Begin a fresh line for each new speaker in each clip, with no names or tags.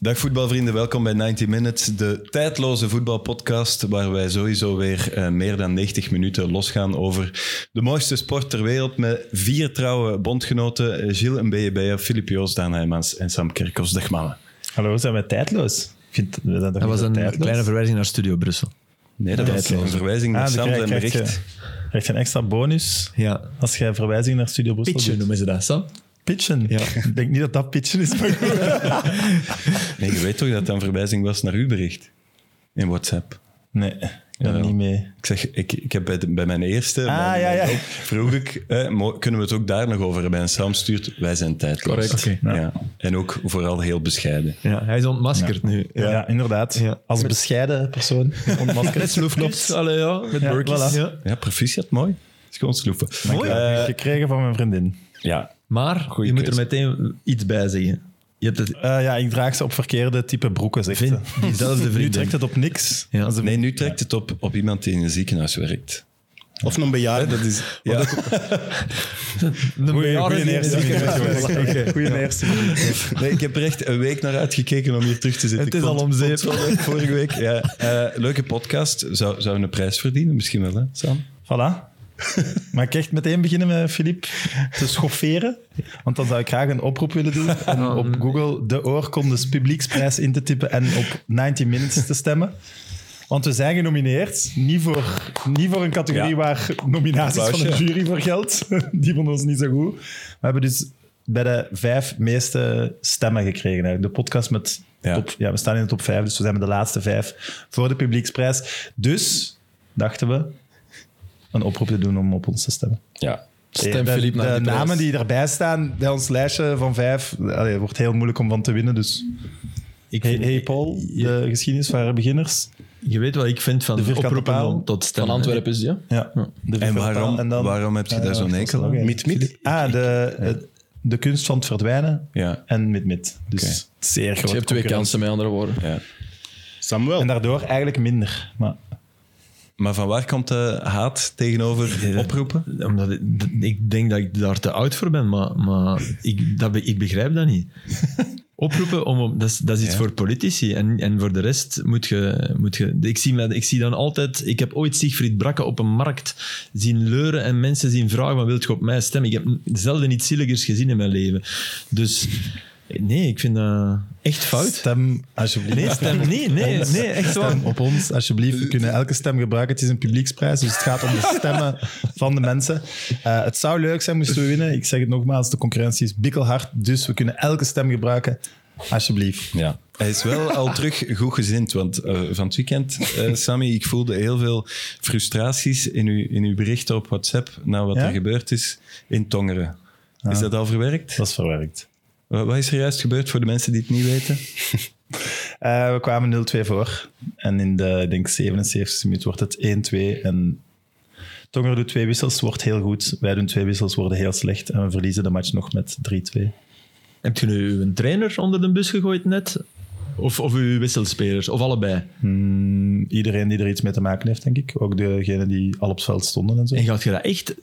Dag voetbalvrienden, welkom bij 90 Minutes, de tijdloze voetbalpodcast waar wij sowieso weer eh, meer dan 90 minuten losgaan over de mooiste sport ter wereld met vier trouwe bondgenoten, eh, Gilles Mbeyebea, Filip Joos, Daan Heijmans en Sam Kerkhoffs. Dag mannen.
Hallo, zijn we tijdloos? Ik vind- we zijn toch
Dat
niet
was
zo
een
tijdloos?
kleine verwijzing naar Studio Brussel.
Nee, dat was een
Tijdloze.
verwijzing naar
Ah, dan
Sam
krijg-
en
krijg je-
bericht.
krijg je een extra bonus
Ja.
als jij verwijzing naar Studio Brussel
Pitchen
doet.
noemen ze dat, Sam?
Pitchen.
Ja.
Ik denk niet dat dat pitchen is, maar goed.
Nee, je weet toch dat dat een verwijzing was naar uw bericht in WhatsApp?
Nee, ik ben
Jawel.
niet mee.
Ik zeg, ik, ik heb bij, de- bij mijn eerste mijn-
ja, ja.
mijn hulp, vroeg ik, eh, mo- kunnen we het ook daar nog over hebben? En Sam stuurt, wij zijn tijdloos.
Correct. Oké,
ja. En ook vooral heel bescheiden.
Ja, hij is ontmaskerd nu.
Ja, inderdaad.
Ja.
Als bescheiden persoon. Ontmaskerd.
Sloefknops. Allee, ja. Met
Ja,
Burkies.
voilà.
Ja.
Ja, proficiat, mooi. Is gewoon sloeven.
Mooi.
Eh,
gekregen van mijn vriendin.
ja,
Maar
Goeie
je moet er
keuze.
meteen iets bij zeggen. Je hebt het...
Eh, ja, ik draag ze op verkeerde type broeken, zegt
Vin,
ze.
diezelfde
Nu
vriendin.
trekt het op niks.
Ja.
Als een-
nee, nu trekt het op, op iemand die in een ziekenhuis werkt.
Of een bejaarde. Dat is,
Ja,
Een
Goeie,
bejaarde
goeie
die in
eerste.
het ziekenhuis werkt. Oké.
Goeie eerste.
nee, ik heb er echt een week naar uitgekeken om hier terug te zitten.
Het is
Ik vond-
al om
vond
zeep.
het wel leuk Vorige week. Ja. Eh, leuke podcast. Zou, zou een prijs verdienen? Misschien wel, hè, Sam?
Voilà. Maar ik echt meteen beginnen met Filip te schofferen. Want dan zou ik graag een oproep willen doen. Om op Google de oorkondes publieksprijs in te tippen en op 90 Minutes te stemmen. Want we zijn genomineerd. Niet voor, niet voor een categorie
Ja.
waar nominaties van
Applausje.
de jury voor geld. Die vonden ons niet zo goed. We hebben dus bij de vijf meeste stemmen gekregen. Eigenlijk. De podcast met
Ja.
top... Ja, we staan in de top vijf, dus we zijn met de laatste vijf voor de publieksprijs. Dus dachten we, een oproep te doen om op ons te stemmen.
Ja.
Stem
de
Philippe naar
de
de prijs.
namen die erbij staan bij ons lijstje van vijf, allee, wordt heel moeilijk om van te winnen. Dus
Ik
hey,
vind-
hey Paul, de geschiedenis van haar beginners.
Je weet wat ik vind van
vierkante
oproepen
paal.
om tot stemmen.
Van Antwerpen is die, hè?
Ja. De
En
paal
waarom,
dan-
waarom heb
Eh,
je daar zo'n enkel aan?
Miet, miet. Ah, de, de, de kunst van het verdwijnen
Ja.
en mit, mit. Dus
Oké.
zeer groot.
Je hebt twee
concurrent.
kansen, met andere woorden.
ja.
Samuel.
En daardoor eigenlijk minder. Maar
Maar van waar komt de haat tegenover oproepen?
Omdat ik, ik denk dat ik daar te oud voor ben, maar, maar ik, dat, be- ik begrijp dat niet. Oproepen, om, op- dat, is, dat is iets
Ja.
voor politici. En, en voor de rest moet je... Moet je ik, zie, mij- ik zie dan altijd... Ik heb ooit Siegfried Brakke op een markt zien leuren en mensen zien vragen van wilt je op mij stemmen? Ik heb zelden iets zieligers gezien in mijn leven. Dus... Nee, ik vind dat echt fout.
stem alsjeblieft.
Nee, stem, nee, nee, nee, echt waar.
Stem op ons, alsjeblieft. We kunnen elke stem gebruiken. Het is een publieksprijs, dus het gaat om de stemmen van de mensen. Eh, het zou leuk zijn moesten we winnen. Ik zeg het nogmaals, de concurrentie is bikkelhard. Dus we kunnen elke stem gebruiken. Alsjeblieft.
Ja. Hij is wel al terug goed gezind, want eh, van het weekend, eh, Sammy, ik voelde heel veel frustraties in uw, in uw berichten op WhatsApp na wat
Ja?
er gebeurd is in Tongeren. Is dat al verwerkt?
Dat is verwerkt.
Wa- Wat is er juist gebeurd voor de mensen die het niet weten?
Eh, we kwamen 0-2 voor. En in de ik denk 77 minuut wordt het 1-2. En Tonger doet twee wissels, wordt heel goed. Wij doen twee wissels, worden heel slecht. En we verliezen de match nog met 3-2.
Heb je nu een trainer onder de bus gegooid net? Of, of uw wisselspelers? Of allebei?
Mm, iedereen die er iets mee te maken heeft, denk ik. Ook degenen die al op het veld stonden en zo.
En gaat je dat echt...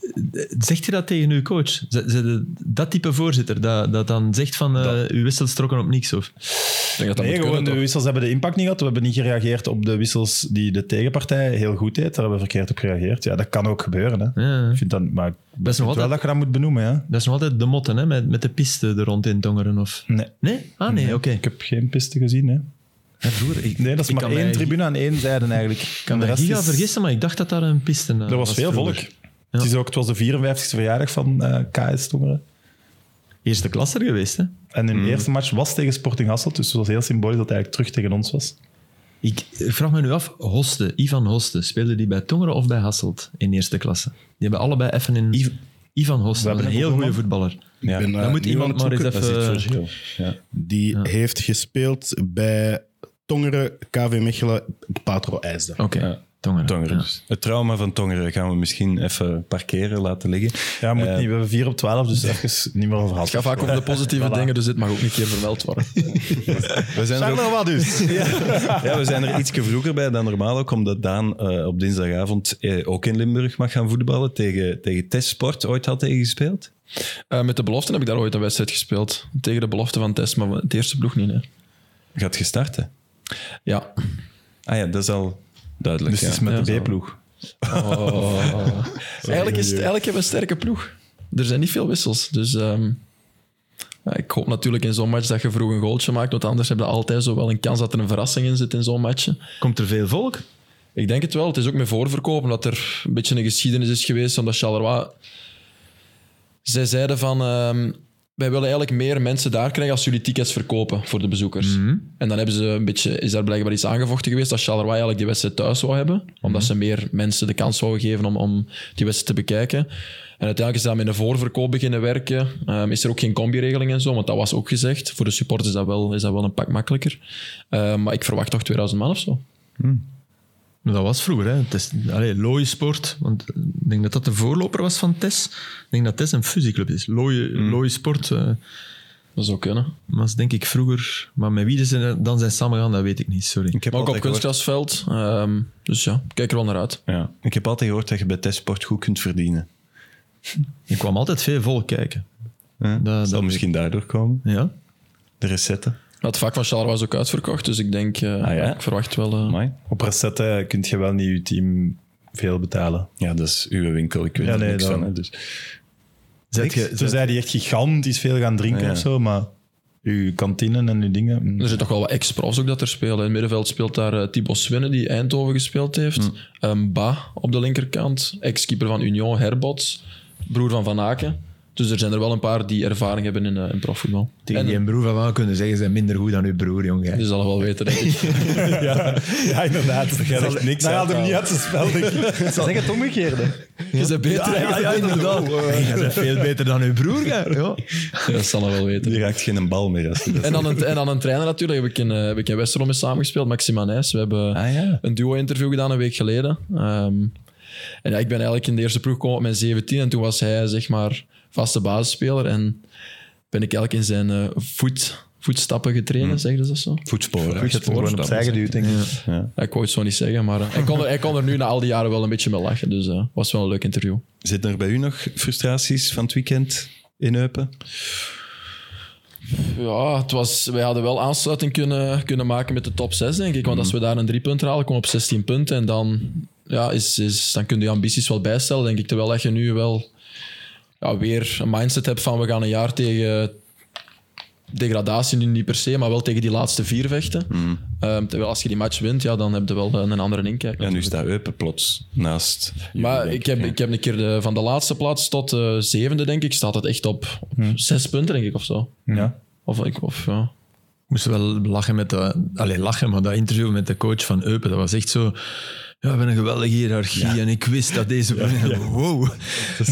Zegt je dat tegen uw coach? Z- z- dat type voorzitter, dat, dat dan zegt van... eh uw wissels trokken op niks, of...
Ik denk dat dat
Nee,
moet
gewoon
kunnen,
de
toch?
wissels hebben de impact niet gehad. We hebben niet gereageerd op de wissels die de tegenpartij heel goed deed. Daar hebben we verkeerd op gereageerd. Ja, dat kan ook gebeuren. Hè.
Ja.
Ik vind dat, maar ik
Dat is, nog
vind wel
altijd,
dat je dat moet benoemen. Ja.
dat is nog altijd de motten, hè? Met, met de piste er rond in tongeren, of...
Hm. Nee.
Nee? Ah, nee, oké.
Ik heb geen piste gezien. Hè.
Ja, vroeger, ik,
Nee, dat is
ik
maar
kan
één
mij-
tribune aan één zijde eigenlijk.
Ik kan
De
me
rest
giga
is-
vergissen, maar ik dacht dat daar een piste eh,
Er was, veel volk. Het, is ook, het was de 54e verjaardag van eh, KS Tongeren.
Eerste klasser geweest, hè?
En hun eerste match was tegen Sporting Hasselt. Dus het was heel symbolisch dat hij eigenlijk terug tegen ons was.
Ik ik vraag me nu af, Hoste, Ivan Hoste, speelde die bij Tongeren of bij Hasselt in eerste klasse? Die hebben allebei even in... Ivan Hoste,
We
dat
hebben
is een
een
heel goede voetballer.
Ja.
ben, eh,
Dan moet
nieuw aan
iemand
het
maar eens
zoeken.
Dat is het
even...
verschil. Ja.
Die heeft gespeeld bij Tongeren, KV Mechelen, Patro IJsden.
Oké,
Ja.
Tongeren.
Tongeren.
Ja.
Het trauma van Tongeren gaan we misschien even parkeren, laten liggen.
Ja, moet
Eh,
niet. We hebben 4 op 12, dus even niet meer over
Het gaat
Hasselt.
vaak over de positieve dingen, dus dit mag ook niet keer vermeld worden.
We zijn er ook-
wat dus.
Ja, we zijn er iets vroeger bij dan normaal ook, omdat Daan eh, op dinsdagavond eh, ook in Limburg mag gaan voetballen tegen, tegen Testsport. Ooit had hij gespeeld?
Eh, met de belofte heb ik daar ooit een wedstrijd gespeeld. Tegen de belofte van Tess, maar het eerste ploeg niet. Hè.
Gaat je starten?
Ja.
Ah ja, dat is al duidelijk.
Dus het is
ja.
met
Ja,
de
zo.
B-ploeg.
Oh.
Eigenlijk, is het, eigenlijk hebben we een sterke ploeg. Er zijn niet veel wissels. Dus ehm, ja, ik hoop natuurlijk in zo'n match dat je vroeg een goaltje maakt. Want anders heb je altijd zo wel een kans dat er een verrassing in zit in zo'n match.
Komt er veel volk?
Ik denk het wel. Het is ook met voorverkoop, omdat er een beetje een geschiedenis is geweest. Omdat Charleroi... Zij zeiden van... ehm, wij willen eigenlijk meer mensen daar krijgen als jullie tickets verkopen voor de bezoekers. En dan hebben ze een beetje, is daar blijkbaar iets aangevochten geweest dat Charleroi eigenlijk die wedstrijd thuis wou hebben. Omdat ze meer mensen de kans wouden geven om, om die wedstrijd te bekijken. En uiteindelijk is dat met een voorverkoop beginnen werken. Ehm, is er ook geen combi-regeling en zo, want dat was ook gezegd. Voor de supporters is dat wel, is dat wel een pak makkelijker. Ehm, maar ik verwacht toch 2000 man of zo.
Maar dat was vroeger, hè. Het is, allee, looie sport. Want ik denk dat dat de voorloper was van TES. Ik denk dat TES een fusieclub is. Looie,
Mm.
looie sport eh,
Dat zou kunnen.
was denk ik vroeger... Maar met wie ze dan zijn samengegaan, dat weet ik niet, sorry.
Ik heb
Maar ook op
altijd gehoord-
kunstgrasveld. ehm, dus ja, kijk er wel naar uit.
Ja. Ik heb altijd gehoord dat je bij testsport goed kunt verdienen.
Er kwam altijd veel volk kijken.
Ja.
Dat-
Dat zal
dat-
misschien daardoor komen.
Ja?
De recetten.
Het vak van Charleroi was ook uitverkocht, dus ik denk, eh,
Ah, ja?
ik verwacht wel... eh,
Amai.
Op recette kun je wel niet je team veel betalen.
Ja, dat is uw winkel. Ik weet
Ja,
er
nee,
niks
dat-
van. Hè, dus.
Zet je,
Toen zei die echt gigantisch veel gaan drinken
Ja.
of zo, maar uw kantinen en uw dingen... mm.
Er zijn toch wel wat ex-profs ook dat er spelen. In het middenveld speelt daar eh, Thibaut Swinnen, die Eindhoven gespeeld heeft. Ehm, ba op de linkerkant. Ex-keeper van Union, Herbots. Broer van Van Aken. Dus er zijn er wel een paar die ervaring hebben in, eh, in profvoetbal. eh,
tegen die broer van wel kunnen zeggen, ze zijn minder goed dan uw broer, jongen.
Die zal het wel weten, denk ik.
Ja, ja, inderdaad. nou Dat gaat echt niks uit. niet uit te spel, Zeg het omgekeerde.
Je bent beter.
Ja, ja, inderdaad. Jij bent veel beter dan uw broer, ja. ja.
Dat zal hij wel weten.
Je raakt geen bal meer. Als je dat
En dan, een, en dan een trainer natuurlijk. Heb ik in, eh, heb ik in Westerlo mee samengespeeld, Maxima Nijs. We hebben
Ah, ja.
een duo-interview gedaan een week geleden. Ehm, en ja, ik ben eigenlijk in de eerste ploeg gekomen op mijn 17 en toen was hij zeg maar vaste basisspeler. En ben ik eigenlijk in zijn eh, voet, voetstappen getreden,
Hmm.
zeggen ze dat zo?
Voetsporen.
Ik heb hem gewoon opzij geduwd, denk ik.
Ja, ik wou het zo niet zeggen, maar eh, hij, kon er, hij kon er nu na al die jaren wel een beetje mee lachen. Dus eh was wel een leuk interview.
Zitten er bij u nog frustraties van het weekend in Eupen?
Ja, het was, wij hadden wel aansluiting kunnen, kunnen maken met de top 6, denk ik. Want als we daar een drie punten halen, komen we op 16 punten. En dan, ja, is, is, dan kun je je ambities wel bijstellen, denk ik. Terwijl dat je nu wel ja, weer een mindset hebt van we gaan een jaar tegen degradatie, nu niet per se, maar wel tegen die laatste vier vechten. Ehm, terwijl als je die match wint, ja, dan heb je wel eh, een, een andere inkijk.
Ja, nu staat Eupen plots naast. jullie,
Maar
denk
ik heb,
ja.
ik heb een keer de, van de laatste plaats tot de zevende, denk ik, staat het echt op, op zes punten, denk ik, of zo.
Ja.
Of, ik- of ja.
moest wel lachen met dat... Allee, lachen, maar dat interview met de coach van Eupen, dat was echt zo... Ja, we hebben een geweldige hiërarchie en ik wist dat deze... Wow.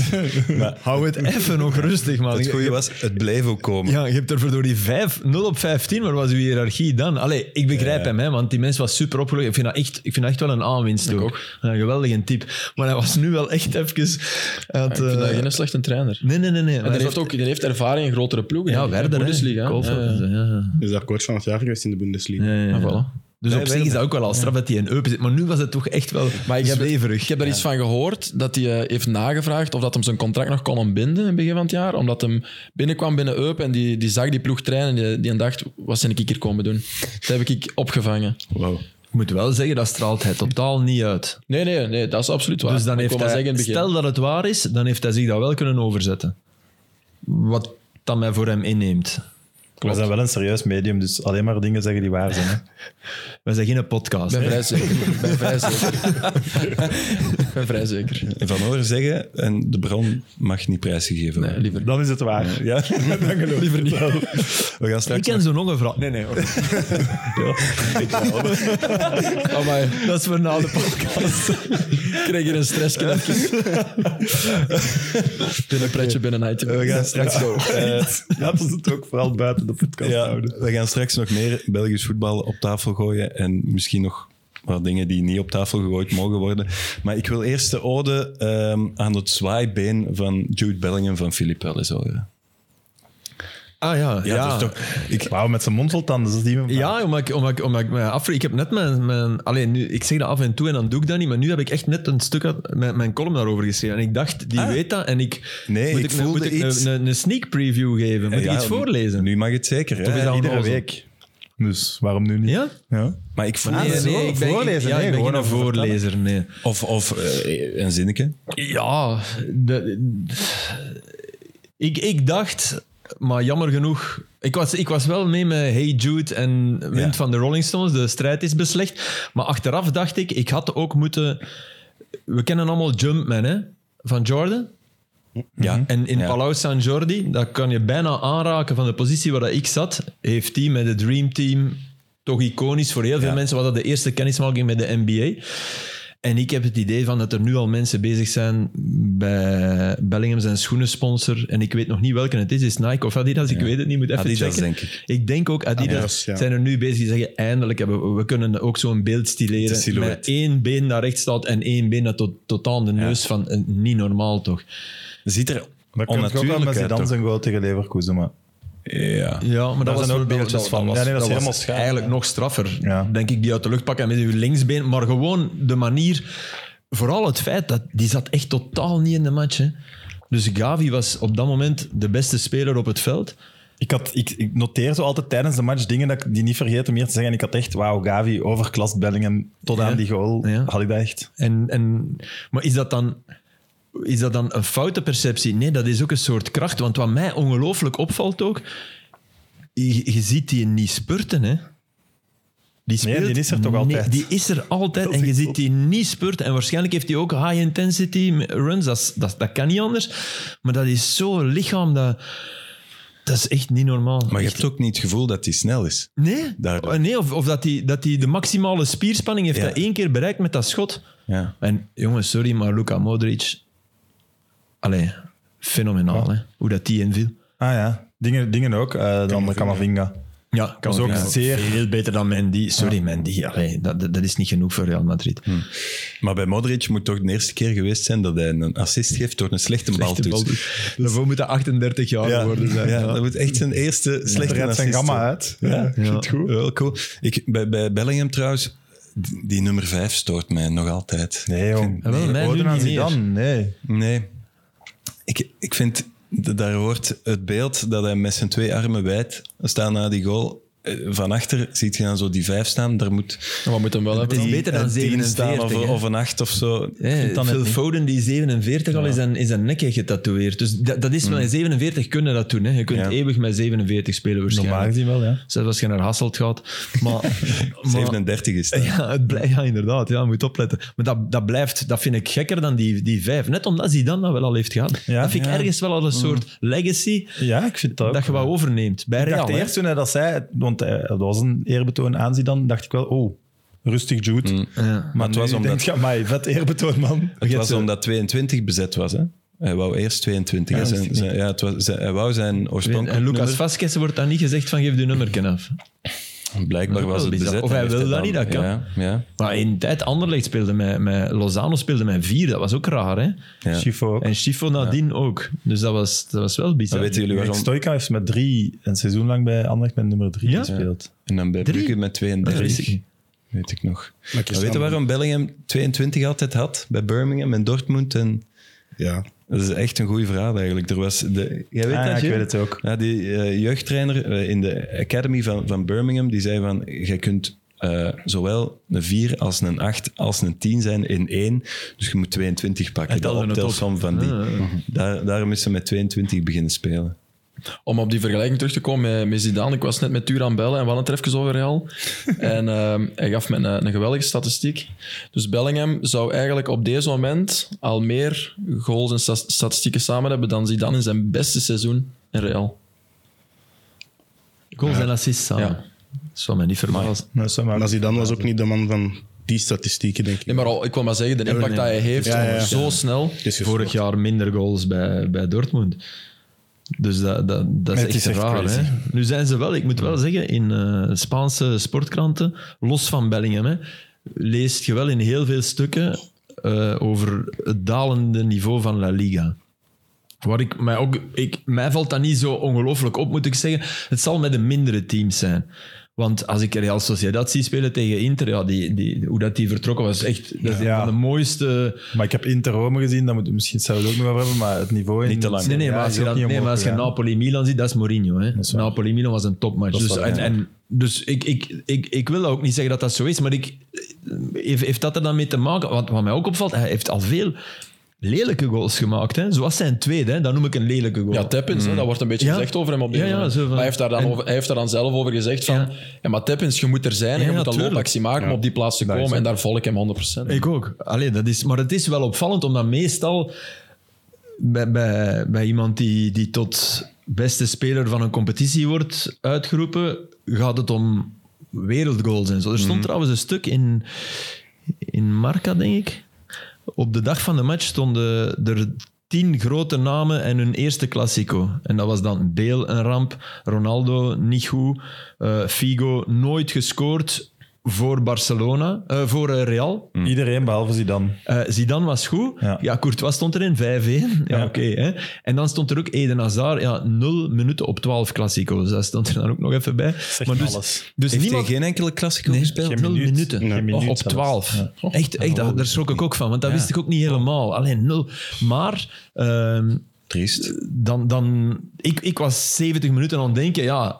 Hou het even nog rustig, man.
Het goede was, het bleef ook komen.
Ja, je hebt er voor door die 5, 0 op 15, maar was uw hiërarchie dan? Allee, ik begrijp hem, hè, want die mens was super opgelucht. Ik vind dat echt, ik vind dat echt wel een aanwinst ook. Een geweldige type. Maar hij was nu wel echt even... hij had,
Ik vind dat
eh,
geen slechte trainer.
Nee, nee, nee. nee. Maar
En
hij
die heeft ook die heeft ervaring in grotere ploegen.
Ja,
denk ik, hè.
Werder, hè.
Bundesliga.
Koolveld,
Ja, ja.
ja, ja.
Is daar coach van het jaar geweest in de Bundesliga?
Ja, ja, ja.
Ah, voilà.
Dus
Nee,
op zich is
Werder.
dat ook wel al straf dat hij een Eupen zit. Maar nu was het toch echt wel
Maar ik heb,
zweverig.
ik heb er iets van gehoord dat hij eh, heeft nagevraagd of dat hem zijn contract nog kon ontbinden in het begin van het jaar. Omdat hem binnenkwam binnen Eup en die, die zag die ploeg trainen en die, die dacht, wat ben ik hier komen doen? Dat heb ik opgevangen.
Wow.
Ik moet wel zeggen, dat straalt hij totaal niet uit.
Nee, nee, nee, dat is absoluut waar.
Dus dan
Ik
heeft
wou maar
hij,
zeggen in het begin.
stel dat het waar is, dan heeft hij zich dat wel kunnen overzetten. Wat dan mij voor hem inneemt.
We zijn wel een serieus medium, dus alleen maar dingen zeggen die waar zijn. Hè.
We zijn geen podcast.
Ik ben
hè.
vrij zeker. Ik ben vrij zeker. Ik ben vrij zeker.
Van horen zeggen, en de bron mag niet prijsgegeven worden.
Nee, liever.
Dan is het waar. Ja, dan geloof ik het wel.
We gaan
Ik
straks
ken zo nog een vraag. Nee, nee. hoor.
Amai,
Dat is voor na de podcast.
ik kreeg hier een stressje. even. Binnen pretje, binnen een item.
We gaan straks nog, eh,
Laten we het ook vooral buiten de podcast
ja,
houden.
we gaan straks nog meer Belgisch voetbal op tafel gooien. En misschien nog wat dingen die niet op tafel gegooid mogen worden. Maar ik wil eerst de ode ehm, aan het zwaaibeen van Jude Bellingham van Philippe wel eens horen.
Ah ja, ja.
Ja,
ja.
dat is toch... Ik,
Wauw, met zijn mond vol tanden. Dat is die man.
omdat ik, omdat ik, omdat ik mij afvra- Ik heb net mijn... mijn alleen nu, ik zeg dat af en toe en dan doe ik dat niet, maar nu heb ik echt net een stuk uit mijn, mijn column daarover geschreven. En ik dacht, die weet dat en ik...
Nee, ik
een-
voelde
moet ik
iets.
Een, een, een sneak preview geven? Moet ik
ja,
iets voorlezen?
Nu mag het zeker.
Of is
Hè?
dat
Iedere
onnozel?
week. Dus waarom nu niet?
Ja?
Ja.
Maar ik voel...
Ah,
Nee,
dat is
nee,
wel
ik
voorlezen,
ja,
nee,
ik ben
gewoon
geen
over
voorlezer, nee.
Of, of eh, een zinnetje.
Ja, de- ik, ik dacht, maar jammer genoeg. Ik was, ik was wel mee met Hey Jude en Wind
Ja.
van de Rolling Stones. De strijd is beslecht. Maar achteraf dacht ik, ik had ook moeten. We kennen allemaal Jumpman, hè? Van Jordan. Ja. En in
Ja.
Palau San Jordi, dat kan je bijna aanraken van de positie waar dat ik zat. Heeft hij met het Dream Team toch iconisch voor heel veel
Ja.
mensen. was dat de eerste kennismaking met de NBA. En ik heb het idee van dat er nu al mensen bezig zijn bij Bellingham zijn schoenensponsor. En ik weet nog niet welke het is. Is het Nike of Adidas? Ik weet het niet. Moet even
Adidas,
checken.
denk ik.
Ik denk ook Adidas.
Adidas, ja.
Zijn er nu bezig die zeggen, eindelijk hebben we, we kunnen ook zo'n beeld
De
stileren.
silhouet.
Met één been naar rechts staat en één been dat tot, tot aan de neus van... eh, Niet normaal toch?
Ziet er
Dat kan ook wel,
onnatuurlijk
maar
uit,
Zidane
toch?
zijn goal tegen Leverkusen. Maar.
Ja.
Ja, maar dat
zijn
was
ook
dat-
beeldjes
dat-
van.
dat
Ja, nee, dat is
was
helemaal schaam,
Eigenlijk nog straffer,
Ja.
denk ik, die uit de lucht pakken met uw linksbeen. Maar gewoon de manier, vooral het feit dat die zat echt totaal niet in de match. Hè. Dus Gavi was op dat moment de beste speler op het veld.
Ik, had, ik, ik noteer zo altijd tijdens de match dingen dat ik die niet vergeet om hier te zeggen. Ik had echt, wauw, Gavi overklast Bellingham tot
Ja.
aan die goal.
Ja.
Had ik dat echt.
En, en, maar is dat dan... Is dat dan een foute perceptie? Nee, dat is ook een soort kracht. Want wat mij ongelooflijk opvalt ook, je, je ziet die niet spurten, hè. Die,
Nee, die is er toch altijd?
die is er altijd
Dat
en
is
je
echt
ziet
zot.
die niet spurten. En waarschijnlijk heeft hij ook high-intensity runs, dat, is- dat, dat kan niet anders. Maar dat is zo'n lichaam, dat, dat is echt niet normaal.
Maar je
Echt.
hebt ook niet het gevoel dat hij snel is.
Nee, Oh,
Daardoor.
nee of, of dat hij dat die de maximale spierspanning heeft
Ja.
dat één keer bereikt met dat schot.
Ja.
En jongens, sorry, maar Luka Modric... Allee, fenomenaal, hè? Hoe dat die inviel.
Ah ja, dingen, dingen ook. eh dan Kamavinga.
Ja, kan
ook zeer-
Veel beter dan Mendy. Sorry, Mendy. Allee, dat, dat, dat is niet genoeg voor Real Madrid.
Maar bij Modric moet toch de eerste keer geweest zijn dat hij een assist geeft door een slechte,
Slechte
baltoets.
baltoets. Daarvoor moet hij 38 jaar geworden zijn.
Ja, dat moet echt zijn eerste slechte
Er redt zijn
assist
gamma
zijn.
uit. Ja, ik vind het goed.
Wel cool. Ik, bij, bij Bellingham trouwens, die, die nummer 5 stoort mij nog altijd.
Nee, jong.
Ah, wel, mij
Ode
nu
aan
niet meer.
Zidane, nee.
Nee. Ik, ik vind, d- daar hoort het beeld dat hij met zijn twee armen wijd staat na die goal. Eh, Van achter ziet je dan zo die vijf staan. Daar moet
Maar we moeten hem wel hebben.
is
dan.
beter dan
een tien staan
47,
of,
hè?
of een acht of zo.
Hè,
dan
Phil
het niet.
Foden, die 47 al, is aan, is aan nekken getatoeëerd. Dus dat, dat is wel, in 47 kunnen dat doen. Hè. Je kunt
Ja.
eeuwig met 47 spelen
Normaal
waarschijnlijk.
gezien wel, ja.
Zelfs als je naar Hasselt gaat. Maar, maar
37 is dat.
ja, het blij- ja, inderdaad. Ja, je moet opletten. Maar dat, dat blijft, dat vind ik gekker dan die, die vijf. Net omdat hij dan dat wel al heeft gehad.
Ja.
dat vind ik
Ja. Mm.
ergens wel al een soort legacy
Ja, ik vind dat ook.
dat je wat overneemt. Bij
Ik
Real.
dacht
hè.
eerst toen hij dat zei, want eh, dat was een eerbetoon aan Zidane, dacht ik wel, oh, rustig Jude.
Ja.
Maar
het
nu
was omdat-
denk ik, amai, vet eerbetoon, man.
Mm. Het was
eh,
omdat 22 bezet was. Hè? Hij wou eerst 22. Ja,
dat
zijn,
wist ik
zijn- ja, het was, zijn- hij wou zijn oorspronkelijk
En Lucas
nummer-
Vasquez wordt dan niet gezegd van geef je nummer af.
Blijkbaar was
Wel
het
bizar.
bezet.
Of hij
heeft
wil dat
dan-
niet, dat kan.
Ja, ja.
Maar in tijd Anderlecht speelde met, met Lozano speelde met vier. Dat was ook raar, hè?
ja.
Schifo ook.
En Schifo nadien ook. Dus dat was, dat was wel bizar.
Dan weten jullie
Erik
waarom.
Stoika heeft met drie, een seizoen lang bij Anderlecht met nummer drie
Ja?
gespeeld.
En dan bij
Drie?
Brugge met
Dat wist
32.
ik niet.
Weet ik nog.
Maar
Maar weet je waarom Bellingham 22 altijd had? Bij Birmingham en Dortmund. En
Ja.
dat is echt een goede vraag eigenlijk. Er was de, jij weet
Ah,
dat,
ja, ik
Jim?
weet het ook.
Ja, die eh, jeugdtrainer eh, in de Academy van, van Birmingham, die zei van, jij kunt eh, zowel een 4 als een 8 als een 10 zijn in één. Dus je moet 22 pakken. De
telde het op.
optelsom van die.
Ah,
Daar, daarom is ze met 22 beginnen spelen.
Om op die vergelijking terug te komen met, met Zidane. Ik was net met Turan bellen en we hadden het er even over Real. en ehm, hij gaf me een, een geweldige statistiek. Dus Bellingham zou eigenlijk op deze moment al meer goals en sta- statistieken samen hebben dan Zidane in zijn beste seizoen in Real.
Goals en assists samen.
Ja.
Dat zal mij niet verbazen.
Nou, zo maar-
Maar Zidane was ook niet de man van die statistieken, denk ik.
Nee, maar al, ik wil maar zeggen, de impact
nee.
dat hij heeft
Ja, ja, ja.
zo snel.
Het is gespeeld.
Vorig jaar minder goals bij, bij Dortmund. Dus dat, dat, dat is
Het
echt,
is echt
raar.
crazy.
Hè? Nu zijn ze wel, ik moet wel zeggen, in eh, Spaanse sportkranten, los van Bellingham, hè, leest je wel in heel veel stukken eh, over het dalende niveau van La Liga. Waar ik mij ook, ik, mij valt dat niet zo ongelooflijk op, moet ik zeggen. Het zal met de mindere teams zijn. Want als ik Real Sociedad zie spelen tegen Inter, ja, die, die, hoe dat die vertrokken was, echt dat is
Ja.
een van de mooiste...
Maar ik heb Inter Rome gezien, daar moeten we misschien zelf ook nog over hebben, maar het niveau... in-
Niet te lang.
Nee, nee,
Ja,
maar als
is
je,
ook
dat-
niet
nee, maar
omhoog
als je
gegaan.
Napoli-Milan ziet, dat is Mourinho. hè.
is waar.
Napoli-Milan was een topmatch.
Dat is
Dus,
waar,
en,
ja.
en, dus ik, ik, ik, ik wil ook niet zeggen dat dat zo is, maar ik, heeft, heeft dat er dan mee te maken? Want wat mij ook opvalt, hij heeft al veel lelijke goals gemaakt. Hè? Zoals zijn tweede, hè? dat noem ik een lelijke goal.
Ja, Teppins, hè, dat wordt een beetje
Hmm. Ja.
gezegd over hem op dit
Ja, ja,
moment.
zo van-
Maar hij heeft, daar dan
en-
over, hij heeft daar dan zelf over gezegd van...
Ja.
Ja, maar Teppins, je moet er zijn en
Ja,
je moet een
tuurlijk.
loopactie maken om op die plaats te
is
komen.
het.
En daar volg ik hem 100%.
Ik ook. Allee, dat is, maar het is wel opvallend, omdat meestal bij, bij, bij iemand die, die tot beste speler van een competitie wordt uitgeroepen, gaat het om wereldgoals en zo. Er stond trouwens een stuk in, in Marca, denk ik. Op de dag van de match stonden er tien grote namen en hun eerste Classico. En dat was dan Bale een ramp, Ronaldo niet goed, eh, Figo nooit gescoord voor Barcelona, eh, voor eh, Real.
Mm.
Iedereen behalve Zidane.
Eh, Zidane was goed.
Ja.
Ja, Courtois stond erin, 5-1. Ja,
Ja.
oké. hè. en dan stond er ook Eden Hazard, ja, 0 minuten op 12 klassico's. Dat stond er dan ook nog even bij. maar dus,
alles.
dus
Heeft
niemand...
hij geen enkele klassieker
Nee,
gespeeld?
geen
0
minuut.
minuten.
Geen
Oh,
minuut
Och, op
zelfs.
12.
Ja.
Echt, echt dat- daar schrok ik ook van, want dat wist ik ook niet helemaal. Alleen 0. Maar ehm,
Triest.
dan, dan, ik, ik was 70 minuten aan het denken, ja,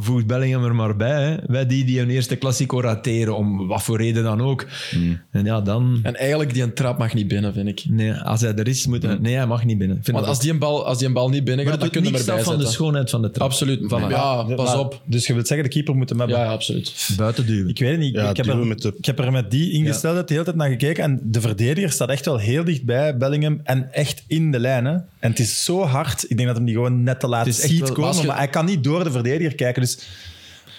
voeg Bellingham er maar bij. Hè. Wij die, die hun eerste klassico rateren, om wat voor reden dan ook. En ja, dan...
En eigenlijk, die een trap mag niet binnen, vind ik.
Nee, als hij er is, moet hij... Nee, hij mag niet binnen. Ik Vind
Want
dat
als die een bal, als die een bal niet binnen
maar
gaat,
het
dan
doet
kunnen we
niks af
erbij
van de
zetten.
schoonheid van de trap.
Absoluut. Van, ja, pas
Maar-
op.
Dus je wilt zeggen, de keeper moet hem hebben.
Ja, ja, absoluut.
Buiten duwen.
Ik weet het niet.
Ja,
ik, heb
duwen
er,
met de-
ik heb er met die ingesteld de hele tijd naar gekeken. En de verdediger staat echt wel heel dichtbij Bellingham. En echt in de lijn. hè. En het is zo hard. Ik denk dat hem die gewoon net te laat
Het is echt
ziet
wel-
komen.
als je-
Maar hij kan niet door de verdediger kijken. Dus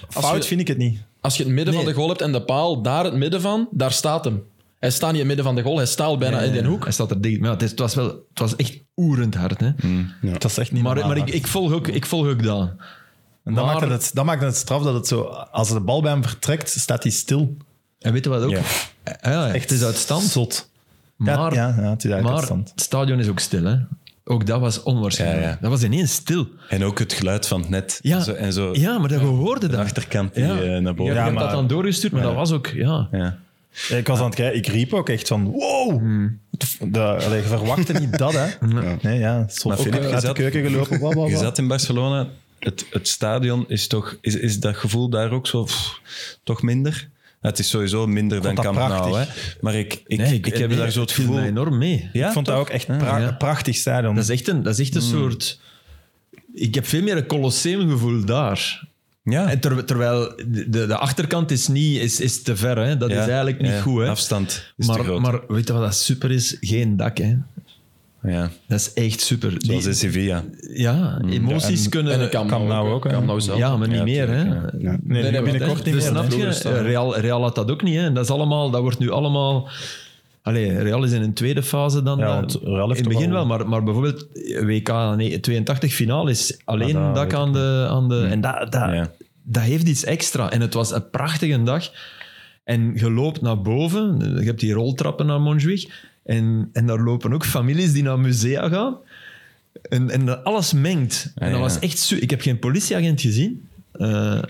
fout
je-
vind ik het niet.
Als je het midden van
Nee.
de goal hebt en de paal, daar het midden van, daar staat hem. Hij staat niet in het midden van de goal, hij staat al bijna in de hoek.
Hij staat er dicht. Maar het, is, het was wel, het was echt oerend hard. Hè?
Hmm.
Dat is echt niet
Maar,
normaal
maar ik,
hard.
ik, volg ook, ik volg ook dat.
En dan,
maar-
maakt het, dan maakt het straf dat het zo... Als de bal bij hem vertrekt, staat hij stil.
En weet je wat ook? Eh,
Ja.
Ja. het is uit stand.
Zot.
Maar,
ja, ja, het is uit
maar
stand.
het stadion is ook stil. Hè? Ook dat was onwaarschijnlijk.
Ja, ja.
Dat was ineens stil.
En ook het geluid van het net.
Ja,
En zo, en zo
ja maar dat je hoorde
de
dat.
achterkant die
Ja.
eh, naar
Ja,
boven.
ik heb
maar-
dat dan doorgestuurd, maar dat was ook... Ja.
Ja.
Ja, Ik was aan het kijken, ik riep ook echt van wow.
Hmm.
De, allee, je verwachtte niet dat, hè? Nee, ja. Zo
Maar
ook
Filip, je
uit de
zat-
keuken gelopen. Bla, bla,
Je
bla.
zat in Barcelona. Het, het stadion is toch... Is, is dat gevoel daar ook zo... pff, toch minder? Nou, Het is sowieso minder dan
dat
Camp Nou. Hè.
prachtig.
Maar ik, ik,
Nee,
ik, heb
nee,
daar zo het
viel mij
gevoel...
enorm mee.
Ja, Hmm.
ik vond dat ook echt pra-
ja.
prachtig stadion.
Dat is echt een, dat is echt een soort... Ik heb veel meer een colosseumgevoel daar.
Ja,
En ter- terwijl de, de achterkant is, niet, is, is te ver. Hè? Dat
Ja,
is eigenlijk niet
ja.
goed. Hè?
Afstand is te
maar,
groot.
maar weet je wat dat super is? Geen dak. Hè?
ja,
Dat is echt super.
zoals
Die-
in Sevilla.
ja, emoties
En
kunnen...
dat kan,
Camp Nou ook, hè.
Camp Nou zelf.
ja, maar niet
Ja,
meer. Hè?
tuurlijk,
nee,
nee,
nee,
maar
binnenkort
echt-
niet
Dus
meer.
snap
dat
je?
is vroeger staan.
Real, Real had dat ook niet. Hè? Dat, is allemaal, dat wordt nu allemaal... Allee, Real is in een tweede fase dan...
Ja,
dat-
want Real heeft
in het
toch
begin
al-
wel, maar, maar bijvoorbeeld WK 82 finale is alleen
Ah, dat
dak
weet
aan de, aan de... En dat, dat,
Ja.
dat heeft iets extra. En het was een prachtige dag. En je loopt naar boven. Je hebt die roltrappen naar Montjuïc. En, en daar lopen ook families die naar musea gaan. En, en dat alles mengt. En
Ah,
dat
ja.
was echt... su- Ik heb geen politieagent gezien. Eh,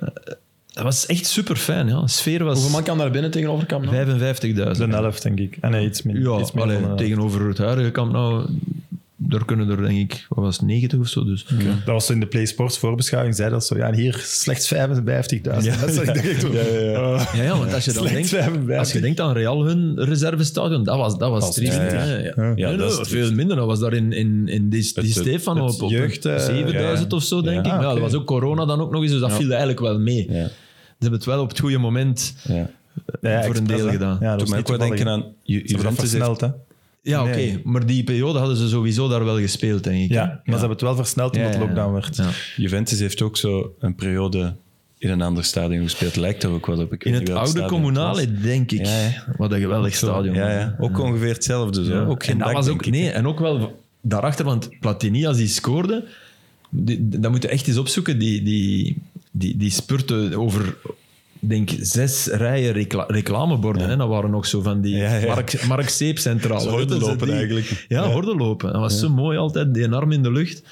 dat was echt super fijn. Ja. De sfeer was
Hoeveel man kan daar binnen tegenover Camp Nou?
55.000.
De helft, denk ik. Ah, nee, iets minder.
Ja,
iets meer
allee,
dan, eh,
tegenover het huidige kamp nou... Daar kunnen er, denk ik, wat was het, 90 of zo. Dus.
Dat was zo in de Play Sports voorbeschouwing, zei dat zo. Ja, en hier slechts 55.000. Dat is echt- echt zo. Eh,
Ja, ja, want als je dan
Slecht
denkt,
55.
als je denkt aan Real hun reservestadion, dat was, dat was triest.
triest.
hè. Ja, Nee,
dat
nee,
is triest.
veel minder. Dat was daar in, in, in die, die
het-
Stefan
het
op, op
jeugd, eh,
7000 of zo, denk
Ah,
ik. Maar ja,
oké.
dat was ook corona dan ook nog eens, dus dat viel eigenlijk wel mee.
Ja.
Ze hebben het wel op het goede moment
Ja.
ja,
voor een
expres,
deel
hè.
gedaan.
Ja,
Toen
dat
moet
was
ik wel denken aan... Ju-
Ze
dus
hebben dat
Juventus heeft-
versneld, hè?
Ja, oké.
Nee.
Maar die periode hadden ze sowieso daar wel gespeeld, denk ik.
Ja,
hè.
maar ze hebben het wel versneld omdat
Ja, ja, ja.
lockdown werd.
Ja.
Juventus heeft ook zo een periode in een ander stadion gespeeld. Lijkt er ook wel op. Ik
In
weet
het
niet welk
oude
stadion het was.
communale, denk ik.
Ja, ja.
Wat een geweldig stadion.
Ja, ja. Ook ongeveer hetzelfde. Zo.
Ja.
Ook geen
en dat
dak,
was
denk
ook,
ik.
nee, en ook wel daarachter, want Platini, als die scoorde, die, die- dat moet je echt eens opzoeken, die, die, die, die spurte over, denk zes rijen recla- reclameborden. Hè? Dat waren ook zo van die
Ja, ja.
Mark, Mark Seep centraal.
Zo horden lopen eigenlijk.
Ja, horden lopen. Dat was zo mooi altijd, die arm in de lucht.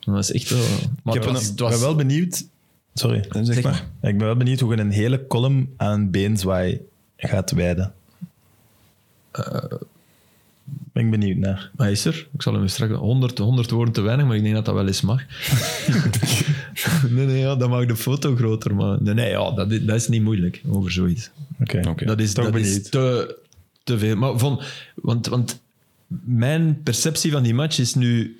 Dat was echt wel... Maar
Ik
het
heb
was,
een-
het was-
ben wel benieuwd Sorry.
Zeg, maar.
Ja, Ik ben wel benieuwd hoe je een hele column aan beenzwaai gaat wijden. Eh. ben ik benieuwd naar.
Maar hij is er. Ik zal hem straks... 100, 100 woorden te weinig, maar ik denk dat dat wel eens mag. nee, nee, ja, dan mag de foto groter. Maar nee, nee ja, dat, is- dat is niet moeilijk over zoiets.
Oké.
Dat is,
Toch
dat is
benieuwd.
te, te veel. Maar van, want, want mijn perceptie van die match is nu...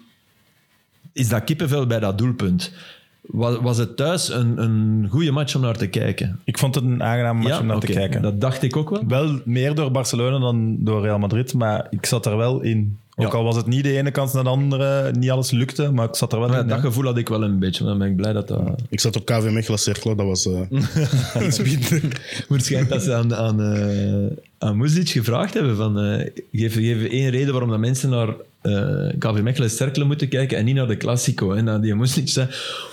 Is dat kippenvel bij dat doelpunt? Was, was het thuis een, een goede match om naar te kijken?
Ik vond het een aangenaam match om naar
oké,
te kijken.
Dat dacht ik ook wel.
Wel meer door Barcelona dan door Real Madrid, maar ik zat er wel in. Ook
Ja.
al was het niet de ene kans naar de andere, niet alles lukte, maar ik zat er wel
Maar
in.
dat
hè.
gevoel had ik wel een beetje. maar Dan ben ik blij dat dat...
Ik zat op KV Mechelen Cercle, dat was eh, iets minder.
Waarschijnlijk dat ze aan, aan, eh, aan Muzic gevraagd hebben van eh, geef, geef één reden waarom dat mensen naar eh KV Mechelen Cercle moeten kijken en niet naar de Classico. En dan die Muzic zei,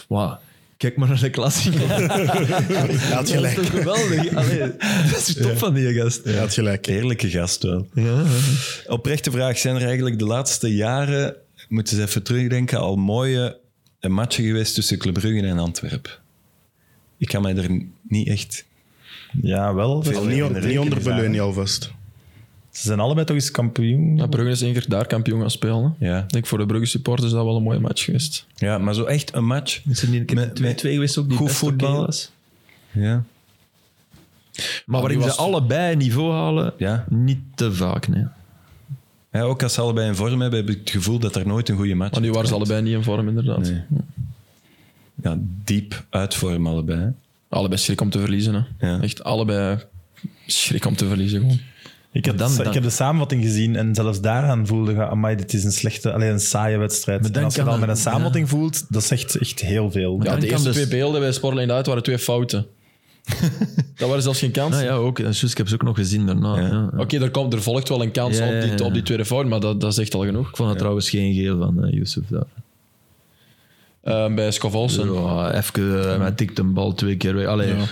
wauw, kijk maar naar de Classico.
Hij had
dat is
gelijk.
toch geweldig? Allee, dat is top van die gast.
Hij had gelijk.
Eerlijke gast wel. Oprechte vraag, zijn er eigenlijk de laatste jaren, moeten ze even terugdenken, al mooie eh, matchen geweest tussen Club Brugge en Antwerpen? Ik kan mij er niet echt...
Ja, wel.
Veel.
Al niet, on-
Rekening
niet onderbeleun je alvast.
Ze zijn allebei toch eens kampioen.
Ja, Brugge is één keer daar kampioen gaan spelen. hè.
Ja.
Ik denk voor de Brugge supporters is dat wel een mooie match geweest.
ja, maar zo echt een match.
Is er niet
Met-
een 2-2
met
geweest ook die
goed
best oké
voetbal.
was?
Ja.
Maar waarin
die
ze
was-
allebei niveau halen,
Ja.
niet te vaak. Nee.
Ja, ook als ze allebei in vorm hebben, heb ik het gevoel dat er nooit een goede match
Maar nu waren ze allebei niet in vorm, inderdaad.
Nee. Ja, diep uitvorm allebei. hè.
Allebei schrik om te verliezen. Hè.
Ja.
Echt allebei schrik om te verliezen. Gewoon.
Ik heb,
Dan-
de,
dan-
ik heb de samenvatting gezien en zelfs daaraan voelde je, amai, dit is een slechte, alleen een saaie wedstrijd.
dan
en als je
kan
dan met
er-
een samenvatting voelt, dat zegt echt heel veel.
Ja,
dan
de
kan
eerste
dus-
twee beelden bij Sportline uit waren twee fouten. dat waren zelfs geen kans.
Nou ja, ook. dat is juist, ik heb ze ook nog gezien daarna.
Ja.
Nou ja.
Oké, er, komt- er volgt wel een kans
Ja, ja,
op, die,
ja.
op die tweede fout, maar dat, dat is echt al genoeg.
Ik vond er trouwens geen geel van, eh, Yusuf. Daar.
Eh, bij Scovolsen.
Ja, even, eh, hij tikte een bal twee keer weg. Allee,
Ja.
ik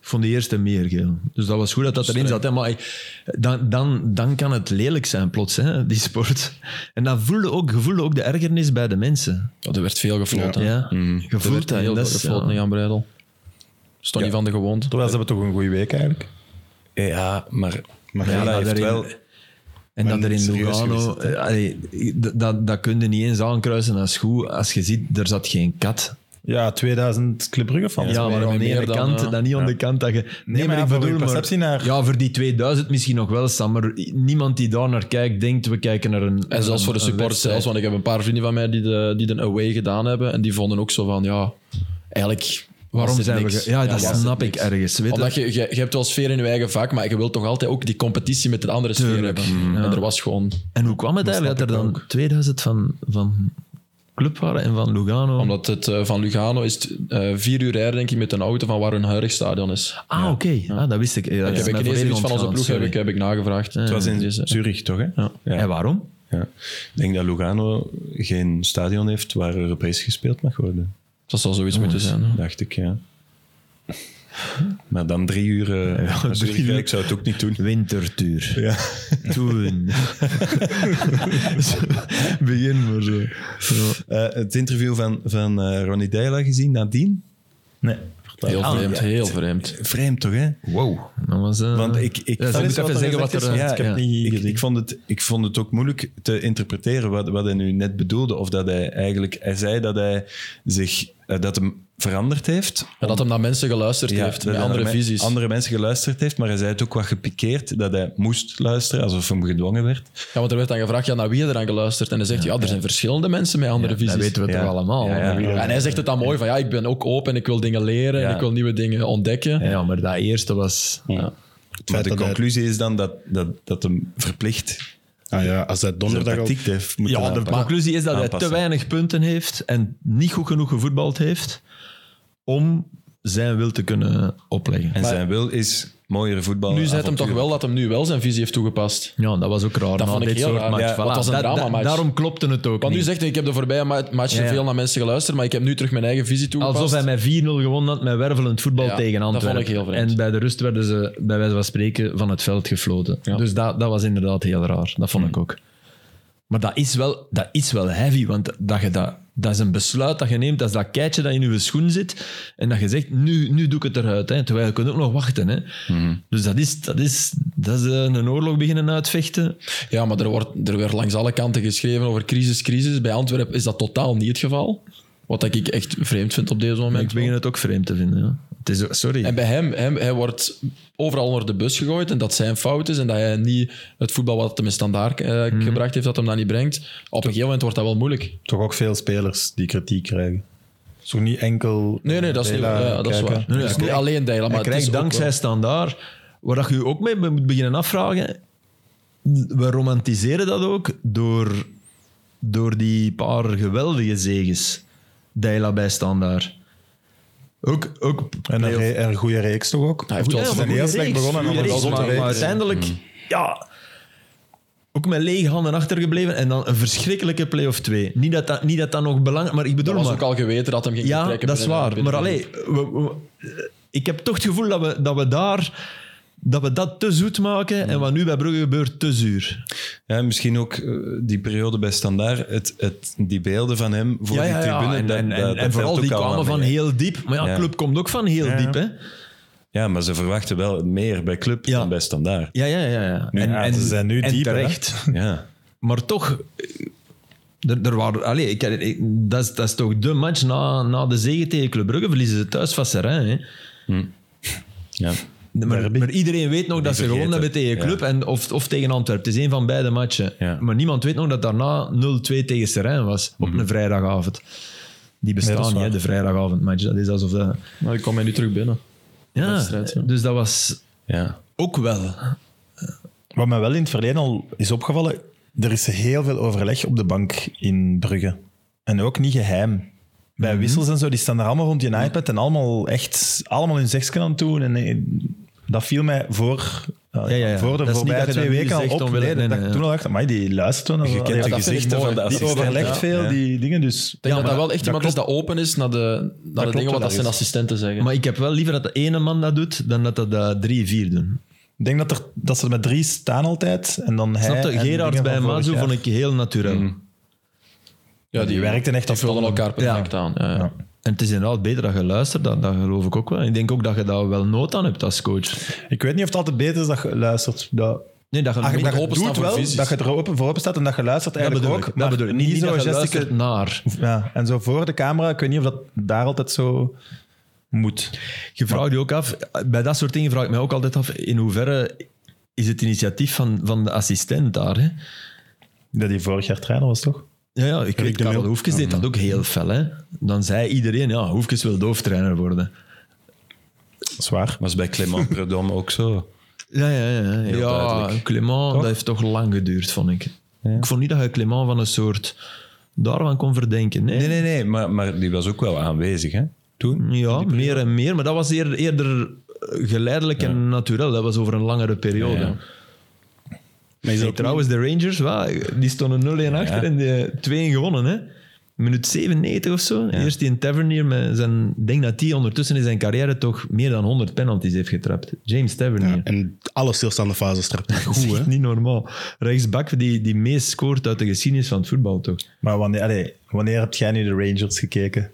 vond die eerste meer geel. Dus dat was goed dat dat erin zat. Hè? Maar ik- dan, dan, dan kan het lelijk zijn plots, hè, die sport. En dan voelde ook, je voelde ook de ergernis bij de mensen.
Ja, Oh, er werd veel gefloten.
Ja. Je
Er werd
voelt dat. en
heel
dat
veel
is-
gefloten
ja.
in Breidel. Is toch niet van de gewoonte.
Terwijl ze hebben toch een goede week eigenlijk.
Ja, maar...
Maar
Brugge
ja,
maar
heeft
daarin-
wel...
En
Maar
dat er in
niet serieus
Lugano...
geweest, hè?
eh, allee, dat- dat, dat kun je niet eens aankruisen als goed. Als je ziet, er zat geen kat.
Ja, 2000 Club Brugge fans.
Ja,
meer-
maar aan de
meer
ene
dan, eh,
kant,
ja.
eh,
dan niet aan de kant dat je... Nee,
maar ja, voor uw perceptie naar-
Ja, voor die 2000 misschien nog wel, Sam. Maar niemand die daar naar kijkt, denkt we kijken naar een...
En zelfs voor de
een
supporters
wedstrijd.
zelfs, want ik heb een paar vrienden van mij die, de, die de away gedaan hebben en die vonden ook zo van, ja, eigenlijk was
Waarom
dit
zijn we...
niks.
ge- Ja, dat
was dit
snap ik
niks.
ergens. Weet
Omdat
je?
je, je, je hebt wel sfeer in je eigen vak, maar je wilt toch altijd ook die competitie met de andere sfeer
Tuurlijk,
hebben. En er was gewoon...
En hoe kwam het
Dat
eigenlijk dat er
snap ik
dan 2000 van, van club waren en van Lugano?
Omdat het eh, van Lugano is het, eh, vier uur rijden, denk ik, met een auto van waar hun huidig stadion is.
Ah, oké. Ah, dat wist ik. Ja, dat
Ik
is
heb ik
mij
ineens
volledig
iets van onze
ontgaan,
ploeg heb
sorry.
ik, heb ik nagevraagd.
Het was in
Dus, eh,
Zurich, toch? Hè? Ja.
En waarom?
Ja. Ik denk dat Lugano geen stadion heeft waar Europees gespeeld mag worden.
Dat zal zoiets moeten zijn. hè.
Dacht ik, ja. Maar dan drie uur... eh, naar Zurich,
drie uur.
Ik zou het ook niet doen.
Wintertuur. Ja. Toen. Begin maar zo.
Eh, het interview van, van eh, Ronnie Deila gezien nadien?
Nee.
Heel
Ah,
vreemd,
ja.
heel vreemd.
Vreemd toch, hè?
Wow. Dat was, eh,
Want ik, ik,
ja, ze
dat
moet
is
even
wat
zeggen wat
gezegd
er...
is.
eh,
Ja,
ja.
ik- ik, ik, vond het, ik vond het ook moeilijk te interpreteren wat, wat hij nu net bedoelde. Of dat hij eigenlijk... Hij zei dat hij zich... eh, dat hem veranderd heeft.
En dat hem naar mensen geluisterd
Ja,
heeft,
dat
met
hij
andere
naar me-
visies.
Andere mensen geluisterd heeft, maar hij zei het ook wat gepikeerd dat hij moest luisteren, alsof hem gedwongen werd.
Ja, want er werd dan gevraagd, ja, naar wie heb je eraan geluisterd? En hij zegt, ja, er zijn verschillende mensen met andere visies.
Dat weten we
Ja.
toch allemaal.
Ja, ja.
Ja,
En hij zegt het dan mooi, van ja, ik ben ook open, ik wil dingen leren,
Ja.
en ik wil nieuwe dingen ontdekken.
maar dat eerste was...
Maar
feit
de
dat hij-
conclusie is dan dat, dat, dat hem verplicht
Ah ja, als hij
zijn
donderdag al...
tactiek heeft moeten
Ja, de
aanpassen.
conclusie is dat hij
aanpassen.
te weinig punten heeft en niet goed genoeg gevoetbald heeft om zijn wil te kunnen opleggen.
En zijn wil is mooier voetbal.
Nu zet hem
avontuur.
toch wel dat hem nu wel zijn visie heeft toegepast.
Ja, dat was ook raar. na
vond ik
dit
heel
soort
raar.
match.
Ja,
Voilà.
want het was een
Dat- dat-
dramamatch.
Daarom klopte het ook
Want nu
niet.
zegt hij, ik heb de voorbije ma- matchen
Ja, ja.
veel naar mensen geluisterd, maar ik heb nu terug mijn eigen visie toegepast.
Alsof hij met 4-0 gewonnen had met wervelend voetbal
Ja,
tegen
dat vond
Antwerpen.
ik heel vreemd.
En bij de rust werden ze, bij wijze van spreken, van het veld gefloten. Dus dat, dat was
Hmm.
inderdaad heel raar. Dat vond ik ook. Maar dat is wel, dat is wel heavy, want dat je dat, Dat is een besluit dat je neemt, dat is dat keitje dat in je schoen zit. En dat je zegt, nu, nu doe ik het eruit. Hè. Terwijl je kunt ook nog wachten. Hè.
Hmm.
Dus dat is, dat, is, dat is eh, een oorlog beginnen uitvechten.
Ja, maar er wordt er werd langs alle kanten geschreven over crisis, crisis. Bij Antwerpen is dat totaal niet het geval. Wat dat ik echt vreemd vind op deze
Maar
moment.
ik begin het ook vreemd te vinden. Ja. Het is, ook- sorry.
En bij hem, hem, hij wordt overal onder de bus gegooid en dat zijn fout is en dat hij niet het voetbal wat hem in standaard eh,
Mhm.
gebracht heeft, dat hem dat niet brengt. Op een gegeven moment wordt dat wel moeilijk.
Toch ook veel spelers die kritiek krijgen. Zo niet enkel.
Nee, nee, dat is, niet,
Dela
ja, dat is
kijken.
waar. Nee, nee,
Dus
niet alleen Dijla, maar
Hij
het is
krijgt
ook wel-
dankzij standaard, waar dat je je ook mee moet beginnen afvragen. We romantiseren dat ook door, door die paar geweldige zeges. Dijla bij standaard. Ook, ook
En een,
playoff-
re- en een goede reeks toch ook?
Hij heeft wel
Ja,
zijn
zijn
maar
heel
goede
slecht
reeks,
begonnen en
goede
dan
reeks,
zotte
maar
reeks.
uiteindelijk,
Mm.
ja, ook met lege handen achtergebleven en dan een verschrikkelijke play-off 2. Niet dat dat, niet dat, dat nog belangrijk maar ik bedoel
Dat was
maar,
ook al geweten dat hem ging
ja,
vertrekken
dat is
binnen-
waar.
binnen-
Maar allee, we- we- eh, ik heb toch het gevoel dat we, dat we daar dat we dat te zoet maken en wat nu bij Brugge gebeurt, te zuur.
Ja, misschien ook eh, die periode bij Standaard, het, het, die beelden van hem voor die tribune.
En,
dat-
en,
dat-
en,
dat
en vooral
telt
die
ook allemaal
kwamen van
mee.
heel diep. Maar ja,
Ja.
club komt ook van heel diep, hè?
Ja, maar ze verwachten wel meer bij Club
Ja.
dan bij Standaard.
Ja, ja, ja. ja.
Nu,
en,
ja,
en,
ze zijn nu
en
dieper, hè?
terecht.
Ja.
Maar toch, eh, er, er waren, allez, ik, ik- dat, is, dat is toch de match na, na de zege tegen Club Brugge, verliezen ze thuis van Serrain. Hè?
ja.
Maar, maar iedereen weet nog dat ze
vergeten.
gewonnen hebben tegen Club en, of, of tegen Antwerpen. Het is één van beide matchen.
Ja.
Maar niemand weet nog dat daarna 0-2 tegen Serrain was op een vrijdagavond. Die bestaan
Mhm. Nee, dat is
niet, hè,
waar.
de vrijdagavondmatch. Dat is alsof dat...
Maar Nou, ik kom mij nu terug binnen.
Ja,
Wedstrijd, ja.
dus dat was
ja.
ook wel...
Wat mij wel in het verleden al is opgevallen, er is heel veel overleg op de bank in Brugge. En ook niet geheim. Bij
Mhm.
wissels en zo, die staan daar allemaal rond je iPad en allemaal echt allemaal hun zegsken aan het doen. En eh, dat viel mij voor, eh,
ja, ja.
voor
Dat is
de
niet
voorbije
dat je
twee
dat nu
weken al
zegt
op.
omwille-
Nee,
nee,
dat
nee,
ik
ja.
toen al dacht, amai, die luisteren. dan
Je
wel.
kent de
dat vind ik
gezichten
mooi.
van de
Die
Die
assistent.
overlegt
ja.
veel,
Ja.
die dingen. Dus
Ik denk dat dat wel echt
dat
iemand is dat open is naar de, naar de
klopt
dingen
wel
wat dat zijn
ergens.
assistenten zeggen.
Maar ik heb wel liever dat de ene man dat doet dan dat dat de drie, vier doen.
Ik denk dat, er, dat ze er met drie staan altijd. En dan hij
Snap je?
en
Gerard
dingen
bij
van vorig
Mazu
jaar.
vond ik heel natuurlijk.
Mm-hmm. ja,
die werkten echt
die
als
vulden
mannen.
elkaar perfect aan. Ja. ja.
En het is inderdaad beter dat je luistert, dat, dat geloof ik ook wel. Ik denk ook dat je daar wel nood aan hebt als coach.
Ik weet niet of het altijd beter is dat je luistert. Dat,
Nee, dat je
Ah,
niet-
dat je
openstaan
doet
voor
wel,
visies.
dat je er open voor open staat en dat je luistert
dat
eigenlijk
bedoel
ook.
ik.
maar
Dat bedoel ik. Niet, niet
zo
dat je
gesticule-
luistert naar.
Ja, en zo voor de camera, ik weet niet of dat daar altijd zo moet.
Je vraagt je ook af, bij dat soort dingen vraag ik mij ook altijd af, in hoeverre is het initiatief van, van de assistent daar? Hè?
Dat die vorig jaar trainer was, toch?
Ja, ja, ik weet,
de
Karel
Mil.
Hoefkes deed
Mm-hmm.
dat ook heel fel. Hè? Dan zei iedereen, ja, Hoefkes wil dooftrainer worden.
Zwaar.
Was bij Clement Predom ook zo.
Ja, ja, ja. ja,
duidelijk.
Clément, dat heeft toch lang geduurd, vond ik. Ik vond niet dat je Clément van een soort daarvan kon verdenken. Nee,
Nee, nee, nee, maar, maar die was ook wel aanwezig, hè? Toen.
Ja, meer en meer. Maar dat was eer- eerder eh, geleidelijk en natuurlijk. Dat was over een langere periode.
Ja.
Maar is
Hey,
dat ook
trouwens, de Rangers, wa, die stonden 0-1 achter en die 2-1 gewonnen. Hè? Minuut 97 of zo. Eerst die in Tavernier. Met zijn, ik denk dat hij ondertussen in zijn carrière toch meer dan 100 penalties heeft getrapt. James Tavernier.
niet- en alle stilstaande fases trapt hij
Dat is
goed, hè?
echt niet normaal. Rechtsbak die, die meest scoort uit de geschiedenis van het voetbal, toch?
Maar wanneer, allee, wanneer heb jij nu de Rangers gekeken?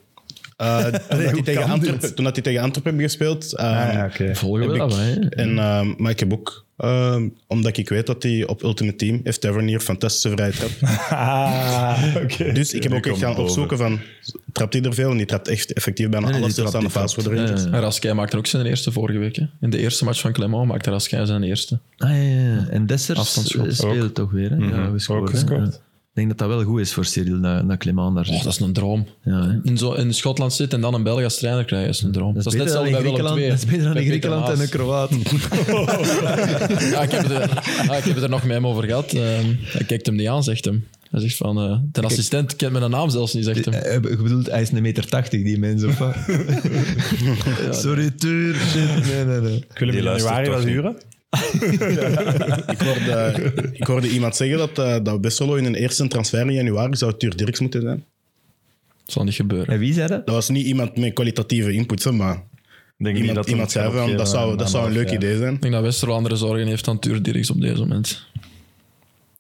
Eh, toen, dat hij
hoe
tegen
kan
Antwerpen-
dit?
toen dat hij tegen Antwerpen heeft gespeeld. ehm,
Ah, ja, oké.
Volgen we
heb
dat
ik-
wel, hè?
En, ehm, maar ik heb ook, ehm, omdat ik weet dat hij op Ultimate Team heeft Tavernier fantastische vrijheid gehad.
Ah, oké.
Dus ik heb
nu
ook echt
komt
gaan
boven.
opzoken van, trapt hij er veel? En die trapt echt effectief bijna
nee,
alle
die trapt,
stilstaande
die
fases voor de
trapt.
Rangers.
Ja,
En Raskai maakte ook zijn eerste vorige week. Hè. In de eerste match van Clement maakte Raskai zijn eerste.
Ah, ja, ja, ja. En Dessers
Afstandsschot.
eh, speelt toch weer. Hè? Ja, gescoord,
Mhm. Ook
hè?
gescoord.
Ja. Ik denk dat dat wel goed is voor Cyril, dat, dat Clément daar
Oh,
zit.
dat is een droom.
Ja, hè.
In, zo, in Schotland zitten en dan een Belg als trainer krijgen, is een droom. Dat is, net
beter dan
hetzelfde
in
bij Willem
Griekenland,
II.
dat is beter dan
Bij
in
Peter
Griekenland en
Maas.
een Kroaat.
Ja, ik heb, het er, ja, ik heb het er nog met hem over gehad. Ehm, hij kijkt hem niet aan, zegt hem. Hij zegt van, eh de assistent kent mijn naam zelfs niet, zegt hem.
Eh, eh, Ik bedoel, hij is een meter tachtig, die mens. Of wat? Sorry, tuur. shit. Nee, nee, nee.
Ik wil hem
Die
in
luistert
januari
toch
wel
niet.
huren.
Ik hoorde, ik hoorde iemand zeggen dat, eh dat Westerlo in een eerste transfer in januari zou Tuur Dirks moeten zijn.
Dat zal niet gebeuren.
En wie zei dat?
Dat was niet iemand met kwalitatieve input, hè, maar
Ik Denk
iemand,
dat
iemand zei van, dat
eh,
zou, dat zou een leuk idee zijn.
Ik denk dat Westerlo andere zorgen heeft dan Tuur Dirks op deze moment.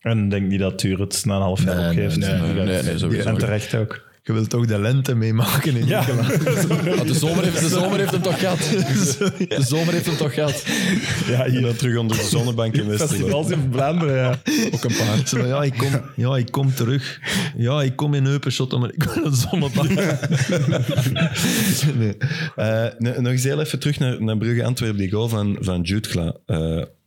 En ik denk niet dat Tuur het na een half jaar opgeeft.
nee,
nee, nee, sowieso
En
niet.
terecht ook.
je wilt toch de lente meemaken in ja.
Maar Ah, de, zomer heeft, de zomer heeft hem toch gehad. De zomer heeft hem toch gehad.
Ja, hier dan terug onder de zonnebank in Westerlo.
Festivals in Vlaanderen, ja.
Ook een paar. ja, ik kom, ja, ik kom terug. Ja, ik kom in Heupenshot, maar ik wil een zonnebank.
Nee. Eh, n- nog eens heel even terug naar, naar Brugge Antwerpen, die goal van, van Jutkla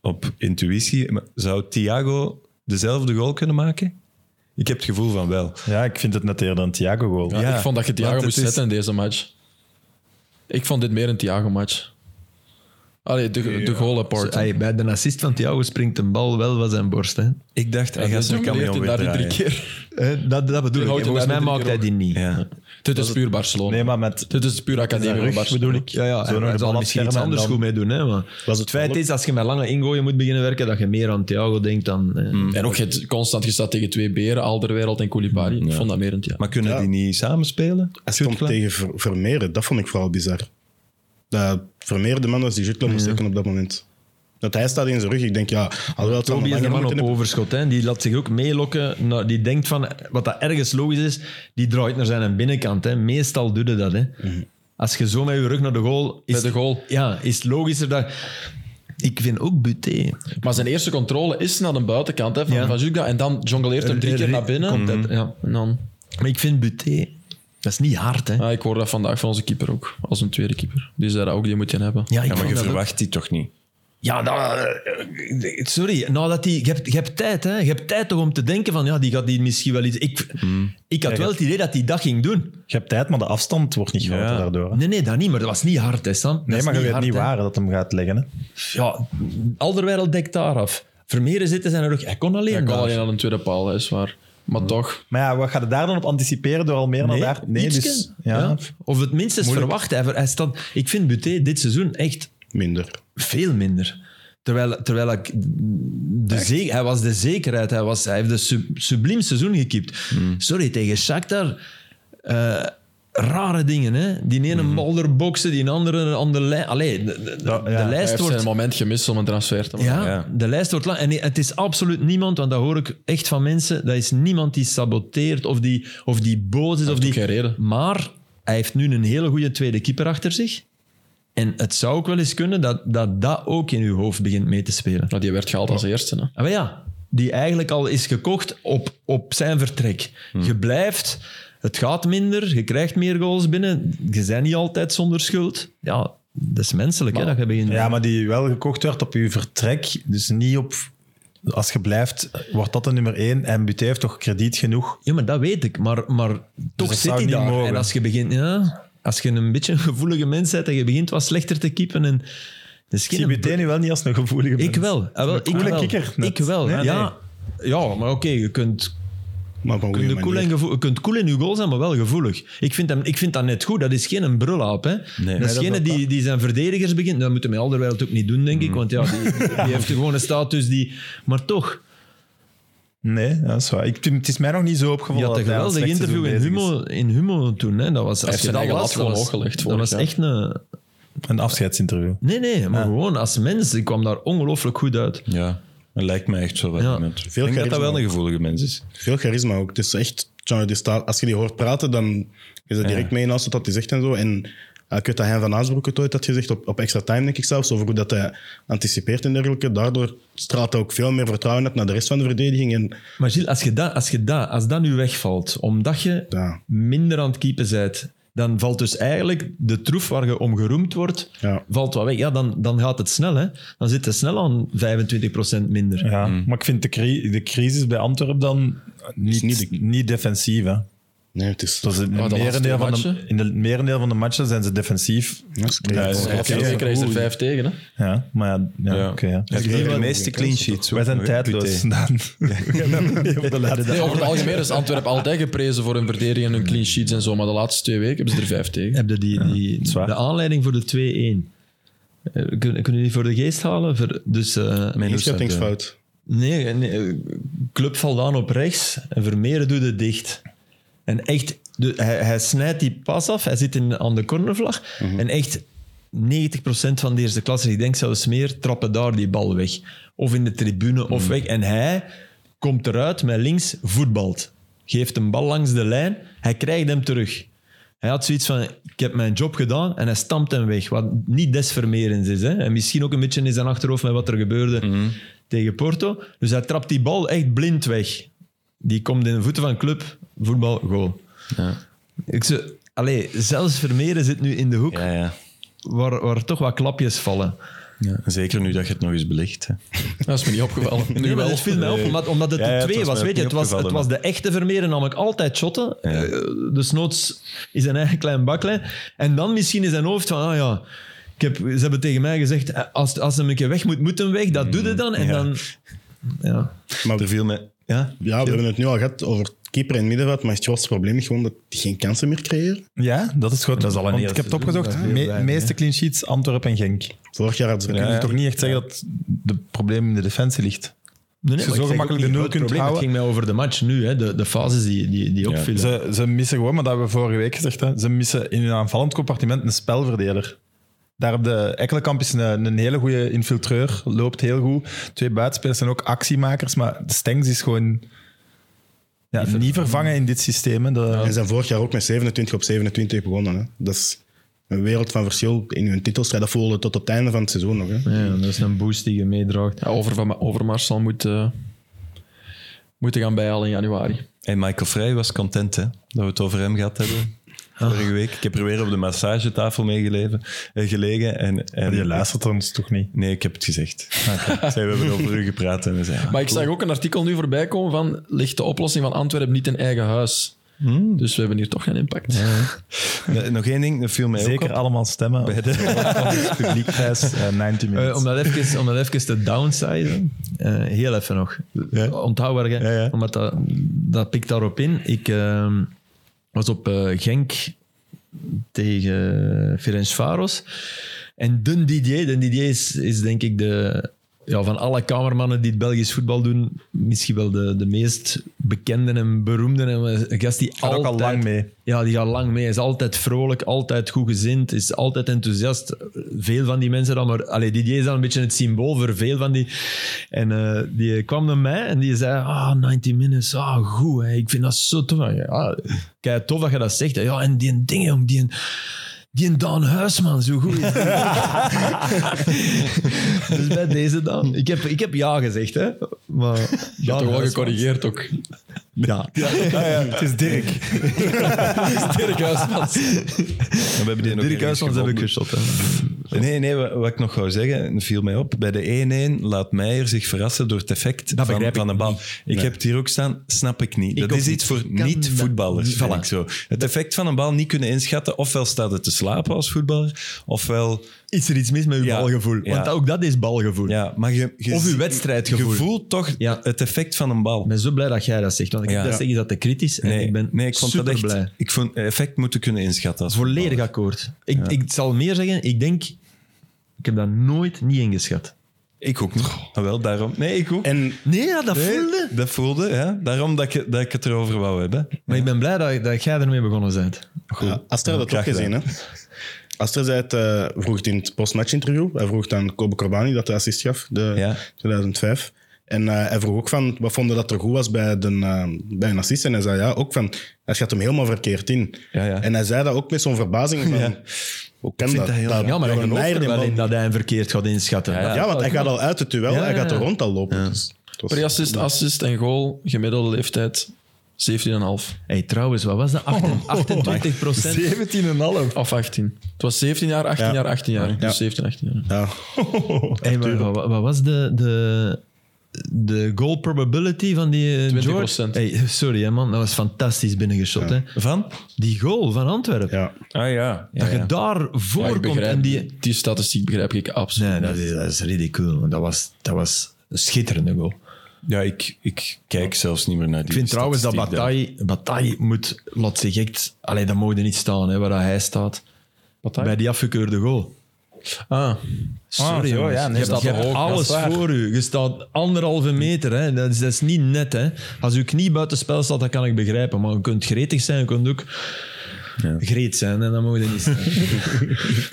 op intuïtie. Maar Zou Thiago dezelfde goal kunnen maken? Ik heb het gevoel van wel.
Ja, ik vind het net eerder een Thiago-goal.
Ja, ik vond dat je Thiago
want
moest
het is-
zetten in deze match. Ik vond dit meer een Thiago-match. Allee, de, de goal-apart.
Hey, bij de assist van Thiago springt een bal wel van zijn borst. Hè.
Ik dacht, hij gaat zijn camion weer
daar drie
draaien.
keer.
Eh, Dat, dat bedoel
Die
ik.
houdt
En
hem
Volgens
daar
mij
drie
maakt
keer
hij die niet.
Ja.
Dit is puur Barcelona.
Nee, maar met...
Dit is puur academie van
rug,
Barcelona.
bedoel ik.
Ja, ja,
Zo naar
en
de
daar zal
bal
misschien iets
afschermen
anders
en dan-
goed mee doen. Hè, maar
het
het feit is, als je met lange ingooien moet beginnen werken, dat je meer aan Thiago denkt dan... eh.
En ook je hebt constant gestaat tegen twee beren, Alderwereld en Koulibaly. Ik vond dat meer een Thiago.
Maar kunnen die niet samenspelen?
Hij stond
Jutgla?
tegen Ver- Vermeer, dat vond ik vooral bizar. Dat Vermeer de man was die Jutlo moest steken op dat moment. Dat hij staat in zijn rug. Ik denk, ja, alhoewel het
Toby is
allemaal
de man
langer
op
moeten hebben.
overschot. Hè. Die laat zich ook meelokken. Nou, die denkt van, wat dat ergens logisch is, die draait naar zijn binnenkant. Hè. Meestal doe je dat. Hè. Als je zo met je rug naar de goal... Is,
Bij de goal.
Ja, is het logischer dat... Ik vind ook Buté.
Maar zijn eerste controle is naar de buitenkant hè, van,
Ja.
van Juga. En dan jongleert hem drie
Er-
keer
er-
naar binnen.
komt dat, ja.
En dan,
Maar ik vind Buté... Dat is niet hard, hè.
ah, ik hoor dat vandaag van onze keeper ook. Als een tweede keeper. Die zei dat ook, die moet je hebben.
Ja,
Ja,
ik
maar
vond
je
dat ook.
verwacht die toch niet?
Ja, dat- eh, sorry. Nou, dat die, je, hebt, je hebt tijd, hè. Je hebt tijd toch om te denken van, ja, die gaat die misschien wel iets... Ik, ik had wel het idee dat die dat ging doen.
Je hebt tijd, maar de afstand wordt niet groter daardoor. hè.
Nee, nee, dat niet. Maar dat was niet hard, hè, Sam. Dat
Nee,
is
maar je weet
hard,
niet
hè.
waar dat hem gaat leggen. Hè.
Ja, Alderweireld dekt daar af. Vermeeren zitten zijn rug. Hij kon alleen
Ik kan
daar.
alleen aan een tweede paal, hè, is waar. Maar toch,
Maar ja, wat gaat het daar dan op anticiperen door al meer
Nee,
naar daar? Nee,
ietske.
dus...
ja.
Ja.
Of het minstens verwacht. Hij, ver- hij staat, ik vind Buté dit seizoen echt
Minder.
veel minder. Terwijl, terwijl ik de ze- hij was de zekerheid. Hij, was, hij heeft een sub- subliem seizoen gekiept.
Hmm.
Sorry, tegen Shakhtar. eh, rare dingen, hè. Die ene
Hmm.
bal er boksen, die andere aan de lijn. Allee, de, de- de- de
hij
lijst
heeft
wordt...
zijn moment gemist om een transfer te maken.
Ja,
Ja.
de lijst wordt lang. En het is absoluut niemand, want dat hoor ik echt van mensen, dat is niemand die saboteert of die, of die boos is. Of
heeft
die...
ook geen reden.
Maar hij heeft nu een hele goede tweede keeper achter zich. En het zou ook wel eens kunnen dat dat, dat ook in uw hoofd begint mee te spelen.
Nou, die werd gehaald als eerste. Hè.
Ah, maar ja, die eigenlijk al is gekocht op, op zijn vertrek. Je blijft, het gaat minder, je krijgt meer goals binnen, je bent niet altijd zonder schuld. Ja, dat is menselijk, hè, dat je begint...
ja, maar die wel gekocht werd op je vertrek. Dus niet op... Als je blijft, wordt dat de nummer één. En Buté heeft toch krediet genoeg.
Ja, maar dat weet ik. Maar, maar dus toch
dat
zit
zou
hij
niet
daar.
mogen.
En als je begint... Ja, als je een beetje een gevoelige mens bent en je begint wat slechter te kiepen en... Dus
Ik zie Buté nu wel niet als een gevoelige
Ik
mens.
wel. Ah, wel,
Een
ik
coole
wel.
kikker net.
Ik wel,
Ja,
ja. Ja, maar oké, je kunt,
Maar op een
kunt,
goede
cool en
manier.
gevoel- je kunt cool in je goal zijn, maar wel gevoelig. Ik vind, hem, ik vind dat net goed. Dat is geen een brullaap. Hè. dat
dat
is
Mm.
geen
is
die, die zijn verdedigers begint. Dat moeten we alderwijl ook niet doen, denk ik. Want ja, die, die heeft gewoon een status die... Maar toch,
Nee, dat is waar. Ik, het is mij nog niet zo
Je
opgevallen.
had een
dat hij
geweldig
aan het slechte
interview in
seizoen bezig
Humo, in Humo toen. Hè. Dat was, als
heeft
je
zijn
dat
eigen
las,
lat
dat
gewoon
was,
hooggelegd
dat
vorig
was
jaar.
echt een...
is. Een afscheidsinterview.
Nee, nee, maar gewoon als mens. Ik kwam daar ongelooflijk goed uit.
Ja, dat lijkt me echt zo wel.
Ja.
iemand. Ik
Veel
denk dat dat
charisma.
wel een gevoelige mens is.
Veel charisma ook. Het is echt... Tja, die staat- als je die hoort praten, dan is dat direct mee in alles wat dat hij zegt en zo. En eh, ik weet dat hij van Aasbroek het ooit had gezegd, op, op extra time denk ik zelfs, over hoe dat hij anticipeert en dergelijke. Daardoor straalt hij ook veel meer vertrouwen uit naar de rest van de verdediging. En
Maar Gilles, als, je dat, als, je dat, als dat nu wegvalt, omdat je
Ja.
minder aan het keepen bent, dan valt dus eigenlijk de troef waar je om geroemd wordt,
Ja.
valt wat weg. Ja, dan, dan gaat het snel, hè. Dan zit het snel aan 25% minder.
Ja, maar ik vind de, cri- de crisis bij Antwerpen dan niet,
niet
niet,
de-
defensief. Hè.
nee, het is...
Dat is in,
de
het
laatste
merendeel van de,
matchen?
in het merendeel van de matchen zijn ze defensief.
Ja, dat is crazy.
Ja,
Hij heeft
Oké.
twee, krijgt er vijf tegen. Hè.
Ja, maar ja, ja,
Ja.
oké, ja.
Hij heeft de meeste clean sheets.
Wij zijn
ook nog, hè,
tijdloos.
Puté.
Dan. Op de laatste
Nee,
dag.
over het algemeen is Antwerpen altijd geprezen voor hun verdedigen en hun clean sheets en zo. Maar de laatste twee weken hebben ze er vijf tegen.
Heb je die, die,
is waar.
de aanleiding voor de 2-1? Eh, Kunnen kunnen jullie die voor de geest halen? Ver- dus, eh,
Inschattingsfout.
Nee, nee, eh, Club valt aan op rechts en Vermeer doet het dicht. En echt, de- hij, hij snijdt die pas af, hij zit in, aan de cornervlag. En echt 90% van de eerste klasse, ik denk zelfs meer, trappen daar die bal weg. Of in de tribune of weg. En hij komt eruit met links, voetbalt. geeft een bal langs de lijn, hij krijgt hem terug. Hij had zoiets van, ik heb mijn job gedaan en hij stampt hem weg. Wat niet desvermerend is. Hè? En misschien ook een beetje in zijn achterhoofd met wat er gebeurde tegen Porto. Dus hij trapt die bal echt blind weg. Die komt in de voeten van club, voetbal, goal. Ik ze, allee, zelfs Vermeeren zit nu in de hoek
Ja, ja.
waar, waar toch wat klapjes vallen.
Zeker nu dat je het nog eens belicht. hè.
Dat is me niet opgevallen. Nu
Nee, maar
wel.
het viel mij op, omdat, omdat het
Ja, ja,
de
het
twee
was
was.
mij
weet je,
ook
het,
niet
was het was
opgevallen,
de echte Vermeeren, namelijk altijd shotten. Eh, Dus noods is een eigen klein baklijn. En dan misschien in zijn hoofd van, ah ja, ik heb, ze hebben tegen mij gezegd, eh, als, als hem een keer weg moet, moet hem weg. Dat doet hij dan. En
ja.
dan... Ja.
Er viel me... Ja?
Ja, we hebben het nu al gehad over keeper en middenveld, maar het grootste probleem is gewoon dat die geen kansen meer creëren.
Ja, dat is goed. Dat is al een Want ik heb het opgezocht.
dat is heel
Me-
weinig,
meeste clean sheets, Antwerpen en Genk.
Vorig jaar hadden ze
Kun je
ja.
toch niet echt zeggen dat het probleem in de defensie ligt?
Nee,
Als je
maar
zo
ik zeg
gemakkelijk
ook
de
niet
nul
het
kunt
probleem,
houden.
Het ging mij over de match nu, hè, de, de fases die, die, die opvielen.
Ze, ze missen gewoon, maar dat hebben we vorige week gezegd. Hè. Ze missen in hun aanvallend compartiment een spelverdeler. Daar op de Ekkelenkamp is een, een hele goede infiltreur, loopt heel goed. Twee buitenspelers zijn ook actiemakers, maar de Stengs is gewoon ja, niet vervangen in dit systeem. hè. Dat-
En zijn vorig jaar ook met 27 op 27 begonnen. Hè. Dat is een wereld van verschil in hun titelstrijd. Dat voelde tot op het einde van het seizoen nog. Hè.
Ja, dat is een boost die je meedraagt.
Ja, over, van, Overmars zal moeten, moeten gaan bijhalen in januari.
En Michael Vrij was content hè, dat we het over hem gehad hebben.
Ah.
Vorige week. Ik heb er weer op de massagetafel mee geleven- eh, gelegen. En, en
Je luistert ons toch niet?
Nee, ik heb het gezegd.
Ah,
Ik zei, we hebben over u gepraat en we zeiden... ah,
Maar ik zag ook een artikel nu voorbij komen van ligt de oplossing van Antwerpen niet in eigen huis.
Hmm.
Dus we hebben hier toch geen impact.
Eh, Nog één ding, dat viel mij ook
Zeker
op.
allemaal stemmen. Bij de publiekprijs eh, 90
Eh,
minutes.
om, dat even, om dat even te downsizen, eh, heel even nog. Onthoud waar jij-
Ja, ja.
omdat dat, dat pikt daarop in. Ik eh, was op eh, Genk tegen Ferenc Faros. En Den Didier, Den Didier is, is denk ik de, ja, van alle kamermannen die het Belgisch voetbal doen, misschien wel de, de meest bekende en beroemde. En een gast die
Gaat ook al
altijd-
lang mee.
ja, die gaat lang mee. Is altijd vrolijk, altijd goed gezind, is altijd enthousiast. Veel van die mensen dan, maar allee, Didier is dan een beetje het symbool voor veel van die. En eh, die kwam naar mij en die zei: Ah, 90 minutes, ah, goed, hè. ik vind dat zo tof. En ik, Ja, kijk, tof dat je dat zegt. hè. Ja, en die dingen, jong, die. Die Daan Huisman, zo goed is die. Dus bij deze dan. Ik heb, ik heb ja gezegd, hè. Maar
Je
ja,
hebt toch wel gecorrigeerd ook.
Ah Ja.
Het is Dirk.
Dirk Huismans.
We hebben die nog
Dirk
ergens
Huismans heb
gevonden.
ik geschot. hè.
Nee, nee, wa- wat ik nog wou zeggen, viel mij op. Bij de 1-1 laat Meijer zich verrassen door het effect van,
begrijp ik
van de bal.
niet.
Ik heb het hier ook staan, snap ik niet. dat
ook
is
niet.
iets voor
Kan
niet-voetballers,
dat-
vind
Voilà.
ik zo. Het effect van een bal niet kunnen inschatten. Ofwel staat het te slapen als voetballer, ofwel...
is er iets mis met uw
Ja,
balgevoel?
ja.
Want ook dat is balgevoel.
Ja, maar je, je
Of uw
ziet-
wedstrijdgevoel.
Je voelt toch
Ja.
het effect van een bal.
Ik ben zo blij dat jij dat zegt, want ik
Ja.
heb dat zeg je dat te kritisch en
Nee,
ik ben
nee, ik vond dat echt...
blij.
Ik vond effect moeten kunnen inschatten. als
Volledig
voetballer.
akkoord. Ik, ik zal meer zeggen, ik denk, ik heb dat nooit niet ingeschat.
Ik ook niet. Ah, wel, daarom... Nee, ik ook.
En
Nee, ja, dat
Nee,
voelde.
Dat voelde, ja. Daarom dat ik, dat ik het erover wou hebben.
Maar ik ben blij dat, dat jij ermee begonnen bent.
ja, Aster had dat ook
graag
gezien. Hè? Aster zei het, eh, vroeg het in het postmatch-interview. Hij vroeg aan Kobe Corbani dat hij assist gaf, de
Ja.
2005. En eh, hij vroeg ook van, wat vonden dat er goed was bij, de, eh, bij een assist? En hij zei ja, ook van, hij schat hem helemaal verkeerd in.
Ja, ja.
En hij zei dat ook met zo'n verbazing van, hoe kan dat?
dat heel raar.
Ja, maar
Johan
ik geloof
Meijer
er
die
wel
bal-
in dat hij hem verkeerd gaat inschatten.
Ja, ja.
Ja, want hij gaat al uit het duel,
Ja,
hij gaat er
ja.
rond al lopen. Dus het was-
Pre-assist, assist en goal. Gemiddelde leeftijd 17,5.
Hey, trouwens, wat was dat? 28, 28 procent?
17,5.
Of 18. Het was 17 jaar, 18
Ja.
jaar, 18 jaar.
Ja.
Dus 17, 18 jaar.
Ja.
Hey, maar wat, wat was de, de, de goal probability van die eh,
20%.
George? Hey, sorry hè, man, dat was fantastisch binnengeschot. Hè.
Van?
Die goal van Antwerpen.
ja.
Ah ja.
Dat je
ja.
daar
Ja, ik
voorkomt
begrijp
en die...
die... die statistiek begrijp ik absoluut.
Nee, dat is, dat is ridicuul. want Dat was, dat was een schitterende goal.
Ja, ik, ik kijk zelfs niet meer naar die
Ik vind trouwens dat
statistiek
Bataille, Bataille moet, laat zich echt... Allee, dat mogen niet staan, hè, waar dat hij staat.
Bataille?
Bij die afgekeurde goal.
Ah,
Ah, zo,
Sorry,
ja,
jongens.
nee,
je hebt,
dat
je hebt
is hoog, dat is
alles
waar.
voor u. Je staat anderhalve meter. Hè. Dat, is, dat is niet net. Hè. Als uw knie buitenspel staat, dat kan ik begrijpen. Maar je kunt gretig zijn, je kunt ook... greet zijn en dan mogen we niet zijn.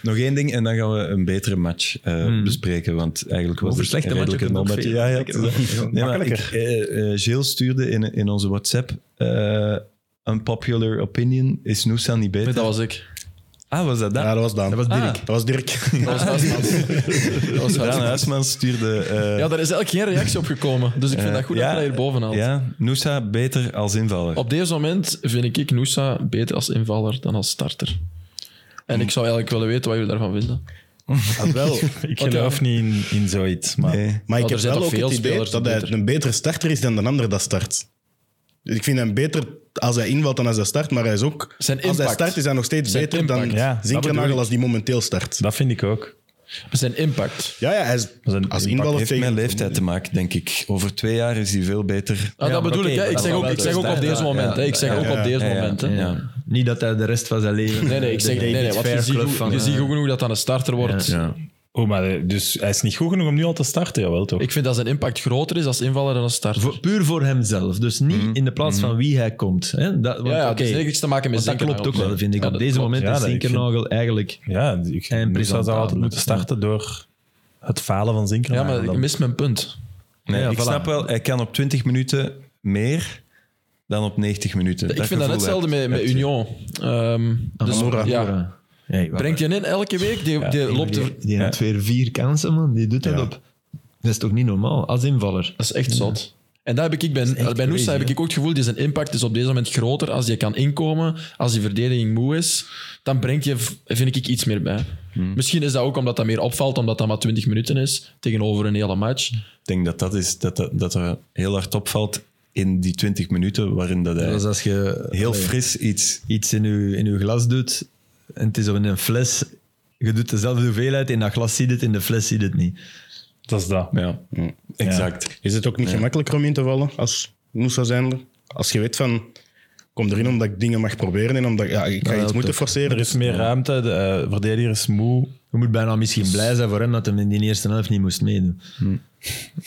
Nog één ding en dan gaan we een betere match eh, bespreken. Want eigenlijk was
Hmm. Over
het
slechte
een
matchen
redelijke
kunnen we nog
nobbertje. Ja, ja,
veel
het is- nee, maar ik, eh, eh, Gilles stuurde in, in onze WhatsApp... eh, een unpopular opinion, is Noosa niet beter?
Nee, dat was ik.
Ah, was dat dat?
Ja, dat was Daan.
Dat was Dirk.
Dat was Dirk.
Dat was Huismans. Dat was
Daan
Huismans.
Huisman stuurde... eh,
Ja, daar is eigenlijk geen reactie op gekomen. Dus ik vind dat goed dat je dat hier bovenhaalt.
Ja, Noosa beter als invaller.
Op deze moment vind ik Noosa beter als invaller dan als starter. En ik zou eigenlijk willen weten wat jullie daarvan vinden.
Ah, wel.
Ik
Want,
geloof niet in, in zoiets, maar...
Nee.
Maar ik
Oh, er
heb
zijn
wel
toch
ook
veel
het idee
spelers
dat
die
hij
beter-
een betere starter is dan de ander dat start. Dus ik vind hem beter als hij invalt dan als hij start, maar hij is ook...
Zijn
als hij
impact.
start is hij nog steeds
Zijn
beter
impact.
dan
Ja, dat
Zinkernagel
bedoel
als die momenteel start.
Dat vind ik ook.
Zijn impact.
Ja, ja, hij is
een impact
als invaller
heeft
tegen...
met leeftijd te maken, denk ik. Over twee jaar is hij veel beter.
Ah, dat
maar
bedoel
oké,
ik. Hè. Ik
dat
zeg
is
ook,
wel
ik zeg ook op
duidelijk.
deze
Ja,
moment. hè.
ja,
Ik zeg
ja,
ook op
ja,
deze
ja, ja.
moment. hè.
Ja. Niet dat hij de rest van zijn leven...
Nee, nee, ik zeg
de
nee, nee,
David
want je
Fair
ziet
Club
goed-
van,
je
eh,
ziet goed genoeg dat dat een starter wordt.
Ja.
Oh, maar dus hij is niet goed genoeg om nu al te starten, jawel toch?
Ik vind dat zijn impact groter is als invaller dan als starter.
voor- puur voor hemzelf. Dus niet in de plaats van wie hij komt. Hè? Dat, want,
ja, ja, het
oké,
heeft niks te maken met
want dat
Zinkernagel.
klopt ook wel, vind ik.
Ja,
Op
dat
deze
klopt.
moment
Ja,
is
dat- ik vind-
Zinkernagel eigenlijk...
Ja, ik, Noosa zou altijd
En presentabel.
moeten starten door het falen van
Ja,
Zinkernagel.
maar ik
dan.
mis mijn punt.
Nee,
Ja,
ik
voilà.
snap wel, hij kan op 20 minuten meer dan op 90 minuten.
Ik vind dat net
gevoel
hetzelfde
heb-
met, met
heb je.
Union. Ehm, dus,
Amora.
ja,
Ja. Hey, wacht.
brengt je in elke week, die, die loopt er...
Die, die had weer vier kansen, man. Die doet dat
Ja.
op. Dat is toch niet normaal, als invaller.
Dat is echt zot. En daar heb ik bij, bij
crazy,
Noosa heb
hè?
ik ook het gevoel, die zijn impact is op deze moment groter. Als je kan inkomen, als die verdediging moe is, dan brengt je, v- vind ik, iets meer bij. Misschien is dat ook omdat dat meer opvalt, omdat dat maar 20 minuten is tegenover een hele match.
Ik denk dat dat, is, dat, dat, dat er heel hard opvalt in die 20 minuten waarin dat hij
Dus als je
heel
allee,
fris iets...
iets in je, in je glas doet en het is op een fles, je doet dezelfde hoeveelheid, in dat glas ziet het, in de fles ziet het niet.
Dat is dat. Mm.
Ja, exact.
Is het ook niet gemakkelijker om in te vallen als Noosa zijnde? Als je weet van, kom erin omdat ik dingen mag proberen en omdat ja, ik ga
helpt
iets moeten
ook.
forceren.
Er is meer ruimte, de eh, verdediger is moe.
Je moet bijna misschien blij zijn voor hem dat hij in die eerste helft niet moest meedoen.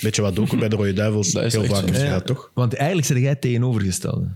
Weet je wat ook bij de Rode Duivels
Dat is
heel
echt
vaak
zo.
is? Ja,
Ja.
toch?
Want eigenlijk zeg jij het tegenovergestelde.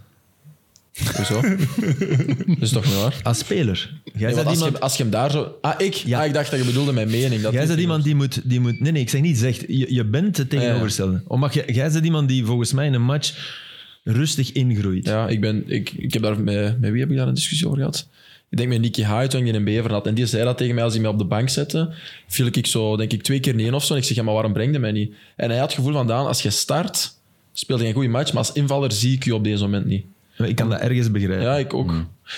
Hoezo? dat is toch niet waar?
Als speler. Jij
Nee,
bent
want als,
iemand,
je, als je hem daar zo... Ah, ik?
Ja.
Ah, ik dacht dat je bedoelde mijn mening. Dat
jij
ik-
bent iemand die moet, die moet... Nee, nee, ik zeg niet zegt. Je, je bent
Ah,
het tegenovergestelde. Omdat jij, jij bent iemand die volgens mij in een match rustig ingroeit.
Ja, ik, ben, ik, ik heb daar met, met wie heb ik daar een discussie over gehad? Ik denk met Nicky Hyde toen ik die in Bever had. En die zei dat tegen mij als hij mij op de bank zette. Viel ik zo, denk ik, twee keer neer of zo. En ik zeg, ja, maar waarom brengde mij niet? En hij had het gevoel van, Daan, als je start, speelde je een goede match. Maar als invaller zie ik je op deze moment niet.
Ik kan dat ergens begrijpen.
Ja, ik ook.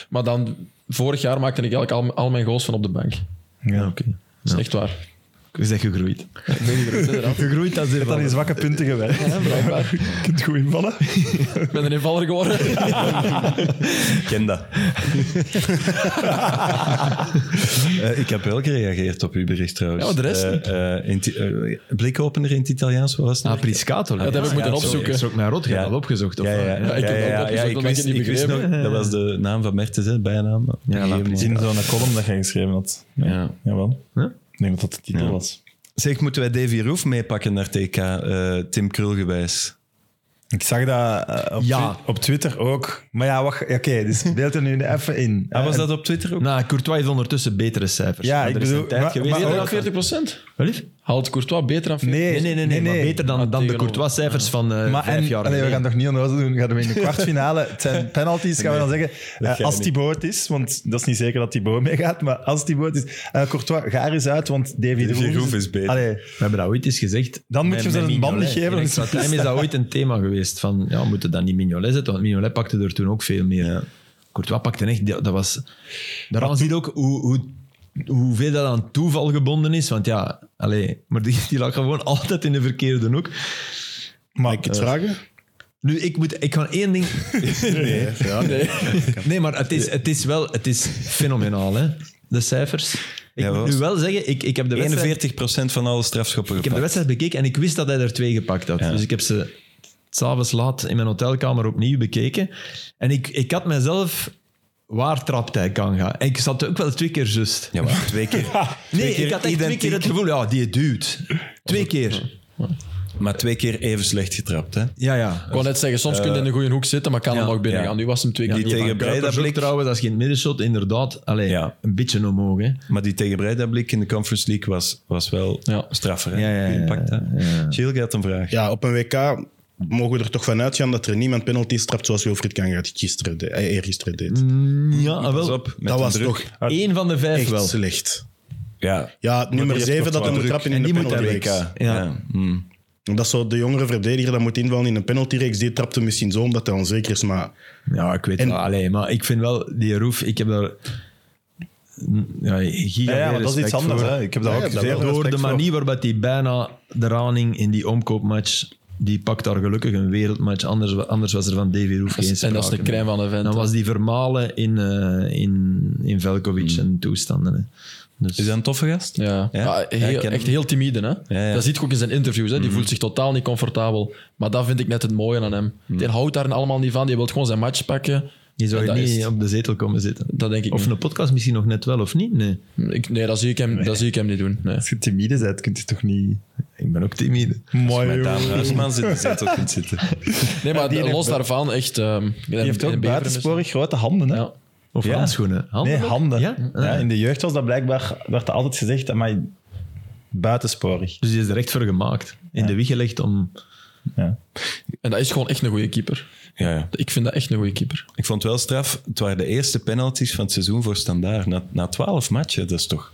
Maar dan, vorig jaar maakte ik eigenlijk al, al mijn goals van op de bank.
Ja, Ah, oké.
Dat is echt waar.
Je bent gegroeid.
Ik weet niet meer, inderdaad.
Gegroeid als
Dat is zwakke punten gewerkt.
Ja, blijkbaar.
Je kunt goed invallen.
Ik ben een invaller geworden.
Ik ken dat. Eh, ik heb wel gereageerd op uw bericht trouwens.
Ja, maar de rest
Eh,
niet.
eh, in Ti- eh, blikopener in het Italiaans, wat was het?
Ah,
nou?
Priscato.
dat heb ik moeten opzoeken.
Ik schrok naar rot. Je hebt
Ja.
al opgezocht. Of
Ja, ja, ja.
wat?
ik heb
Ja, ja,
dat ook
ja,
opgezocht,
ik
omdat
wist
ik het niet
ik wist
begreep.
nog- Dat was de naam van Mertens, hè, bijnaam.
Ja, laat
We
Gegeven.
zien zo'n column dat je geschreven had. Ja.
Ja.
Jawel.
Huh?
Ik denk dat dat de titel
Ja.
was.
Zeg, moeten wij Davy Roof meepakken naar TK, eh, Tim Krulgewijs?
Ik zag dat eh, op,
Ja.
Twi- op Twitter ook. Maar ja, wacht. Oké, dus beeld er nu even in.
Ah, was
Eh,
dat op Twitter ook?
Nou, Courtois heeft ondertussen betere cijfers.
Ja,
Maar
ik
er is een
bedoel,
tijd
maar-
geweest-
maar
Beter
ook-
dan 40 procent?
Wat lief?
Haalt Courtois beter dan 40
Nee,
Nee, nee, nee, nee, maar beter dan, dan de
tegenover.
Courtois-cijfers van eh
Maar
vijf
en,
jaar
allee, we gaan
geleden.
toch niet onnozel doen. Gaan we in de kwartfinale. Het zijn penalties, gaan we dan zeggen. eh,
gaan we
als
niet.
Thibaut het is, want dat is niet zeker dat Thibaut meegaat. Maar als Thibaut het is. eh, Courtois, ga er eens uit, want David
Davy
Roef
Roef is beter.
Allee,
We hebben dat ooit eens gezegd.
Dan moet
Met-
je ze
met
een band
Mignolet.
niet geven,
In
dan is
extra
het
time is
gestaan.
dat ooit een thema geweest. Van, ja, we moeten dan niet Mignolet zetten, want Mignolet pakte er toen ook veel meer. Courtois pakte echt... Dat dat was... Daaraan zie je ook hoe, hoe, hoeveel dat aan toeval gebonden is. Want ja, allee, maar die, die lag gewoon altijd in de verkeerde hoek.
Mag ik het vragen?
Nu, ik, moet, ik ga één ding...
Nee. Ja, nee.
Nee, maar het is, het is wel... Het is fenomenaal, hè. De cijfers. Ik
Ja,
moet
was-
nu wel zeggen, ik, ik heb de wedstrijd...
41% van alle strafschoppen
Ik heb de
gepakt.
wedstrijd bekeken en ik wist dat hij er twee gepakt had. Dus ik heb ze s'avonds laat in mijn hotelkamer opnieuw bekeken. En ik, ik had mezelf... Waar trapt hij kan gaan? En ik zat ook wel twee keer juist.
Ja, maar twee keer.
nee,
keer
ik had echt twee
identiek.
keer het gevoel, ja, die duwt. Twee keer.
Maar twee keer even slecht getrapt. Hè?
Ja, ja.
Ik wou net zeggen, soms kun je in de goede hoek zitten, maar kan
Eh, ja,
hem nog binnen
ja.
gaan. Nu was hem twee keer
Die
niet
tegen
van Kuipers.
Breda-
Kuipers ook
blik.
trouwens, als je in het midden shot, inderdaad, allee,
Ja.
een beetje omhoog. Hè.
Maar die tegen Breda blik in de Conference League was, was wel
Ja.
straffer. Hè?
Ja, ja, ja,
Gepakt, hè?
ja.
Gilles, je had een vraag.
Ja, op een WK mogen we er toch van uitgaan dat er niemand penalty trapt zoals Wilfried Kangaert gisteren de, eh, eergisteren deed.
Ja,
Pas
wel.
op, met
dat
de
was
druk.
toch
Eén van de vijf
echt
wel.
slecht.
Ja,
Ja, nummer
is
7
nog
dat
wel
hem
druk.
trappen in
En
de
die moet
penalty
daar
WK.
reeks.
Ja. Hmm.
Dat zo de jongere verdediger dat moet invallen in een penaltyreeks. Die trapte misschien zo omdat hij onzeker is, maar
Ja, ik weet
En-
wel. Allee, maar ik vind wel, die Roef, ik heb daar...
Ja,
Ja, giga
ja,
veel
maar dat is
respect
iets anders.
voor.
Hè. Ik heb daar
Ja,
ook
ja, dat
veel
wel.
respect
Door de
voor.
manier waarop hij bijna de raning in die omkoopmatch... Die pakt daar gelukkig een wereldmatch. Anders, wa- anders was er van Davy Roef geen
En
sprake
dat is de crème van de
meer.
vent.
Dan was die vermalen in, eh, in, in Velkovic
Hmm.
en toestanden. Hè. Dus,
Is dat een toffe gast?
Ja,
Ja?
Ja,
Ja,
heel-
ik ken
echt
hem.
heel timide. Hè?
Ja, ja.
Dat ziet je ook in zijn interviews.
Mhm.
Hè? Die voelt zich totaal niet comfortabel. Maar dat vind ik net het mooie aan hem. Die houdt daar allemaal niet van. Die wil gewoon zijn match pakken.
je
En
Mhm. zou
dat
niet
is-
op de zetel komen zitten.
Dat denk ik
Of
niet.
een podcast misschien nog net wel, of niet? Nee.
Ik- nee, dat zie ik hem, dat zie ik hem niet doen. Nee.
Als je timide bent, kun je toch niet... Ik ben ook timide.
Mooi,
Met
joh.
Daan Huismans in de zetel kunt zitten.
Nee, maar
die
los
heeft-
daarvan, echt... ehm,
Die heeft ook buitensporig grote handen. dus, Hè?
Ja.
Of
Ja.
handschoenen. Handen
nee,
ook?
handen.
Ja?
Ja? in de jeugd was dat blijkbaar, werd er altijd gezegd, maar buitensporig.
Dus die is er echt voor gemaakt. In de wieg gelegd om...
Ja.
En dat is gewoon echt een goede keeper.
Ja, ja.
Ik vind dat echt een goede keeper.
Ik vond het wel straf. Het waren de eerste penalties van het seizoen voor Standaard. Na, na 12 matchen, dat is toch...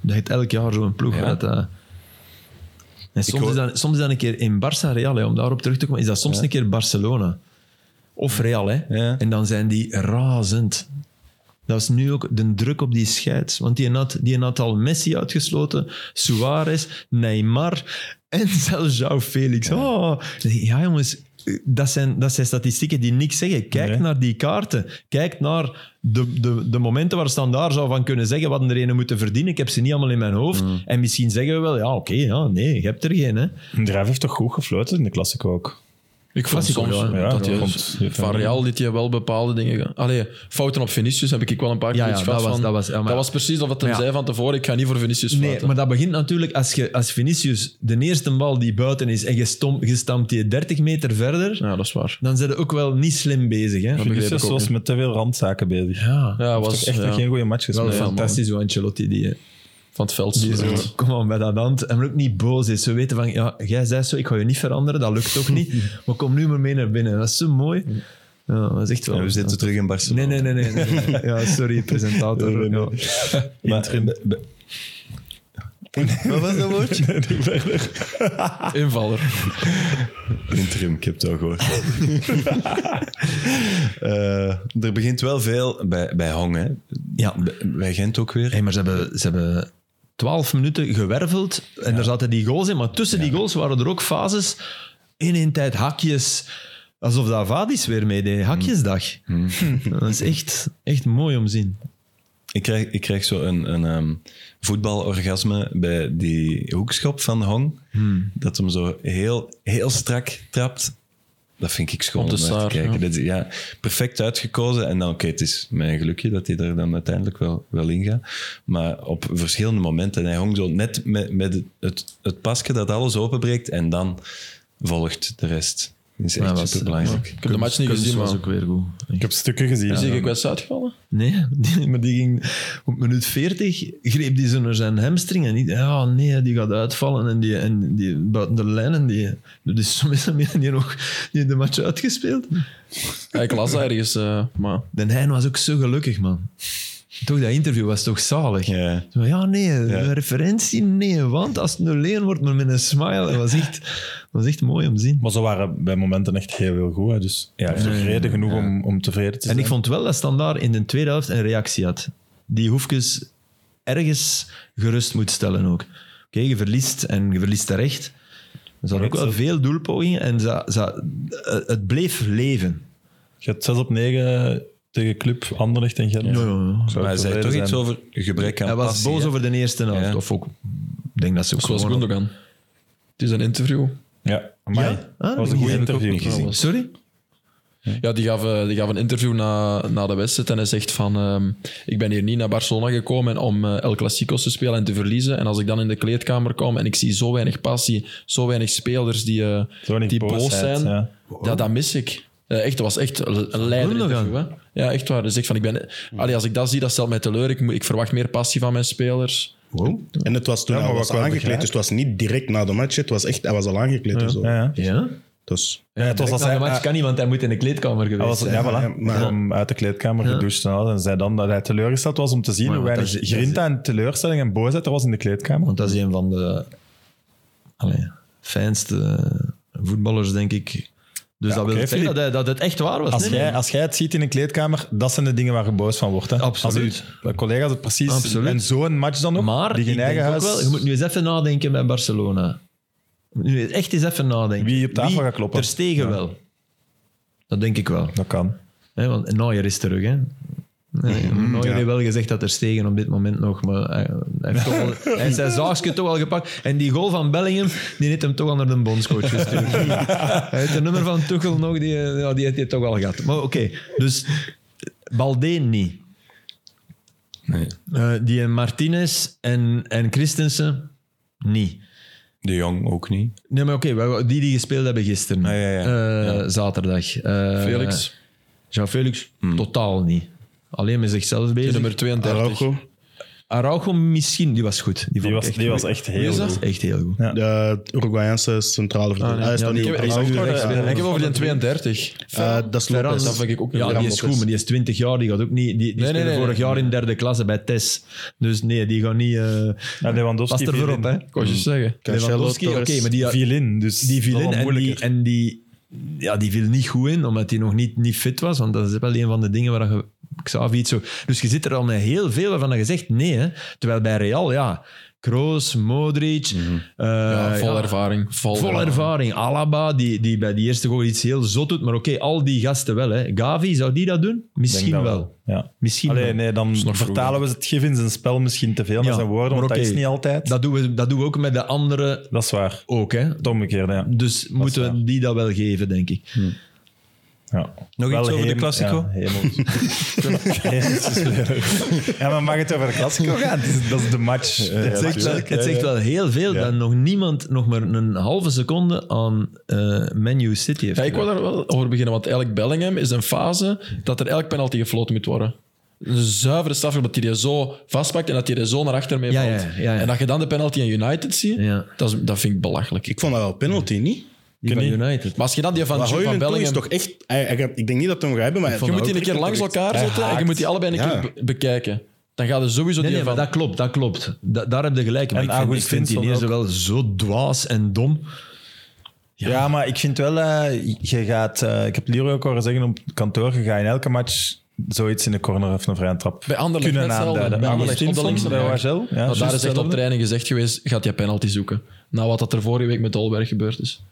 Dat heeft elk jaar zo'n ploeg.
Ja.
Dat, eh, en soms,
hoor-
is dan, soms is dat een keer in Barça Real, hè, om daarop terug te komen, is dat soms een keer Barcelona. Of Real, hè.
Ja.
En dan zijn die razend. Dat is nu ook de druk op die scheids. Want die had, die had al Messi uitgesloten, Suarez, Neymar en zelfs João Felix. Oh, ja, jongens. Dat zijn, dat zijn statistieken die niks zeggen. Kijk naar die kaarten. Kijk naar de, de, de momenten waar Standaard zou van kunnen zeggen wat er een moeten verdienen. Ik heb ze niet allemaal in mijn hoofd. En misschien zeggen we wel, ja, oké, ja, nee, je hebt er geen. Hè.
Drijf heeft toch goed gefloten in de klassiek ook?
Ik vond
Klassico,
soms
ja.
Ja,
dat
dat
je
komt-
van Real liet je wel bepaalde dingen gaan. Allee, fouten op Vinicius heb ik wel een paar keer
Ja, ja,
iets
dat
gehad
was-
van.
dat was- ja, maar-
precies of het hem
Ja.
zei van tevoren, ik ga niet voor Vinicius
Nee,
fouten.
maar dat begint natuurlijk als, je, als Vinicius de eerste bal die buiten is en je, stom, je stampt die 30 meter verder,
Ja, dat is waar.
dan zijn ze ook wel niet slim bezig. Hè?
begreep
Vinicius
ik ook
was met te veel randzaken bezig.
Ja,
Ja,
Hij
was
heeft toch echt
ja,
nog geen goede match
wel
gespeeld.
Nee,
fantastisch, hoe Ancelotti die, eh,
van het veld.
die
Ja.
zo, kom aan bij dat hand. En ook niet boos is. Ze weten van, ja, jij zei zo, ik ga je niet veranderen, dat lukt toch niet. Maar kom nu maar mee naar binnen. Dat is zo mooi. Ja, dat is echt wel...
En we zitten terug in Barcelona.
Nee, nee, nee, nee. nee, nee. Ja, sorry, presentator.
Nee, nee, nee.
Ja.
Maar, be- be- Wat was dat woordje?
Invaller.
Interim, ik heb het al gehoord. Eh, er begint wel veel bij, bij Hong, hè?
Ja.
Bij- Bij Gent ook weer.
Hey, maar ze hebben, ze hebben 12 minuten gewerveld en er zaten die goals in. Maar tussen die goals waren er ook fases. In één tijd hakjes. Alsof dat Vadis weer meedeed. Hakjesdag. Dat is echt, echt mooi om te zien.
Ik krijg, ik krijg zo een, een ehm, voetbalorgasme bij die hoekschop van Hong. Dat hem zo heel, heel strak trapt. Dat vind ik schoon
Op
om
de
naar te
staart,
kijken.
ja.
Dat is, ja, perfect uitgekozen. En dan, oké, het is mijn gelukje dat hij er dan uiteindelijk wel, wel in gaat. Maar op verschillende momenten. En hij hong zo net met, met het, het, het pasje dat alles openbreekt. En dan volgt de rest. Dat is
Ja,
echt
dat is-
superbelangrijk.
Ik heb de match niet
Kunst
gezien,
was
maar...
ook weer goed.
Ik heb stukken gezien.
Is die gekwetst uitgevallen?
Nee, die- maar die ging op minuut 40 greep die zo naar zijn hamstring en niet, ja nee, die gaat uitvallen en die, en die buiten de lijn en die, dus soms hebben die nog die de match uitgespeeld.
Ja, ik las dat ergens, eh, maar...
Den Heijn was ook zo gelukkig, man. Toch, dat interview was toch zalig?
Ja.
Zo, ja nee, een referentie, nee, want als het 0-1 wordt, maar met een smile, dat was echt, dat was echt mooi om te zien.
Maar ze waren bij momenten echt heel, heel goed. Hè. Dus ja, heeft toch reden genoeg om, om tevreden te zijn.
En ik vond wel dat Standaard in de tweede helft een reactie had. Die Hoefkes ergens gerust moet stellen ook. Oké, je verliest en je verliest terecht. Ze hadden ook wel veel doelpogingen en ze, ze, eh, het bleef leven.
Je hebt 6 op 9 tegen club Anderlecht en Gent.
Ja, ja, ja.
Zou
Maar hij
ik
zei
tevreden
toch
zijn.
iets over gebrek aan
Hij was
passie,
boos
hè?
over de eerste helft.
Ja.
Of ook, ik denk dat ze ook
Zoals
gewoon-
Gundogan. Het is een interview.
Ja, amai.
Ja? Ah,
dat was
die
een goed
heb ik ook
interview.
niet gezien.
Sorry?
Ja, die gaf, eh, die gaf een interview na, na de wedstrijd en hij zegt van... ehm, ik ben hier niet naar Barcelona gekomen om eh, El Clasico's te spelen en te verliezen. En als ik dan in de kleedkamer kom en ik zie zo weinig passie, zo weinig spelers die, eh,
weinig
die boos
boosheid,
zijn,
ja.
dat, dat mis ik. Eh, echt, dat was echt een- een leider
Gundogan.
interview. Hè? Ja, echt waar. Hij zegt van, ik ben... Allee, als ik dat zie, dat stelt mij teleur. Ik, moet- ik verwacht meer passie van mijn spelers.
En het was toen
Ja, maar
al
wat
was
wel
aangekleed,
begrijp.
dus het was niet direct na de match. Het was echt, hij was al aangekleed. en zo.
Ja, ja.
Ja?
Dus,
Ja, het was als
hij...
hij,
De match kan niet, want hij moet in de kleedkamer
hij
geweest
was,
zijn.
ja,
Ja,
voilà.
maar-
Om uit de kleedkamer gedoucht en alles. En zei dan dat hij teleurgesteld was om te zien
Maar
hoe
wat
weinig
dat is-
grinta en teleurstelling en boosheid er was in de kleedkamer.
Want dat is een van de allee, fijnste voetballers, denk ik. Dus dat wil
oké,
zeggen
Filip.
dat, hij- dat het echt waar was.
Als,
Nee,
jij,
nee.
als jij het ziet in een kleedkamer, dat zijn de dingen waar je boos van wordt. Hè?
Absoluut.
Als uw collega's het precies.
Absoluut.
En zo'n match dan ook.
Maar
die je
ik
in
denk
eigen
ook
huis.
wel, je moet nu eens even nadenken bij Barcelona. Nu echt eens even nadenken.
Wie op tafel gaat kloppen?
Ter Stegen wel. Dat denk ik wel.
Dat kan.
Hè, want Neuer is terug, hè. Nee, Neuer heeft wel gezegd dat er stegen op dit moment nog, maar hij, hij heeft toch al, hij heeft zijn zaagje toch al gepakt. En die goal van Bellingham, die heeft hem toch al naar de bondscoach gestuurd. hij heeft het nummer van Tuchel nog, die, ja, die heeft hij toch al gehad. Maar oké, dus Balde niet. Eh, die en Martinez en, en Christensen niet.
De Jong ook niet.
Nee, maar oké, wel- die die gespeeld hebben gisteren,
Ah, ja, ja.
eh, zaterdag. Eh,
Felix,
Jean-Felix, totaal niet. Alleen met zichzelf
de
bezig.
nummer 32.
Araujo,
Araujo misschien, die was goed. Die,
Die
vond ik
was
echt
die
goed.
was echt
Wie
heel
is dat?
goed.
Echt heel goed.
de Uruguayanse centrale verdediger. Hij is
Ja,
dan
die-
nu
Ik
op
heb,
rechts achter.
ik heb over die 32.
Eh, dat is
Ferran,
Lopez.
dat vind ik ook een
Ja,
Ferran
die is
Lopez.
goed, maar die is 20 jaar. Die gaat ook niet. Die, die
nee,
speelde
nee,
vorig
nee.
jaar in derde klasse bij Tess. Dus nee, die gaat niet. eh
Ja, Lewandowski.
was er
viel
voor
in.
op, hè?
Ik wou je zeggen.
Lewandowski, oké,
Torres,
maar die,
viel in, dus
die viel
dat
in
was
en die,
moeilijker.
en die, ja, die viel niet goed in, omdat hij nog niet, niet fit was. Want dat is wel een van de dingen waar je Xavi iets zo... Dus je zit er al met heel veel waarvan je zegt nee. Hè? Terwijl bij Real, ja, Kroos, Modric... eh,
Mhm. Ja, vol
ja,
ervaring. Vol,
Vol ervaring. Alaba, die, die bij die eerste goal iets heel zot doet. Maar oké, al die gasten wel. Hè. Gavi, zou die dat doen?
Ik
Misschien
denk dat
wel.
Ja.
Misschien
Allee,
wel.
nee, dan
nog vroeg,
vertalen we het gif in zijn spel misschien te veel met
Ja,
zijn woorden,
maar
want dat
oké.
is niet altijd. Dat,
Dat, doen we, dat doen we ook met de anderen
is waar.
ook. Hè.
Het omgekeerde, ja.
Dus moeten we
waar.
die dat wel geven, denk ik.
ja.
Nog iets over de Classico?
Ja, helemaal. ja, maar mag het over de Classico gaan? Het is- Dat is de match.
Het zegt, wel, het zegt wel heel veel dat nog niemand nog maar een halve seconde aan eh Man U City heeft.
Ja, ik wil daar wel over beginnen, want eigenlijk Bellingham is een fase dat er elk penalty gefloten moet worden. Een zuivere straf, omdat hij die zo vastpakt en dat hij die zo naar achter mee
Ja,
valt.
ja, ja, ja.
En dat je dan de penalty in United ziet,
Ja.
dat, is, dat vind ik belachelijk.
Ik vond dat wel penalty, niet?
Die van United.
Maar als je dan die van,
Maar
van
Hoylund toe is
Bellingham...
toch echt... hij- hij- Ik denk niet dat we hem gaan hebben, maar...
je moet die een keer langs elkaar zetten en je moet die allebei een
Ja.
keer be- bekijken. Dan gaat er sowieso
Nee,
die
nee, maar
van...
dat klopt, dat klopt. Da- daar heb je gelijk. Maar
En
ik vind, ik vind
Augustinsson
die eerste wel zo dwaas en dom.
Ja. maar ik vind wel, eh, je gaat, eh, ik heb Leroy ook horen zeggen op het kantoor, je gaat in elke match zoiets in de corner of een vrije trap
Bij Anderlecht
kunnen
net hetzelfde.
aanduiden.
Bij Anderlecht op de
Augustinsson,
linkse
bij
back.
Wagel, ja, dus
Want daar
juist
is echt op
hetzelfde.
training gezegd geweest, gaat jij penalty zoeken. Na wat dat er vorige week met Dolberg gebeurd is.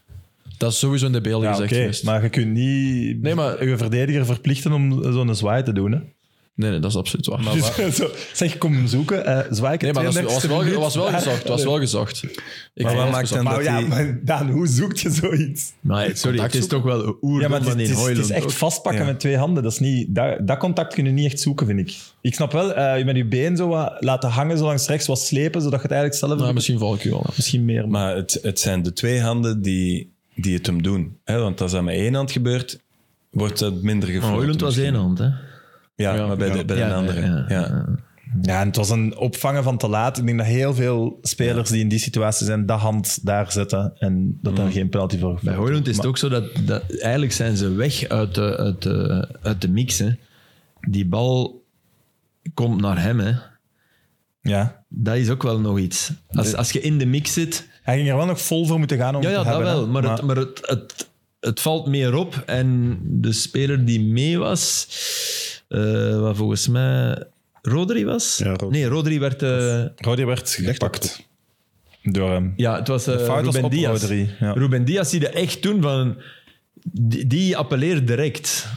Dat is sowieso in de beelden
Ja,
gezegd
Ah, oké,
geweest.
maar je kunt niet
Nee, maar-
je verdediger verplichten om zo'n zwaai te doen. Hè?
Nee, nee, dat is absoluut waar.
Dus, zo, zeg, kom hem zoeken. eh zwaai ik
Ah, Nee,
het
maar dat is- was
32e
wel,
minuut. Ah,
was wel gezocht. Was wel gezocht. Ik
Maar
vond
wat
het
maakt dan
gezocht.
Maar
dat
ja,
die-
maar Daan, hoe zoek je zoiets?
Maar sorry, het Nou, is toch wel oer
Ja, maar het is, het
van in
is- het is
Hoyland.
echt vastpakken
Ja.
met twee handen. Dat, is niet, dat, dat contact kun je niet echt zoeken, vind ik. Ik snap wel, eh, met je been zo wat laten hangen, zo langs rechts wat slepen, zodat je het eigenlijk zelf...
Nou, misschien val ik u wel af.
misschien meer. Maar.
Maar het, het zijn de twee handen die, die het hem doen. Hè? Want als dat met één hand gebeurt, wordt dat minder
Oh,
gefloten.
Hoyland was
misschien.
één hand, hè?
Ja, maar bij, de, bij
Ja,
een andere.
ja,
Ja,
ja.
Ja, en het was een opvangen van te laat. Ik denk dat heel veel spelers die in die situatie zijn, dat hand daar zetten en dat daar geen penalty voor
Bij Hoylund is het ook zo dat, dat eigenlijk zijn ze weg uit de, uit de, uit de mix. Hè. Die bal komt naar hem. Hè.
Ja.
Dat is ook wel nog iets. Als, als je in de mix zit,
Hij ging er wel nog vol voor moeten gaan om
ja,
het
ja
te
dat
hebben.
wel.
hè.
Maar, het, maar het, het, het valt meer op. En de speler die mee was, eh, wat volgens mij Rodri was.
Ja, Rodri.
Nee, Rodri werd. eh,
Rodri werd gepakt door hem.
ja, het was eh,
fout was
Ruben
op
Diaz.
Rodri, ja.
Ruben Diaz die er echt toen van. Die, die appelleert direct.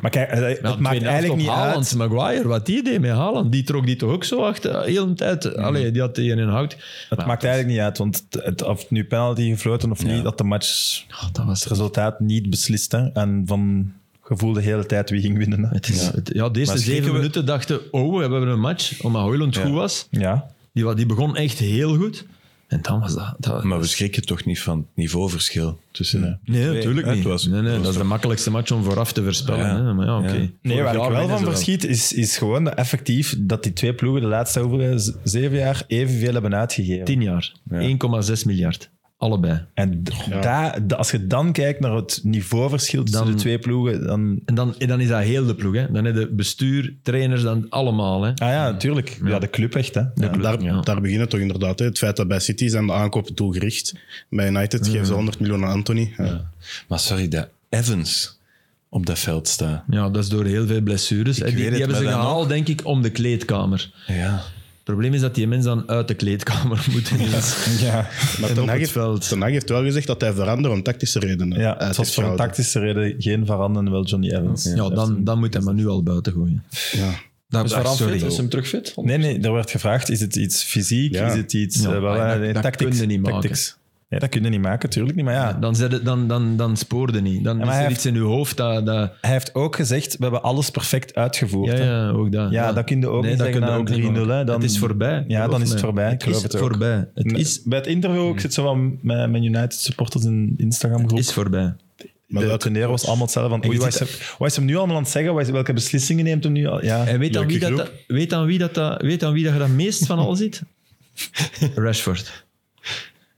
Maar kijk, eh, het
Nou,
maakt
tweede helft
eigenlijk
op
niet uit.
Haaland, Maguire, wat die deed met Haaland, die trok die toch ook zo
eh,
achter, heel de tijd. Allee, die had die in een hout.
Het maakt eigenlijk niet uit, want het, het- of het
Oh,
nu penalty gefloten of niet, dat de match
dat was
het resultaat niet beslist. Hè. En van gevoel de hele tijd wie ging winnen. Hè.
Het is, het- ja, de eerste
Maar schrikken
zeven
we-
minuten dachten oh, we hebben een match. Omdat Hoyland goed was.
Ja.
Die, wa- die begon echt heel goed. En dan was dat... dat
Maar we schrikken toch niet van het niveauverschil tussen...
nee,
twee,
natuurlijk
hè?
niet.
Het was-
nee, nee,
het
dat
was
is de makkelijkste match om vooraf te voorspellen.
Ja.
Hè? Maar ja, oké.
Ja.
Nee,
Vorig
waar
jaar
ik wel
winnen
van
ze wel.
verschiet, is, is gewoon dat effectief dat die twee ploegen de laatste hoeveel, eh, z- zeven jaar evenveel hebben uitgegeven.
10 jaar. 1,6 miljard. Allebei.
En d- daar- da- als je dan kijkt naar het niveauverschil tussen
Dan-
de twee ploegen, dan...
En dan, en dan is dat heel de ploeg. Hè? Dan heb je bestuur, trainers, dan allemaal. Hè?
Ah ja, natuurlijk. Ja, de club echt, hè. Ja.
Daar, daar begint het toch inderdaad. Hè. Het feit dat bij City zijn de aankopen doelgericht. Bij United geven ze 100 miljoen aan Anthony. Ja.
Maar sorry, dat Evans op dat veld staat.
Ja, dat is door heel veel blessures. hè. Die,
weet
die
het,
hebben ze
maar dan
gehaald, denk ik, om de kleedkamer.
Ja.
Het probleem is dat die mensen dan uit de kleedkamer moeten. Dus.
Ja,
Maar Ten
En op
Hag
het
heeft-
veld.
Ten Hag heeft wel gezegd dat hij verandert om tactische redenen.
ja
Hij
het was
heeft
voor een
gehouden.
tactische reden geen veranderen, wel Johnny Evans.
Ja, dan, dan moet hij maar nu al buiten gooien. Dus
Ja.
Dat is
Ach,
vooral
sorry.
fit, is hem terug fit?
Nee, nee, er werd gevraagd, is het iets fysiek,
Ja.
is het iets...
Ah, Ja,
eh, wel,
maar
eh,
dat-
nee,
dat
tactics,
kun je niet maken.
tactics. Nee, dat kun je niet maken, tuurlijk niet. Maar ja,
Dan, zet het- dan, dan, dan spoorde niet. Dan
maar
is
hij
er
heeft-
iets in je hoofd dat... dat
hij heeft ook gezegd, we hebben alles perfect uitgevoerd. hè.
ja, ja, ook dat.
Ja, dat kun je ook
nee,
niet
dat
zeggen
kun je
na
ook
een
niet
3-0, hè.
maken.
Dan-
Het is voorbij.
Ja,
geloof
dan is het
mij.
voorbij, ik
Het
geloof
is
het ook.
voorbij. Het
Nee,
is,
Bij het interview, ik zit zo van mijn, mijn United supporters in Instagram groep.
is voorbij.
Maar
de
welke-
teneur was allemaal hetzelfde. Van, oei,
je
wat is,
ziet
hem- wat is hem nu allemaal aan het zeggen? Wat is- welke beslissingen neemt hem nu al? Ja.
En weet aan,
Leuke
wie dat,
groep.
dat- weet aan wie dat, dat, weet aan wie dat je dat meest van al ziet? Rashford.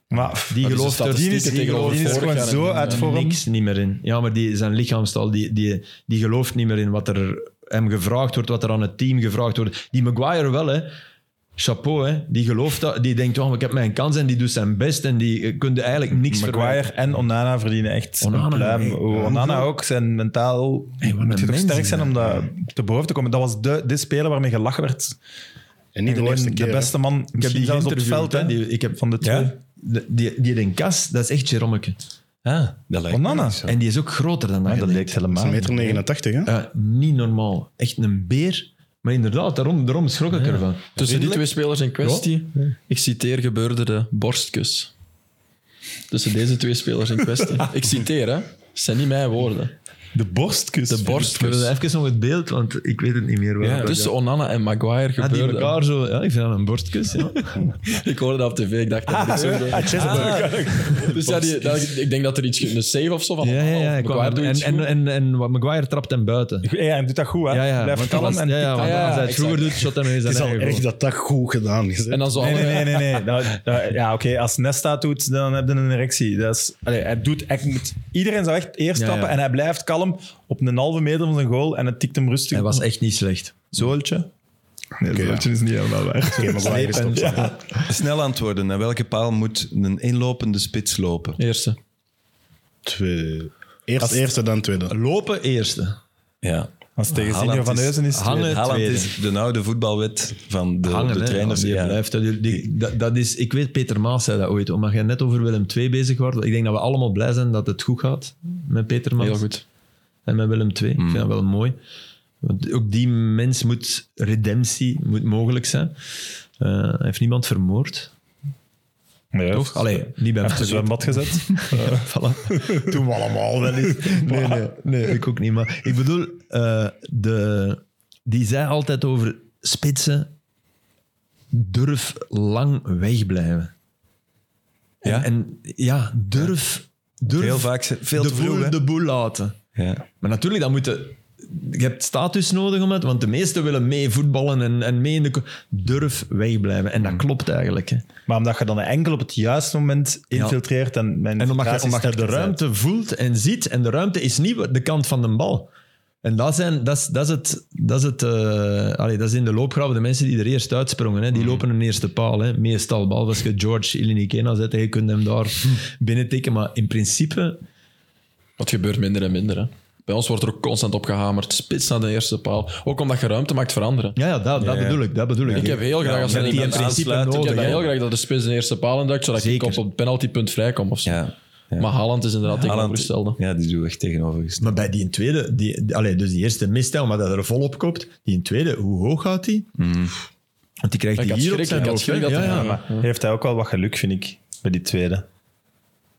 maar pff,
Die
is
gelooft
de
er
statistieken
die is- die
tegenover
gelooft
die is
vorig
gewoon
jaar
zo
en-
uit
en-
vorm.
Eh, niks niet meer in. Ja, maar die, zijn lichaamstaal, die, die, die gelooft niet meer in wat er hem gevraagd wordt, wat er aan het team gevraagd wordt. Die Maguire wel, hè. Chapeau, hè. Die gelooft dat. Die denkt, oh, ik heb mijn kans en die doet zijn best en die eh, kunde eigenlijk niks verwijten.
Maguire en Onana verdienen echt
Onana,
een pluim.
nee.
Oh, Onana ook, zijn mentaal
wat
moet
een
je toch
mens
sterk
is
zijn
dat.
om dat te boven te komen. Dat was de, de speler waarmee gelachen werd.
En niet de
Gewoon
eerste
de
keer. hè.
beste man,
Ik heb
misschien
die
zelfs op het
geïnterviewd,
veld.
hè.
hè.
Die, ik heb,
van de twee.
Ja. De- die, die in kas, dat is echt Jerommeke.
Ah, dat lijkt
Onana.
me niet zo.
En die is ook groter dan dat.
Maar
je
dat
denkt.
leek helemaal
Dat is
niet.
een meter 89, hè?
Ja, Eh, niet normaal. Echt een beer. Maar inderdaad, daarom, daarom schrok ik ervan.
Tussen die twee spelers in kwestie, ik citeer, gebeurde de borstkus. Tussen deze twee spelers in kwestie. Ik citeer, hè. Het zijn niet mijn woorden.
De borstkus.
De
We
borstkus.
willen even om het beeld, want ik weet het niet meer.
Ja, tussen Onana en Maguire
ja, die
gebeurde.
elkaar zo... Ja, ik vind dat een borstkus. Ja.
Ik hoorde dat op tv, ik dacht dat dit zo
Ah,
gebeurde. Dus ja, die, dat- ik denk dat er iets, ge- een save of zo van
ja, ja, ja. ik
of
kwam-
Maguire doet
en,
iets
en,
goed.
en, en wat Maguire trapt hem buiten.
Ja, ja, hij doet dat goed, hè?
Ja, ja.
Blijf
want dat
kalm
was-
en
ja, ja, want
Ah, ja,
als hij het
exact.
vroeger doet, shot hem in
Het
zijn
is al
eigen
erg
goal.
dat dat goed gedaan is. hè.
En dan zo
Nee,
allebei-
nee, nee. nee, nee. Nou, eh, ja, oké. Als Nesta het doet, dan heb je een erectie. Dat is, allee, hij doet, hij moet, iedereen zou echt eerst
Ja,
stappen
ja.
en hij blijft kalm op een halve meter van zijn goal en het tikt hem rustig.
Hij was echt niet slecht.
Zooltje? Nee,
Oké,
zooltje is dus niet helemaal waar.
Oké, maar waar is het op?
Ja.
Snel antwoorden. Naar welke paal moet een inlopende spits lopen?
Eerste.
Twee. Eerst eerste, dan tweede.
Lopen eerste.
Ja.
Als tegen
Haaland
Senior van
is-
Heuzen is het
Hangen
tweede.
Haaland
tweede.
is de oude voetbalwet van de,
Hangen,
de
hè.
trainers.
Ja, die
ja.
blijft, hè. Die- die- dat, dat is, ik weet, Peter Maas zei dat ooit, omdat jij net over Willem II bezig was. Ik denk dat we allemaal blij zijn dat het goed gaat met Peter Maas.
Heel goed.
En met Willem II. Ik vind dat wel mooi. Want ook die mens moet redemptie moet mogelijk zijn. Eh, hij heeft niemand vermoord.
Nee,
Toch? Allee, niet bij
Hij heeft een
mij.
zwembad gezet.
Toen we allemaal wel eens. Nee, nee, nee, ik ook niet. Maar ik bedoel, eh, de, die zei altijd over spitsen, durf lang wegblijven. En,
Ja?
en ja, durf, durf
Heel vaak ze- veel
de,
te vroeg.
boel,
hè?
de boel laten.
Ja.
Maar natuurlijk, dan moet je, je hebt status nodig om het, want de meesten willen mee voetballen en, en mee in de... ko- Durf wegblijven.
Mm.
En dat klopt eigenlijk. Hè.
Maar omdat je dan enkel op het juiste moment infiltreert en mijn
En omdat je, omdat je de
infiltratie sterker
ruimte voelt en ziet, en de ruimte is niet de kant van de bal. En dat, zijn, dat, is, dat is het... Dat is, het eh, allee, dat is in de loopgraven de mensen die er eerst uitsprongen. Hè, die
Hmm.
lopen een eerste paal. Hè, meestal, behalve als je George Ilinikena zet, je kunt hem daar
Hmm.
binnen tikken. Maar in principe...
Het gebeurt minder en minder. Hè. Bij ons wordt er ook constant op gehamerd. Spits naar de eerste paal. Ook omdat je ruimte maakt veranderen.
Ja, ja, dat, dat bedoel ik. Dat bedoel ik.
Ik heb heel graag als
dat
er
die in
iemand
principe
aansluit, Ik
nodig,
heb dat
hè.
heel graag dat de spits de eerste paal induikt, zodat
Zeker.
ik op het penaltypunt vrijkom. Of zo.
Ja.
Maar Haaland is inderdaad tegenovergestelde.
Haaland, ja, die doen we echt tegenovergesteld.
Maar bij die in tweede, die, die- allee, dus die eerste mist, hè, omdat hij er volop kopt. Die in tweede, hoe hoog gaat die? Want die krijgt
Ik
die
had
hier op
schrik,
zijn
ik had
hoofd, hè.
schrik dat
ja,
hij-
ja,
ja.
maar
zet. Heeft hij ook wel wat geluk, vind ik, bij die tweede.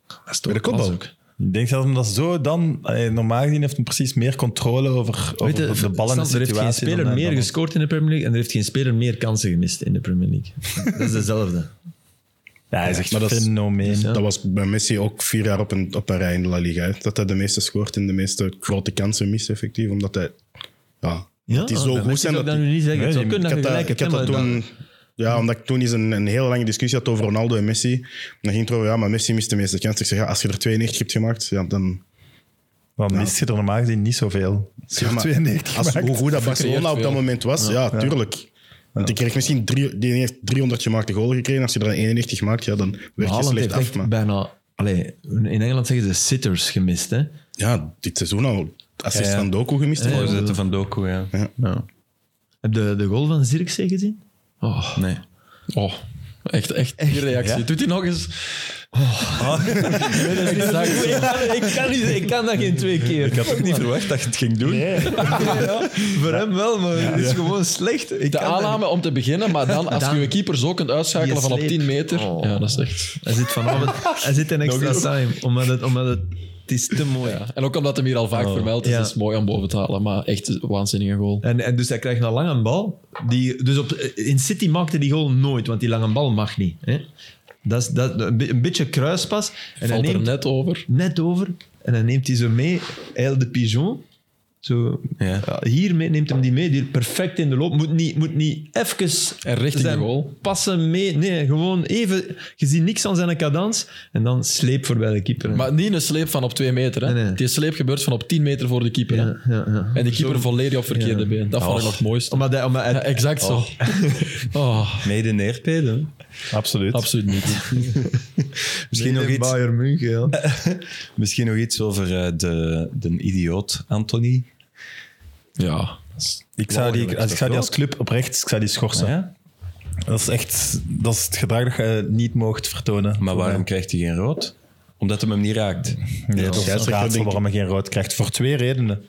dat is toch
de kopbal?
ook.
Ik denk dat hem dat zo dan... allee, normaal gezien heeft hij precies meer controle over, over
Weet je,
de ballen en de
Stel, er
situatie.
heeft geen
dan
speler
hij-
meer
dan-
gescoord in de Premier League en er heeft geen speler meer kansen gemist in de Premier League. Dat is dezelfde.
Ja, hij is echt
Maar dat is-
fenomeen.
dus
Dat was bij Messi ook vier jaar op een, op een rij in de La Liga. hè. Dat hij de meeste scoort en de meeste grote kansen mist, effectief. Omdat hij... Ja, het is zo goed zijn
dat...
dat...
Dan nu niet zeggen. het zou
Ik
kunnen dat
had
je
dat,
gelijk
ik
hebt,
had
hè,
dat
maar
toen... Ja, omdat ik toen eens een, een heel lange discussie had over Ronaldo en Messi. En dan ging het erover, ja, maar Messi mist de meeste kansen. Ik zeg, ja, als je er 92 hebt gemaakt, ja, dan...
Dan mist je er normaal gezien niet zoveel.
Ja, maar
92
Als,
gemaakt.
hoe goed dat
Gecreëerd
Barcelona op dat
veel.
moment was, ja, tuurlijk. Want ik kreeg misschien drie, die heeft 300 gemaakte goal gekregen. Als je er een 91 maakt, ja, dan werk je
Haaland
slecht
heeft
af.
echt
Maar
bijna... Allee, in Engeland zeggen ze sitters gemist. Hè?
ja, dit seizoen al assist
Ja, ja.
van Doku gemist.
Ja,
volgens mij.
Voorzetten van Doku, ja.
Heb je de goal van Zirkzee gezien?
Oh,
Nee.
oh. Echt, echt, die reactie. Doet hij nog eens?
Oh. ik, kan niet, ik kan dat geen twee keer.
Ik had ook niet verwacht dat je het ging doen.
Voor hem wel, maar het is gewoon slecht. Ik
De
kan dat niet.
aanname om te beginnen, maar dan als je
Dan-
je keeper zo kunt uitschakelen
Die
van op
sleep.
10 meter.
Oh.
Ja, dat is echt...
Hij zit vanavond hij zit in extra time, omdat het, omdat het, het is te mooi. Oh.
Ja. En ook omdat hem hier al vaak vermeld is,
ja.
is het mooi om boven te halen. Maar echt een waanzinnige goal.
En, en dus hij krijgt een lange bal. Die, dus op, in City maakte die goal nooit, want die lange bal mag niet. Hè? Dat is dat, een, be- een beetje kruispas. En hij
Valt er
neemt
net over.
net over en dan neemt hij zo mee. Aile de Pigeon. Zo,
Ja.
ja, hier mee- neemt hem die mee, die perfect in de loop. Moet niet, moet niet even
En richting
zijn
de goal.
passen mee. Nee, gewoon even. Je ziet niks aan zijn cadans en dan sleep voorbij de keeper.
Maar niet een sleep van op 2 meter. Hè.
Nee, nee.
Die sleep gebeurt van op 10 meter voor de keeper. hè.
ja, ja, ja.
En de keeper volledig op verkeerde
Ja.
been. Dat vond ik nog het mooiste.
Omdat hij, omdat hij-
Ja, exact zo. Oh,
Mede neerpeden.
Absoluut.
absoluut niet.
Misschien nog iets
Bayern München, ja.
Misschien nog iets over eh, de, de idioot Anthony.
Ja.
Ik zou die, als, ik zou die als club oprecht ik zou die schorsen.
Ja?
Dat is echt dat is het gedrag dat je niet mocht vertonen.
Maar waarom krijgt hij geen rood? Omdat hem hem niet raakt.
Ja, dat is een
scheidsrechter, denk
raadsel
ik.
waarom je geen rood krijgt. Voor twee redenen.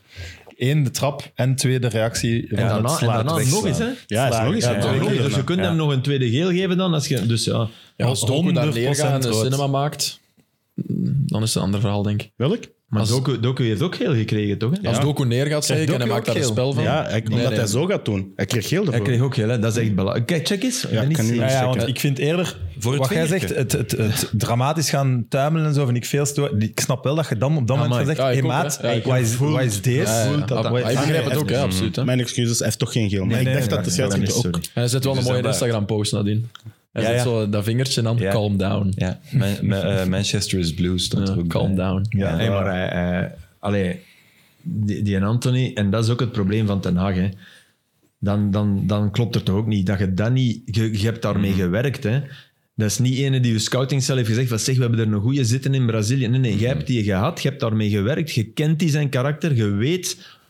Eén, de trap. En twee, de reactie van
En
het
daarna, en
slaan.
daarna
Wegslaan.
nog eens, hè?
Ja, is nog eens.
Ja,
hè.
twee
Nog eens, dus je kunt hem nog een tweede geel geven dan. Als je, dus ja.
ja als Doku daar
100%
neergaat en een
rood.
cinema maakt, mm, dan is het een ander verhaal, denk ik. Dus
Welk?
Maar
Als-
Doku, Doku heeft ook geel gekregen, toch? Hè?
Als Doku neergaat, zeg ik, en hij
Doku
maakt
ook
daar een
geel?
spel van.
Ja, hij- omdat
nee.
hij zo gaat doen. Hij kreeg geel
Hij
ervoor.
kreeg ook geel, hè? dat is echt belangrijk. Kijk, check eens.
Ja,
ben niet
kan nu
zeker.
Ja, ja,
checken.
want ik vind eerder,
Voor het
wat jij
vingertje.
zegt, het, het, het dramatisch gaan tuimelen en zo, vind ik veel stoer. Ik snap wel dat je dan op dat moment
Amai.
van zegt,
Ja, ik
hey
ook,
maat,
hè. Ja, ik
wat is-
voel-
wat is deze?
Ja, ja, ja.
Voelt dat-
Ah,
wat is-
Hij begrijpt het ook, hè,
Mm.
absoluut. Hè.
Mijn excuses, hij heeft toch geen geel. Maar ik dacht dat de scheidsrechter ook...
sorry.
En hij zet wel een
Dus
mooie
dan
Instagram-post nadien. Hij
Ja,
zet
ja.
zo dat vingertje aan,
Ja.
calm down.
Ja, Ma- ma- eh, Manchester is blue stond er
Ja,
ook
calm
bij.
down.
Ja.
Nee, maar hij, hij- allee, die, die en Anthony, en dat is ook het probleem van Ten Hag. Hè. Dan, dan, dan klopt er toch ook niet dat je dat niet. Je, je hebt
Mm.
daarmee gewerkt. Hè. Dat is niet ene die je scoutingcel heeft gezegd van zeg, we hebben er een goede zitten in Brazilië. Nee, nee, jij
Mm.
hebt die gehad, je hebt daarmee gewerkt, je kent die zijn karakter, je weet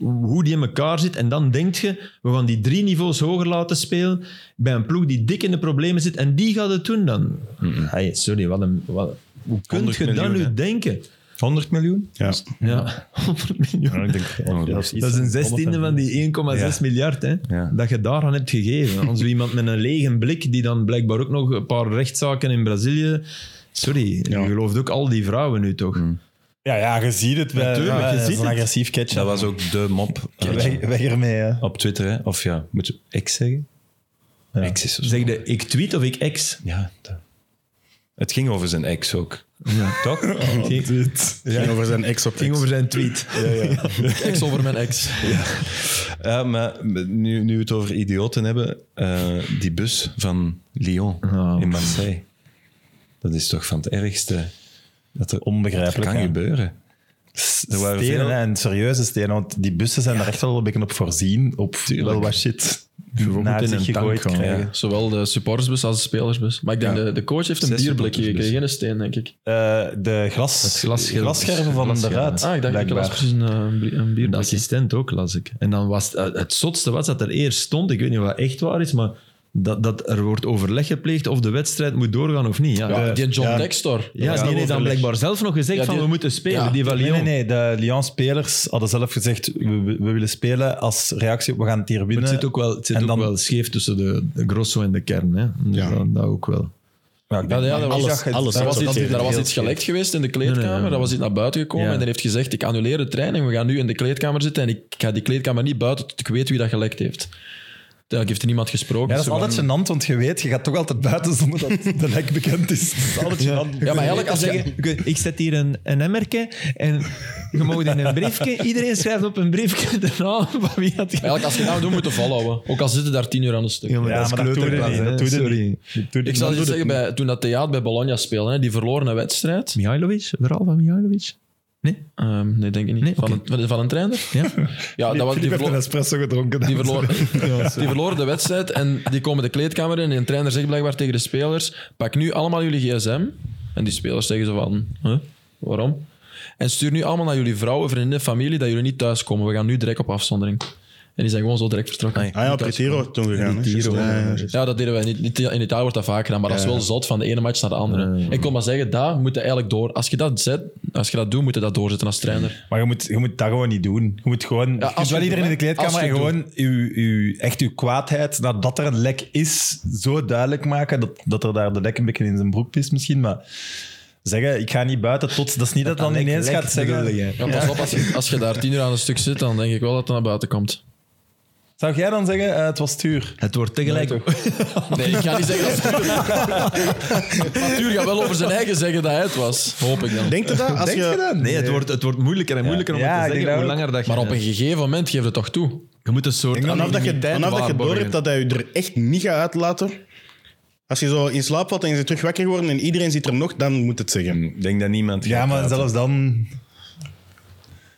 hoe die in elkaar zit. En dan denk je, we gaan die drie niveaus hoger laten spelen bij een ploeg die dik in de problemen zit. En die gaat het doen dan. Hey, sorry, wat een... Wat, hoe kun je
100
dat
miljoen,
nu
hè?
denken?
100 miljoen?
Ja.
Ja, 100 miljoen.
Ik denk, oh,
Dat is een zestiende van die 1,6
Ja.
miljard hè,
Ja.
dat je daaraan hebt gegeven. Aan zo iemand met een lege blik die dan blijkbaar ook nog een paar rechtszaken in Brazilië... Sorry,
Ja.
je gelooft ook al die vrouwen nu toch?
Mm.
Ja, ja, je ziet het. Bij,
Natuurlijk,
ja,
je
dat
ziet
is een
het.
agressief catch.
Dat was ook de mop eh,
weg, weg ermee, hè.
op Twitter. Hè? Of ja, moet je X zeggen?
Ja.
X is of zo.
Zeg je ik tweet of ik ex?
Ja, dat- het ging over zijn ex ook. Toch?
Ging over zijn ex op
ging
ex.
over zijn tweet.
Ex over mijn ex.
Ja, maar nu, nu we het over idioten hebben, eh, die bus van Lyon
Oh.
in Marseille. Dat is toch van het ergste dat er
Onbegrijpelijk,
kan
ja.
gebeuren. Er waren
stenen
veel-
hè, en serieuze stenen, want die bussen zijn daar echt wel een beetje op voorzien. Op wel wat shit naar
in
zich
een
gegooid
tank gaan,
krijgen.
Zowel de supportersbus als de spelersbus. Maar ik denk, de, de coach heeft een
Zes
bierblikje gekregen, geen steen, denk ik.
Eh, de glas,
glasscherm.
glasscherven van hem
Glasscherm.
eruit.
Ah, ik dacht, ik
blijkbaar.
las precies een, eh, een bier- een
De
bierblikje.
assistent ook, las ik. En dan was het, eh, het zotste was dat er eerst stond, ik weet niet of dat echt waar is, maar dat, dat er wordt overleg gepleegd of de wedstrijd moet doorgaan of niet. Ja,
Eh, Ja,
de-
die John Dextor.
ja, die heeft dan blijkbaar zelf nog gezegd
Ja, die-
van we moeten spelen,
Ja.
die van
Nee,
Lyon.
nee, nee. De Lyon-spelers hadden zelf gezegd, we, we- we willen spelen als reactie op, we gaan het hier
Maar
winnen.
het zit ook wel, het zit
En
ook
dan-
wel scheef tussen de, de grosso en de kern. Hè? Dus
Ja.
dat, dat ook wel.
Ja, ik denk-
Ja, ja, dat
Ik
was,
zag het.
alles,
daar was,
dat
iets,
is
daar was
heel
iets
scherp.
gelekt geweest in de kleedkamer,
Nee, nee, nee.
dat was iets naar buiten gekomen
Ja.
en dan heeft gezegd, ik annuleer de training, we gaan nu in de kleedkamer zitten en ik ga die kleedkamer niet buiten tot ik weet wie dat gelekt heeft. Daar heeft niemand gesproken.
Ja, dat is
Zo van-
altijd gênant, want je weet, je gaat toch altijd buiten zonder dat de lek bekend is. Dat is altijd gênant.
Ja, maar eigenlijk
Eigenlijk
als je...
zeggen, ik- ik zet hier een, een emmerke en je mag in een briefje. Iedereen schrijft op een briefje de naam van wie dat gaat.
Eigenlijk, als je nou dat doet, moet je volhouden. Ook al zitten daar tien uur aan een stuk.
maar dat is kleuterklas, hè.
Dat doe je
Sorry.
niet.
ik zal je zeggen, bij, toen dat theater bij Bologna speelde, hè, die verloren wedstrijd.
Mihailovic? Verhaal van Mihailovic? Nee?
Ehm, nee, denk ik niet.
Nee,
van,
oké.
een, van, een- van een trainer?
Ja?
Ja, dat was,
Ik
die,
heb een
verlo-
espresso gedronken.
die, verloor, die verloren de wedstrijd en die komen de kleedkamer in. En de trainer zegt blijkbaar tegen de spelers: pak nu allemaal jullie gsm. En die spelers zeggen zo van: huh, waarom? En stuur nu allemaal naar jullie vrouwen, vrienden, familie dat jullie niet thuiskomen. We gaan nu direct op afzondering. En die zijn gewoon zo direct vertrokken.
Ah ja, op
Niet
Retiro toen gegaan. hè.
Retiro,
Juist, Eh, ja, ja, juist.
Ja, "Ah, dat deden wij. In Ita- in Italië wordt dat vaker gedaan, maar dat is wel zot van de ene match naar de andere. Ik kon maar zeggen, daar moet je eigenlijk door. Als je dat zet, als je dat doet, moet je dat doorzetten als trainer.
Maar je moet, je moet dat gewoon niet doen. Je moet gewoon... je kunt
als je
wel
het
iedereen in
doet,
de kleedkamer
als je
en
het
gewoon uw, uw, echt uw kwaadheid nadat er een lek is, zo duidelijk maken dat, dat er daar de lek een beetje in zijn broek is misschien, maar... Zeggen, ik ga niet buiten tot... Dat is niet dat, dan ineens gaat zeggen...
Ja, pas op, als je, als je daar tien uur aan een stuk zit, dan denk ik wel dat het naar buiten komt.
Zou jij dan zeggen, eh, het was stuur?
Het wordt tegelijk...
Nee, ik ga niet zeggen dat het- Maar Tuur gaat wel over zijn eigen zeggen dat hij het was. Hoop ik dan.
Denk je dat? Als
Denk je
je...
dat?
nee, het wordt, het wordt moeilijker en moeilijker om
Ja,
het
ik
te
denk
zeggen hoe
dat ook.
langer dat je...
Maar op een gegeven moment geeft het toch toe.
Je moet een soort
Vanaf dat je,
anonimiteit
vanaf dat je door
waarborgen.
hebt dat hij je er echt niet gaat uitlaten. Als je zo in slaap valt en je zit terug wakker geworden en iedereen ziet er nog, dan moet het zeggen.
Mm.
Ik denk dat niemand.
Ja,
gaat
maar
praten.
zelfs dan...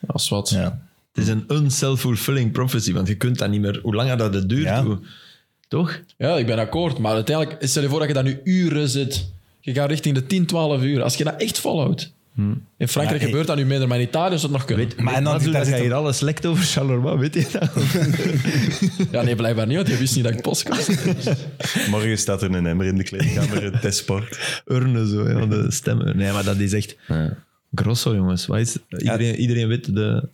Als wat.
Ja.
Het is een unself-fulfilling prophecy, want je kunt dat niet meer... Hoe langer dat het duurt,
Ja.
hoe- toch?
Ja, ik ben akkoord. Maar uiteindelijk, stel je voor dat je daar nu uren zit. Je gaat richting de 10, 12 uur. Als je dat echt volhoudt.
Hmm.
In Frankrijk gebeurt dat nu minder, maar in Italië is dat nog kunnen.
Maar en dan
Mazu,
zit daar
dat je
zitten-
hier alles lekt over Charleroi, weet je dat?
Ja, nee, blijkbaar niet, want je wist niet dat ik podcast
Morgen staat er een emmer in de kleedkamer, een testsport.
urnen zo, ja, de stemmen. Nee, maar dat is echt grosso, jongens. Wat is, iedereen, iedereen weet de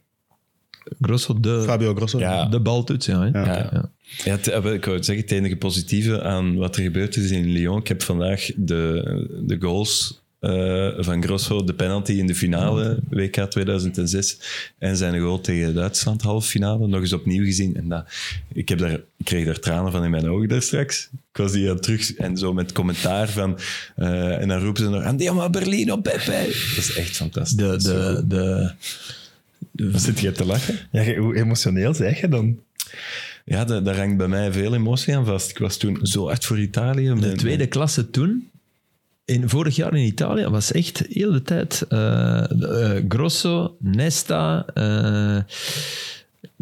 grosso, de,
Fabio Grosso.
de baltoets. Ja, hè?
Ja. Ja, het, eh, wel, ik wou zeggen, het enige positieve aan wat er gebeurd is in Lyon. Ik heb vandaag de, de goals eh, van Grosso, de penalty in de finale WK 2006 en zijn goal tegen Duitsland, halve finale, nog eens opnieuw gezien. En dat, ik, heb daar, ik kreeg daar tranen van in mijn ogen daar straks. Ik was die aan het terug en zo met commentaar van. eh, en dan roepen ze nog: Andiamo Berlino, Pepe! Dat is echt fantastisch.
De, de, de,
Zit je te lachen?
Ja, je- hoe emotioneel zeg je dan?
Ja, da- daar hangt bij mij veel emotie aan vast. Ik was toen zo hard voor Italië.
de
Mijn-
tweede klasse toen, in, vorig jaar in Italië, was echt heel de tijd eh, eh, grosso, Nesta, eh,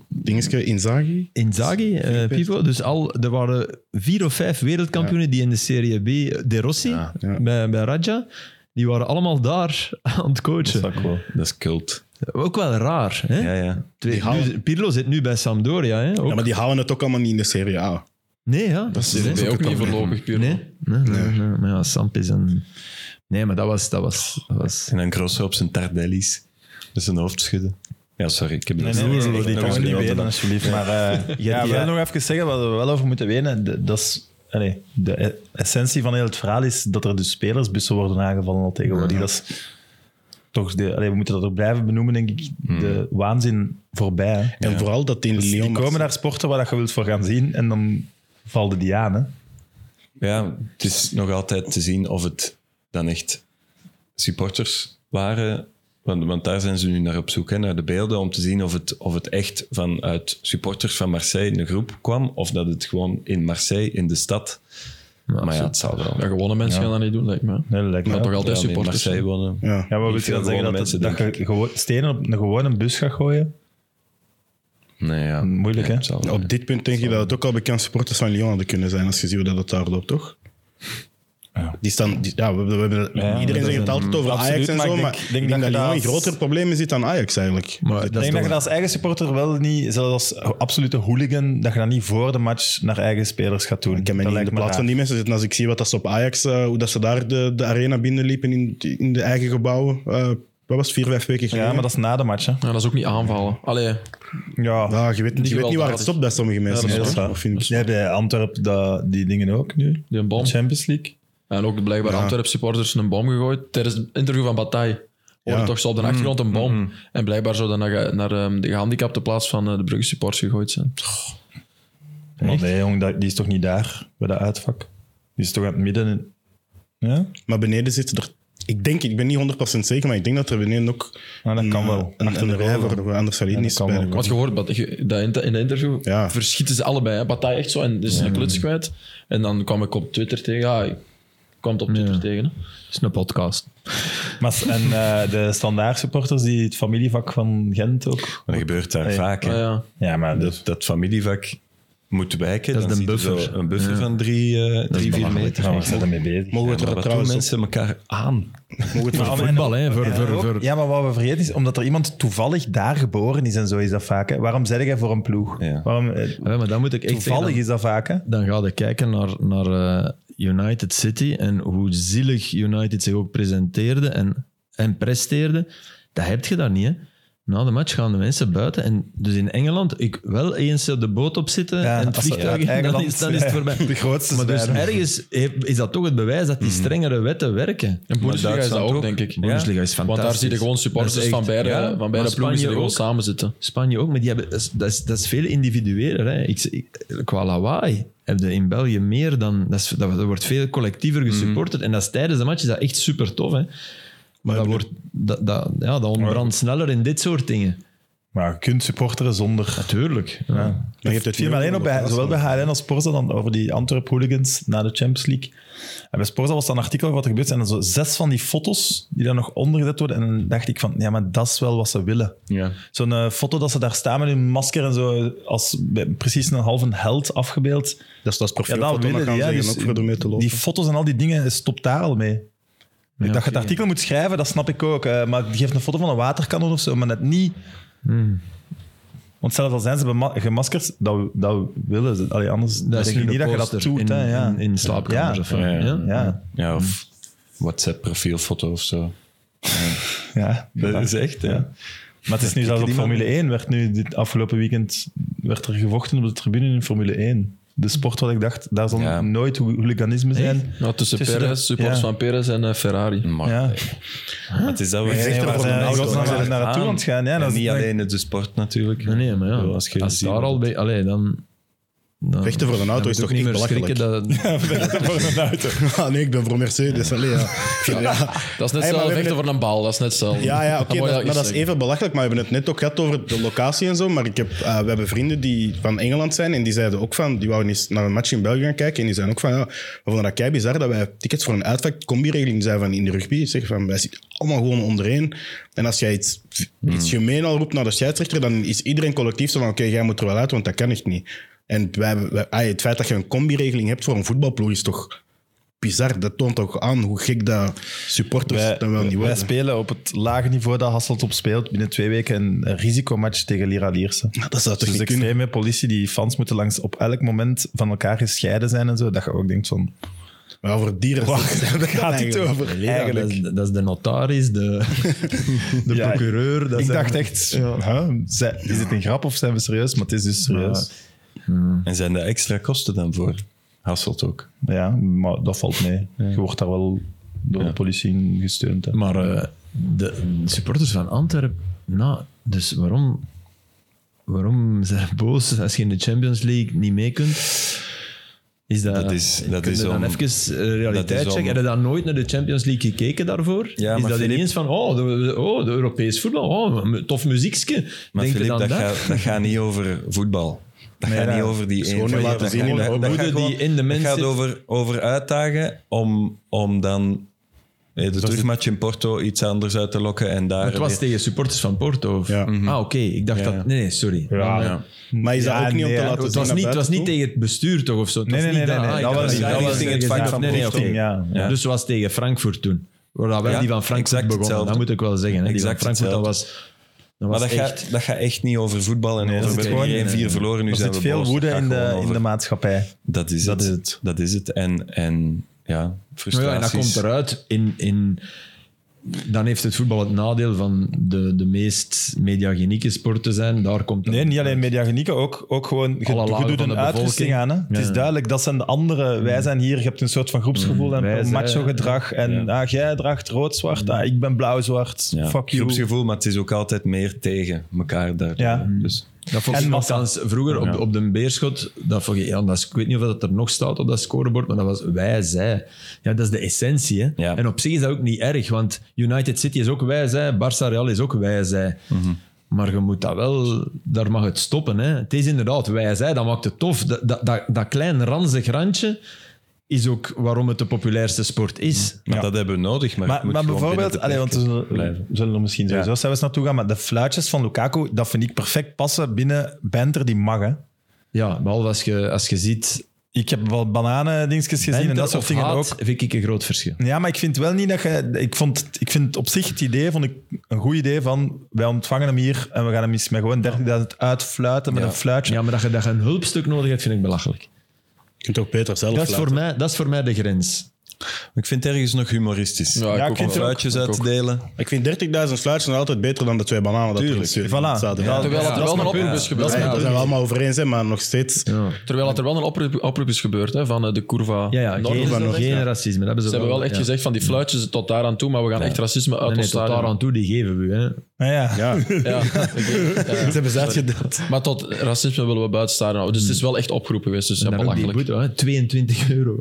Dingetje, Inzaghi.
Inzaghi, eh Pivo. Dus al, er waren vier of vijf wereldkampioenen die in de Serie B, eh, De Rossi,
ja.
Bij, bij Raja, die waren allemaal daar aan het coachen.
Dat is ook wel- dat is cult.
Ook wel raar. Hè?
Ja, ja.
Twee-
Die halen-
nu- Pirlo zit nu bij Sampdoria. Hè? Ook-
Ja, maar die halen het ook allemaal niet in de Serie A.
Nee, ja. Dat
is. Dat ben je ook niet voorlopig puur.
Nee, nee, nee, nee. Maar ja, Samp is een... Nee, maar dat was... Dat was, dat was...
En dan Grosso op zijn tardellis. Met zijn hoofd schudden. Ja, sorry. Ik heb
Nee,
het
nee,
nog
nee,
eens
die kan
gedaan.
we niet weten, alsjeblieft. Maar eh ja,
die-
wel nog even zeggen wat we wel over moeten weten. De- Dat is, allee, de e- essentie van heel het verhaal is dat er dus spelersbussen worden aangevallen al tegenwoordig. Dat is toch de, allee, we moeten dat ook blijven benoemen, denk ik. De waanzin voorbij. Hè.
En vooral dat in
Dus Die
Lyon...
komen naar sporten waar dat je wilt voor gaan zien en dan valden die aan. Hè.
Ja, het is nog altijd te zien of het dan echt supporters waren. Want, want daar zijn ze nu naar op zoek, hè, naar de beelden, om te zien of het, of het echt vanuit supporters van Marseille in de groep kwam. Of dat het gewoon in Marseille, in de stad. Maar ja, het zal wel.
Ja, gewone mensen gaan dat niet doen, lijkt me.
Nee, dat lijkt me
Maar
wel.
toch altijd
Ja, nee,
supporters.
Marseille wonen.
Ja.
Ja, maar wil
Niet
je dan
veel
zeggen
gewone
dat,
mensen,
dat
denk
je gewoon- stenen op een gewone bus gaat gooien?
Nee, ja.
Moeilijk, hè?
het zal wel.
Op dit punt denk ik dat het ook al bekend supporters van Lyon hadden kunnen zijn, als je ziet hoe dat het daar loopt, toch?
Ja.
Die staan, die- ja, we, we hebben,
Ja, dat
iedereen
is
zegt het
een-
altijd over
absoluut,
Ajax en
maar
zo,
ik denk-
maar
denk
ik
dat
denk
je
dat, Lyon
dat
een
als-
groter probleem zit dan Ajax eigenlijk.
Maar dat
Ik
is
denk dat je
toch-
dat als eigen supporter wel niet, zelfs als absolute hooligan, dat je dat niet voor de match naar eigen spelers gaat doen.
Ik heb mij
dat
niet in de
me
plaats
raar.
van die mensen zitten. Als ik zie wat dat ze op Ajax, eh, hoe dat ze daar de, de arena binnenliepen in, in de eigen gebouwen. eh, wat was het, vier, vijf weken geleden?
Ja, maar dat is na de match, hè.
Ja, nou, dat is ook niet aanvallen. Allee,
Ja.
Ja, Ah, je weet, niet- je weet niet waar het
gewelddadig.
stopt bij sommige mensen.
dat is
Of
waar.
vind ik.
Je hebt bij Antwerpen dat- die dingen ook nu.
die een bom.
Champions League.
En ook blijkbaar
Ja.
Antwerp supporters een bom gegooid. Tijdens het interview van Bataille hoorde
Ja. Mm-hmm.
toch zo op de achtergrond een bom. En blijkbaar zou dat naar, naar ehm, de gehandicapte plaats van eh, de Brugge supporters gegooid zijn.
Maar Oh, nee, jong, dat- die is toch niet daar, bij dat uitvak? Die is toch aan het midden? in- Ja?
Maar beneden zitten er... Ik denk, ik ben niet 100% zeker, maar ik denk dat er beneden ook...
Ah, dat
een,
kan wel.
eh, Een, een,
Achter de
rij
goal.
voor, voor anders zou die
Ja,
niet
dat kan wel.
spelen.
Wat je hoort Bat- je- dat in, in de interview,
Ja.
verschieten ze allebei. Hè? Bataille echt zo en is een kluts kwijt. En dan kwam ik op Twitter tegen. Ja, ik kwam het op Twitter
Ja.
tegen. hè.
Het is een podcast.
Maar, s- en eh, de standaard supporters, die het familievak van Gent ook.
Dat gebeurt daar
Hey.
vaak. hè.
Ah, ja.
Ja, maar
dat, dat familievak moet wijken.
Dat is
dan
een
zie je
buffer.
zo Een buffer
Ja.
van drie, eh, drie vier meter.
Nou,
Ja,
waar zijn we mee bezig?
Mogen we
maar
het er
wat doen
trouwens op-
mensen elkaar aan?
mogen we het er-
Voetbal, hè. Voor,
Ja,
voor,
ook.
voor,
Ja, maar wat we vergeten is, omdat er iemand toevallig daar geboren is en zo is dat vaak. Hè. Waarom zeg jij voor een ploeg?
Ja.
Waarom, eh,
Ja, maar dan moet ik echt zeggen,
toevallig
dan-
is dat vaak, hè?
dan ga je kijken naar, naar eh, United City en hoe zielig United zich ook presenteerde en, en presteerde. Dat heb je daar niet, hè. Na de match gaan de mensen buiten. En dus in Engeland, ik wel eens op de boot op zitten
Ja,
en het
als ze
vliegtuig,
uit
in, dan,
Engeland
is, dan is het
zijn.
voorbij.
De grootste
Maar dus
zwijnen.
ergens heeft- is dat toch het bewijs dat die strengere wetten werken.
En Bundesliga is dat
Duitsland
ook,
ook.
denk ik.
Bundesliga is
Want
fantastisch.
daar zie je gewoon
Dat
supporters
is echt-
van beide,
ja,
van
maar
beide ploegen die
Spanje
er gewoon
ook.
samen zitten.
Spanje ook, maar die hebben, dat, is, dat, is, dat is veel individueler. Hè. Ik, ik- qua lawaai heb je in België meer dan... Dat, is, dat, dat wordt veel collectiever
Mhm.
gesupporterd. En dat is tijdens de match is dat echt super tof. Hè. Maar, dat, wordt, dat, dat, ja, dat ontbrandt sneller in dit soort dingen.
Maar je kunt supporteren zonder...
Natuurlijk.
Ja.
Maar je hebt het
Het viel me
nu ook
alleen op,
nog
bij,
wel
zowel bij
vast,
HLN als Sporza, dan over die Antwerp hooligans na de Champions League. En bij Sporza was dan een artikel over wat er gebeurt. En dan zo zes van die foto's die dan nog ondergezet worden. En dan dacht ik van, ja, maar dat is wel wat ze willen.
Ja.
Zo'n eh, foto dat ze daar staan met hun masker en zo, eh, als bij- precies een halve held afgebeeld.
Dat is dat is
Ja,
profiel.
dat
wat
willen
dan
die. Ja,
gaan zeggen,
dus
ook voor ermee te lopen.
die foto's en al die dingen, stopt daar al mee. dat je het
oké.
artikel moet schrijven, dat snap ik ook. eh, maar die geeft een foto van een waterkanon of zo, maar net niet...
Hmm.
Want zelfs al zijn ze bema- gemaskerd, dat, dat willen ze. Allee, anders
Dat is
denk ik
nu
niet
de
dat je dat
poster
doet.
in,
hè, ja.
in, in slaapkamers
Ja.
of zo.
Ja,
Ja,
ja.
ja,
Ja, of WhatsApp-profielfoto of zo.
ja.
Dat is echt, ja.
Maar het is nu zelfs op
die
Formule 1. Werd nu, dit afgelopen weekend werd er gevochten op de tribune in Formule 1. De sport wat ik dacht, daar zal
Ja.
nooit hoo- hooliganisme zijn.
Nou, tussen,
Tussen de-
Perez, supporters
ja.
van Perez en eh, Ferrari.
Maar,
Ja.
maar het is dat we
Nee,
echt
waar
over
ze
een
in
auto
godsnaam
zijn
naar naartoe aan het gaan. Ja,
En
dat is-
niet alleen het de sport natuurlijk.
Nee, nee, maar ja.
Ik bedoel,
Als,
je ziet
daar
wat-
al bij... Allee, dan... dan
Vechten voor een auto
dan
is
moet
toch
je ook
niet
niet meer schrikken
belachelijk.
dat...
Ah, nee, ik ben voor Mercedes. Allee, ja. ja.
Dat is net
Hey, maar
zelf
we
vechten
hebben
voor een bal, dat is net zelf.
Ja, ja
Dat
oké,
moet je
dat,
wel
maar
eens
dat is
zeggen.
even belachelijk. Maar we hebben het net ook gehad over de locatie en zo. Maar ik heb, eh, we hebben vrienden die van Engeland zijn en die zeiden ook van, die wouden eens naar een match in België gaan kijken. En die zeiden ook van, ja, we vonden dat kei bizar dat wij tickets voor een uitvak combi-regeling zijn van in de rugby. Zeg van, wij zitten allemaal gewoon onderheen. En als jij iets, iets gemeen al roept naar de scheidsrechter, dan is iedereen collectief zo van, oké, jij moet er wel uit, want dat kan echt niet. En wij, hebben- wij, ah, het feit dat je een combi-regeling hebt voor een voetbalploeg is toch bizar. Dat toont toch aan hoe gek dat supporters
Wij,
dan wel niet
wij
worden.
spelen op het lage niveau dat Hasselt op speelt binnen twee weken een een risicomatch tegen Lira Lierse.
dat zou
Dus
toch niet kunnen?
extreme politie, die fans moeten langs op elk moment van elkaar gescheiden zijn en zo. Dat je ook denkt van...
Maar over dieren
Waar gaat dit over?
Ja, dat, is, dat is de notaris, de, de
Ja,
procureur. Dat
ik
zijn-
dacht echt, huh, zij- is dit een grap of zijn we serieus? Maar het is dus serieus.
En zijn daar extra kosten dan voor? Hasselt ook.
Ja, maar dat valt mee. Je wordt daar wel door de politie gesteund. hè.
Maar eh, de supporters van Antwerpen, nou, dus waarom, waarom zijn ze boos als je in de Champions League niet mee kunt? Is dat,
Dat is- dat
kun je
is
dan
om-
even eh,
dat
realiteit
is
checken?
om-
Heb je dan nooit naar de Champions League gekeken daarvoor?
Ja,
is
maar
dat
Filip-
ineens van, oh, de, oh, de Europees voetbal, oh, mu- tof muziekje.
Maar
Denk je
Filip,
dan
dat,
dat?
gaat, dat gaat niet over voetbal. Dat gaat
nee.
niet over die
is
één
gewoon
van-
nu laten
dat
zien
gaat-
in de
dat- dat
opvoeden
gaat
die
gewoon-
in de mens
Het gaat
zit.
over, over uitdagen om, om dan eh, de terugmatch in Porto iets anders uit te lokken en daar...
Het was
weer-
tegen supporters van Porto. Of...
Ja.
Ah, oké. Ik dacht
Mhm. Ja, ja.
dat... Nee, nee, sorry. eh,
Ja.
Ja.
Maar is dat
Ja,
ook niet om
nee,
te
ja.
laten
Het
zien
was,
naar
niet, het was
buiten
niet
toe?
tegen het bestuur toch of zo? Het
Nee,
was
nee,
niet
nee,
daar.
nee,
Ah,
dat
ik-
was-
ik-
dat
ik-
was
ik-
in het
ik-
vak
ik-
van
nee, nee,
Porting,
oké.
ja. Ja.
Dus het was tegen Frankfurt toen. Waar dat wel
Ja,
die van
exact
Frankfurt begonnen.
hetzelfde.
Dat moet ik wel zeggen. Hè. Die van
Exact
Frankfurt, dat was... Dat
Maar
was
dat
echt...
gaat, dat gaat echt niet over voetbal en over
dat
we
is
hebben
gewoon-
1-4 verloren, nu
Er
zijn
zit
we
veel
boos.
woede
Dat gaat
in
gewoon
de,
over-
in de maatschappij.
Dat is
Dat
het.
is het.
Dat is het. En, en ja,
Nou
frustraties.
ja, en dat komt eruit in... in dan heeft het voetbal het nadeel van de, de meest mediagenieke sport te zijn. Daar komt dan-
Nee, niet alleen mediagenieke, ook, ook gewoon, je,
Alle
je
lagen
doet
van
een
de
uitrusting
bevolking.
aan. Hè? Het
Ja. Mm.
is duidelijk, dat zijn de anderen. Wij zijn hier, je hebt een soort van groepsgevoel
Wij
en
zijn- Mm.
macho gedrag. En ah, jij draagt rood-zwart, ah, ik ben blauw-zwart,
Ja.
fuck you.
Groepsgevoel, maar het is ook altijd meer tegen elkaar daar.
Ja.
Dus
Dat vond
En
ik
massa.
althans vroeger op,
Ja.
op de beerschot. Dat vond ik, ja, dat is- ik weet niet of dat er nog staat op dat scorebord, maar dat was wij, zij. Ja, dat is de essentie. Hè?
Ja.
En op zich is dat ook niet erg, want United City is ook wij, zij. Barça Real is ook wij, zij. Maar je moet dat wel, daar mag het stoppen. Hè? Het is inderdaad wij, zij, dat maakt het tof. Dat, dat, dat, dat klein ranzig randje is ook waarom het de populairste sport is.
maar dat hebben we nodig. Maar,
Maar, maar bijvoorbeeld, allee, want we zullen,
blijven.
we zullen er misschien sowieso zelfs naartoe gaan, maar de fluitjes van Lukaku, dat vind ik perfect passen binnen Benter die mag. Hè.
Ja, behalve als je, als je ziet...
Ik heb wel bananendingetjes gezien en
Enter
dat soort
of
dingen
haat,
ook.
vind ik een groot verschil.
Ja, maar ik vind wel niet dat je... Ik, vond, het- ik vind op zich het idee vond ik een goed idee van... Wij ontvangen hem hier en we gaan hem eens met gewoon 30.000 uitfluiten met
Ja.
een fluitje.
Ja, maar dat je, dat je een hulpstuk nodig hebt, vind ik belachelijk.
Je kunt ook beter zelf
Dat is,
laten.
voor mij, dat is voor mij de grens.
Ik vind het ergens nog humoristisch.
Ja, ik
ik
ook
vind
wel.
fluitjes
Ik ook.
uit te delen.
Ik vind 30.000 fluitjes nog altijd beter dan de twee bananen.
Tuurlijk.
Dat er in
Voilà.
het zaten.
Ja,
Ja,
Terwijl dat
dat
er wel
is
een
mijn
oproep
dus-
punt.
is
dat
gebeurd.
is-
Ja,
daar zijn we allemaal over eens, hè, maar nog steeds.
Ja,
Terwijl dat er wel een oproep, oproep is gebeurd hè, van eh, de Curva
ja, ja
Noord.
geen,
Ze
van nog,
geen
ja.
racisme. Dat hebben ze,
hebben wel echt
ja.
gezegd van die fluitjes tot daar aan toe, maar we gaan echt racisme uit
Nee, nee,
ons
tot
stadion.
daar aan toe, die geven we. Hè.
Maar ja.
Ja,
Ja, oké, ja.
ze hebben ze uitgedeeld.
Maar tot racisme willen we buiten stadion houden. Dus het is wel echt opgeroepen geweest. Dus ja,
Hmm. En dan ook die
belachelijk.
boete, hè, 22 euro.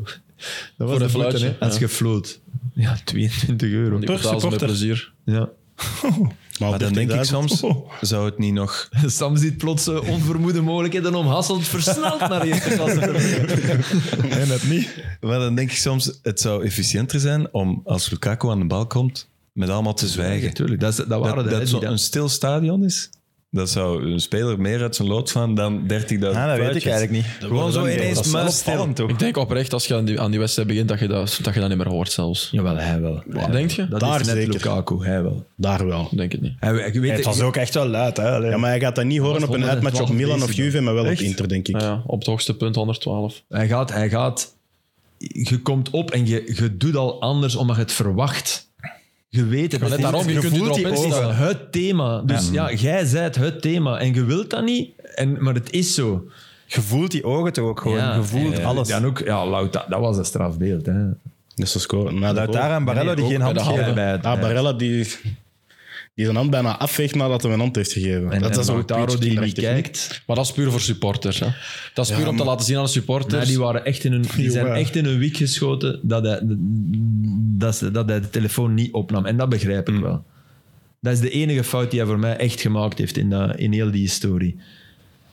Dat was
een
boete,
fluitje,
hè, Als
ja.
je floot. Ja, 22 euro.
Die
Per
betalen ze met
supporter.
plezier.
Ja.
Maar op
Maar dan denk ik
30.000
soms, zou het niet nog...
Sam ziet plots eh, onvermoede mogelijkheden om Hasselt versneld naar de eerste klasse te brengen.
En dat niet.
Maar dan denk ik soms, het zou efficiënter zijn om als Lukaku aan de bal komt, met allemaal te zwijgen.
Tuurlijk, dat, is- dat
Dat,
waren de, hè,
dat
die
zo'n
dat-
een stil stadion is, dat zou een speler meer uit zijn lood slaan dan 30.000
Ja, Ah, dat weet ik eigenlijk niet.
Gewoon zo
Dat is
ineens
wel
muisstil.
opvallend, toch?
Ik denk oprecht, als je aan die, aan die wedstrijd begint, dat je dat, dat je dat niet meer hoort zelfs.
Jawel, hij wel. Hij
denk
wel.
je?
Dat
Daar
is net
zeker.
Lukaku, hij wel.
Daar wel.
Ik denk het niet.
Hij, ik weet,
Het was ook echt wel luid, hè. Allee.
Ja, maar hij gaat dat niet horen op een uitmatch op
112
Milan of
bezig dan.
Juve, maar wel op
Echt?
Inter, denk ik.
Nou ja, op het hoogste punt 112.
Hij gaat, hij gaat, je komt op en je, je doet al anders omdat je het verwacht. Je weet het.
Net
Het is-
daarom, je kunt je
voelt
erop
die over.
instellen.
Het thema. Dus ja, jij zijt het thema en je wilt dat niet, en, maar het is zo.
Je voelt die ogen toch ook gewoon.
Ja,
je voelt
en-
alles.
Dan ook, ja, Louta, dat was een strafbeeld. Hè.
Dus ze scoren. Na de goal.
Lautaro en Barello die
ook
geen
bij
hand
de
geven.
handen. bij het-
Ah, Barella die, die zijn hand bijna afveegt nadat hij een hand heeft gegeven.
En,
dat
en
is ook
Lautaro
een
die niet
beetje
kijkt.
Maar dat is puur voor supporters. Hè. Dat is puur om te laten zien aan de supporters.
Nee, die, waren echt in een, die zijn
Jongen.
echt in een wiek geschoten dat hij, dat, ze- dat hij de telefoon niet opnam. En dat begrijp
Mm.
ik wel. Dat is de enige fout die hij voor mij echt gemaakt heeft in, dat, in heel die historie.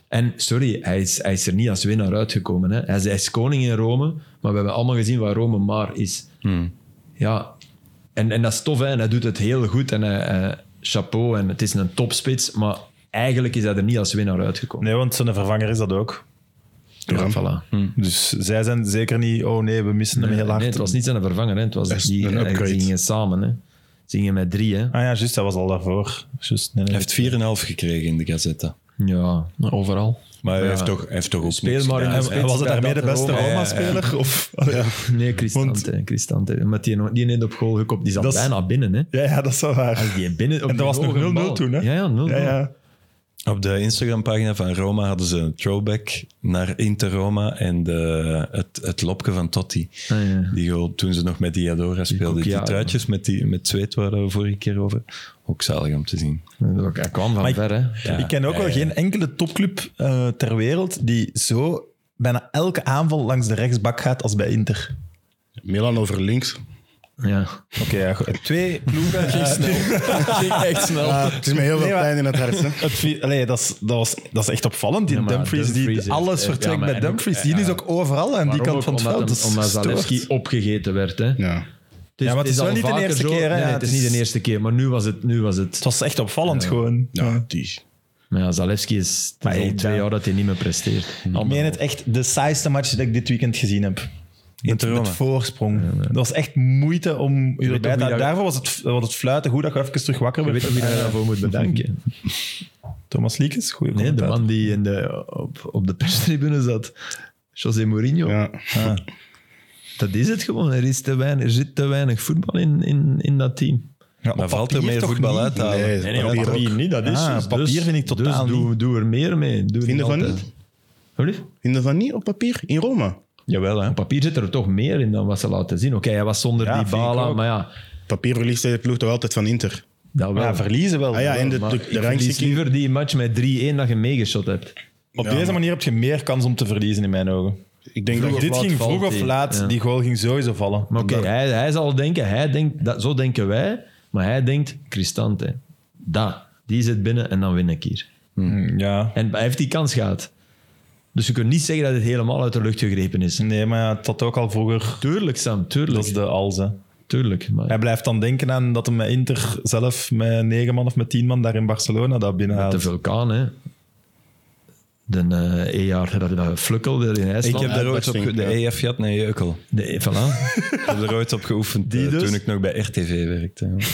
En sorry, hij is, hij is er niet als winnaar uitgekomen. Hè. Hij, is, hij is koning in Rome, maar we hebben allemaal gezien wat Rome maar is.
Mm.
Ja, en, en dat is tof, hè. En hij doet het heel goed. En hij- hij- chapeau, en het is een topspits, maar eigenlijk is hij er niet als winnaar uitgekomen.
Nee, want zijn vervanger is dat ook.
Ja, voilà.
Dus zij zijn zeker niet, oh nee, we missen hem heel hard.
Hm. Nee, het was niet zijn vervanger. Hè. Het was
is
die,
een
eh,
upgrade.
Ze gingen samen. Hè. Ze gingen met drie. Hè.
Ah ja, juist, dat was al daarvoor. Juist, nee, nee.
Hij heeft 4,5 gekregen in de Gazzetta.
Ja.
Overal.
Maar hij
Ja.
heeft toch, hij heeft toch ook
Speel
niks
maar in
gedaan.
de-
En was het daarmee de beste
Ja, ja, ja.
Roma-speler? Of...
Nee, Cristante. Cristante. Met die, die net op goal gekopt. Die zat
Dat is-
bijna binnen. Hè.
Ja, ja, dat is wel waar.
Als die binnen, op
En dat was
die
nog
hoge
0-0
bal.
toen, hè?
Ja, ja, 0-0.
Ja, ja.
Op de Instagram-pagina van Roma hadden ze een throwback naar Inter Roma en de, het, het lopje van Totti.
Ah, ja.
Die goal toen ze nog met Diadora speelden. Die
Cucchiaro.
truitjes met, die, met zweet waren we vorige keer over. Ook zalig om te zien.
Hij kwam van
Maar ik-
ver. Hè.
Ja.
Ik ken ook wel geen enkele topclub eh, ter wereld die zo bijna elke aanval langs de rechtsbak gaat als bij Inter.
Milan over links.
Ja.
Oké, ja, goed. Twee ploegen. eh,
Ging echt snel.
Het is me heel veel
Nee, maar-
pijn in het hart. Hè.
het vi- allee, dat, is, dat, was, dat is echt opvallend. Die
Ja, maar
Dumfries,
Dumfries
die
heeft-
alles
eh,
vertrekt
ja, maar
bij
en ook-
Dumfries.
ja,
die
ja.
is ook overal aan die
Waarom
kant
ook?
van het
omdat
veld.
hem-
Dat is
Omdat
gestoord.
Zalewski opgegeten werd. Hè.
Ja.
Het is,
Ja, maar het is
al
wel niet de
vaker
eerste keer, hè.
Nee, nee,
Ja,
het
het
is niet
is-
de eerste keer. Maar nu was het... Nu was
Het
het.
was echt opvallend gewoon.
Ja,
Ja.
die.
Maar ja, Zalewski is het
Maar
is al
hey,
twee
dat-
jaar dat hij niet meer presteert.
Ik meen het echt de saaiste match dat ik dit weekend gezien heb. Met,
Inter Roma.
met voorsprong. Dat was echt moeite om u erbij te
ook wie dat-
Daarvoor was het, was het fluiten goed dat je even terug wakker
Je weet
werd. Eh,
ook wie je daarvoor moet bedanken.
Thomas Liekes, goeie
Nee, de
commentaar.
man die in de, op, op de perstribune zat. José Mourinho.
Ja.
Dat is het gewoon. Er, is te weinig, er zit te weinig voetbal in, in, in dat team.
Ja, op
Dan valt er
papier
meer
toch
voetbal
niet?
uit te halen.
Nee,
Nee, nee, op
papier
papier
ook.
niet. Dat is
Ah,
dus-
papier
dus-
vind ik totaal
dus doe, doe er meer mee. Doe
Vinden van
altijd.
niet?
Wat lief?
Vinden van niet op papier? In Roma?
Jawel, hè.
Op papier zit er toch meer in dan wat ze laten zien. Oké, hij was zonder
Ja,
die
vind ik
bala,
ook.
maar ja,
Papier verliest de ploeg toch altijd van Inter?
dat wel.
Ja, verliezen wel.
Ah ja, en de, de,
Maar
de
ik verlies
rangschikking-
liever die match met 3-1 dat je meegeschot hebt.
Op
Ja,
deze
maar-
manier heb je meer kans om te verliezen in mijn ogen.
Ik denk dat
Dit
laat
ging
valt
vroeg of
die.
laat,
Ja.
die goal ging sowieso vallen.
Maar oké,
Omdat-
hij, hij zal denken, hij denkt dat, zo denken wij, maar hij denkt, Cristante, dat, die zit binnen en dan win ik hier. Mm.
Hm, Ja.
En hij heeft die kans gehad. Dus je kunt niet zeggen dat het helemaal uit de lucht gegrepen is.
Nee, maar ja, het had ook al vroeger.
Tuurlijk, Sam, tuurlijk.
Dat is de als, hè.
Tuurlijk. Maar,
Hij blijft dan denken aan dat hij met Inter zelf met negen man of met tien man daar in Barcelona dat
Met de
binnenhaalt.
vulkaan, hè. De eh EAR, dat, dat flukkel daar in
Ik
IJsland.
heb daar ooit op ge- de E EF Jat naar Jeukel.
Nee, voilà.
Ik heb er ooit op geoefend eh,
dus?
toen ik nog bij RTV werkte. ja.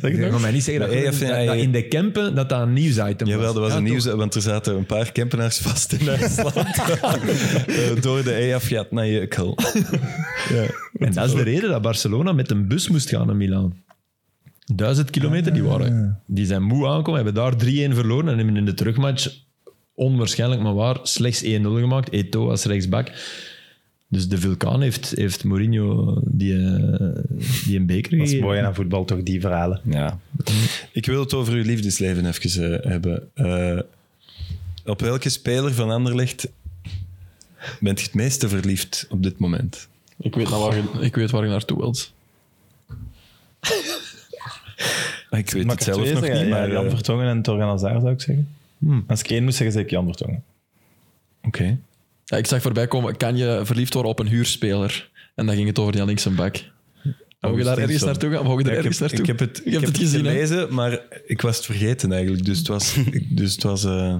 Zeg
Ik
het
kan
nog?
mij niet zeggen dat,
Nee,
dat,
ja, ja,
dat
ja.
in de Kempen dat dat een nieuwsitem was.
Jawel, dat was
Ja,
een
toch?
nieuws, want er zaten een paar Kempenaars vast in IJsland. Eh, door de EF Jat naar Jeukel.
En dat is de reden dat Barcelona met een bus moest gaan naar Milaan. Duizend kilometer,
Ah,
die, waren, die zijn moe aankomen, hebben daar 3-1 verloren en hebben in de terugmatch, onwaarschijnlijk maar waar, slechts 1-0 gemaakt. Eto'o als rechtsback. Dus de vulkaan heeft, heeft Mourinho die, eh, die een beker
Dat is
gegeven.
mooi aan voetbal, toch, die verhalen.
Ja. Ik wil het over uw liefdesleven even eh, hebben. Eh, op welke speler van Anderlecht bent je het meeste verliefd op dit moment?
Ik weet, naar waar, je- ik weet waar je naartoe wilt.
Ah, Ik weet
Mag
het
ik er
zelf
twee
nog
zeggen?
niet,
Ja,
maar... eh,
Jan Vertongen en Torgan Hazard zou ik zeggen. Als ik één moest zeggen, zeg ik Jan Vertongen.
Oké.
Ja, ik zag voorbij komen, kan je verliefd worden op een huurspeler? En dan ging het over die linkse back. Mogen je daar ergens
Augustinsson.
naartoe gaan? Mogen je
Ja,
er
ik, heb,
ergens naartoe?
ik heb het, ik
Je hebt
heb
het
het
gezien, hè?
gelezen, maar ik was het vergeten eigenlijk. Dus het was, ik- dus het was, eh,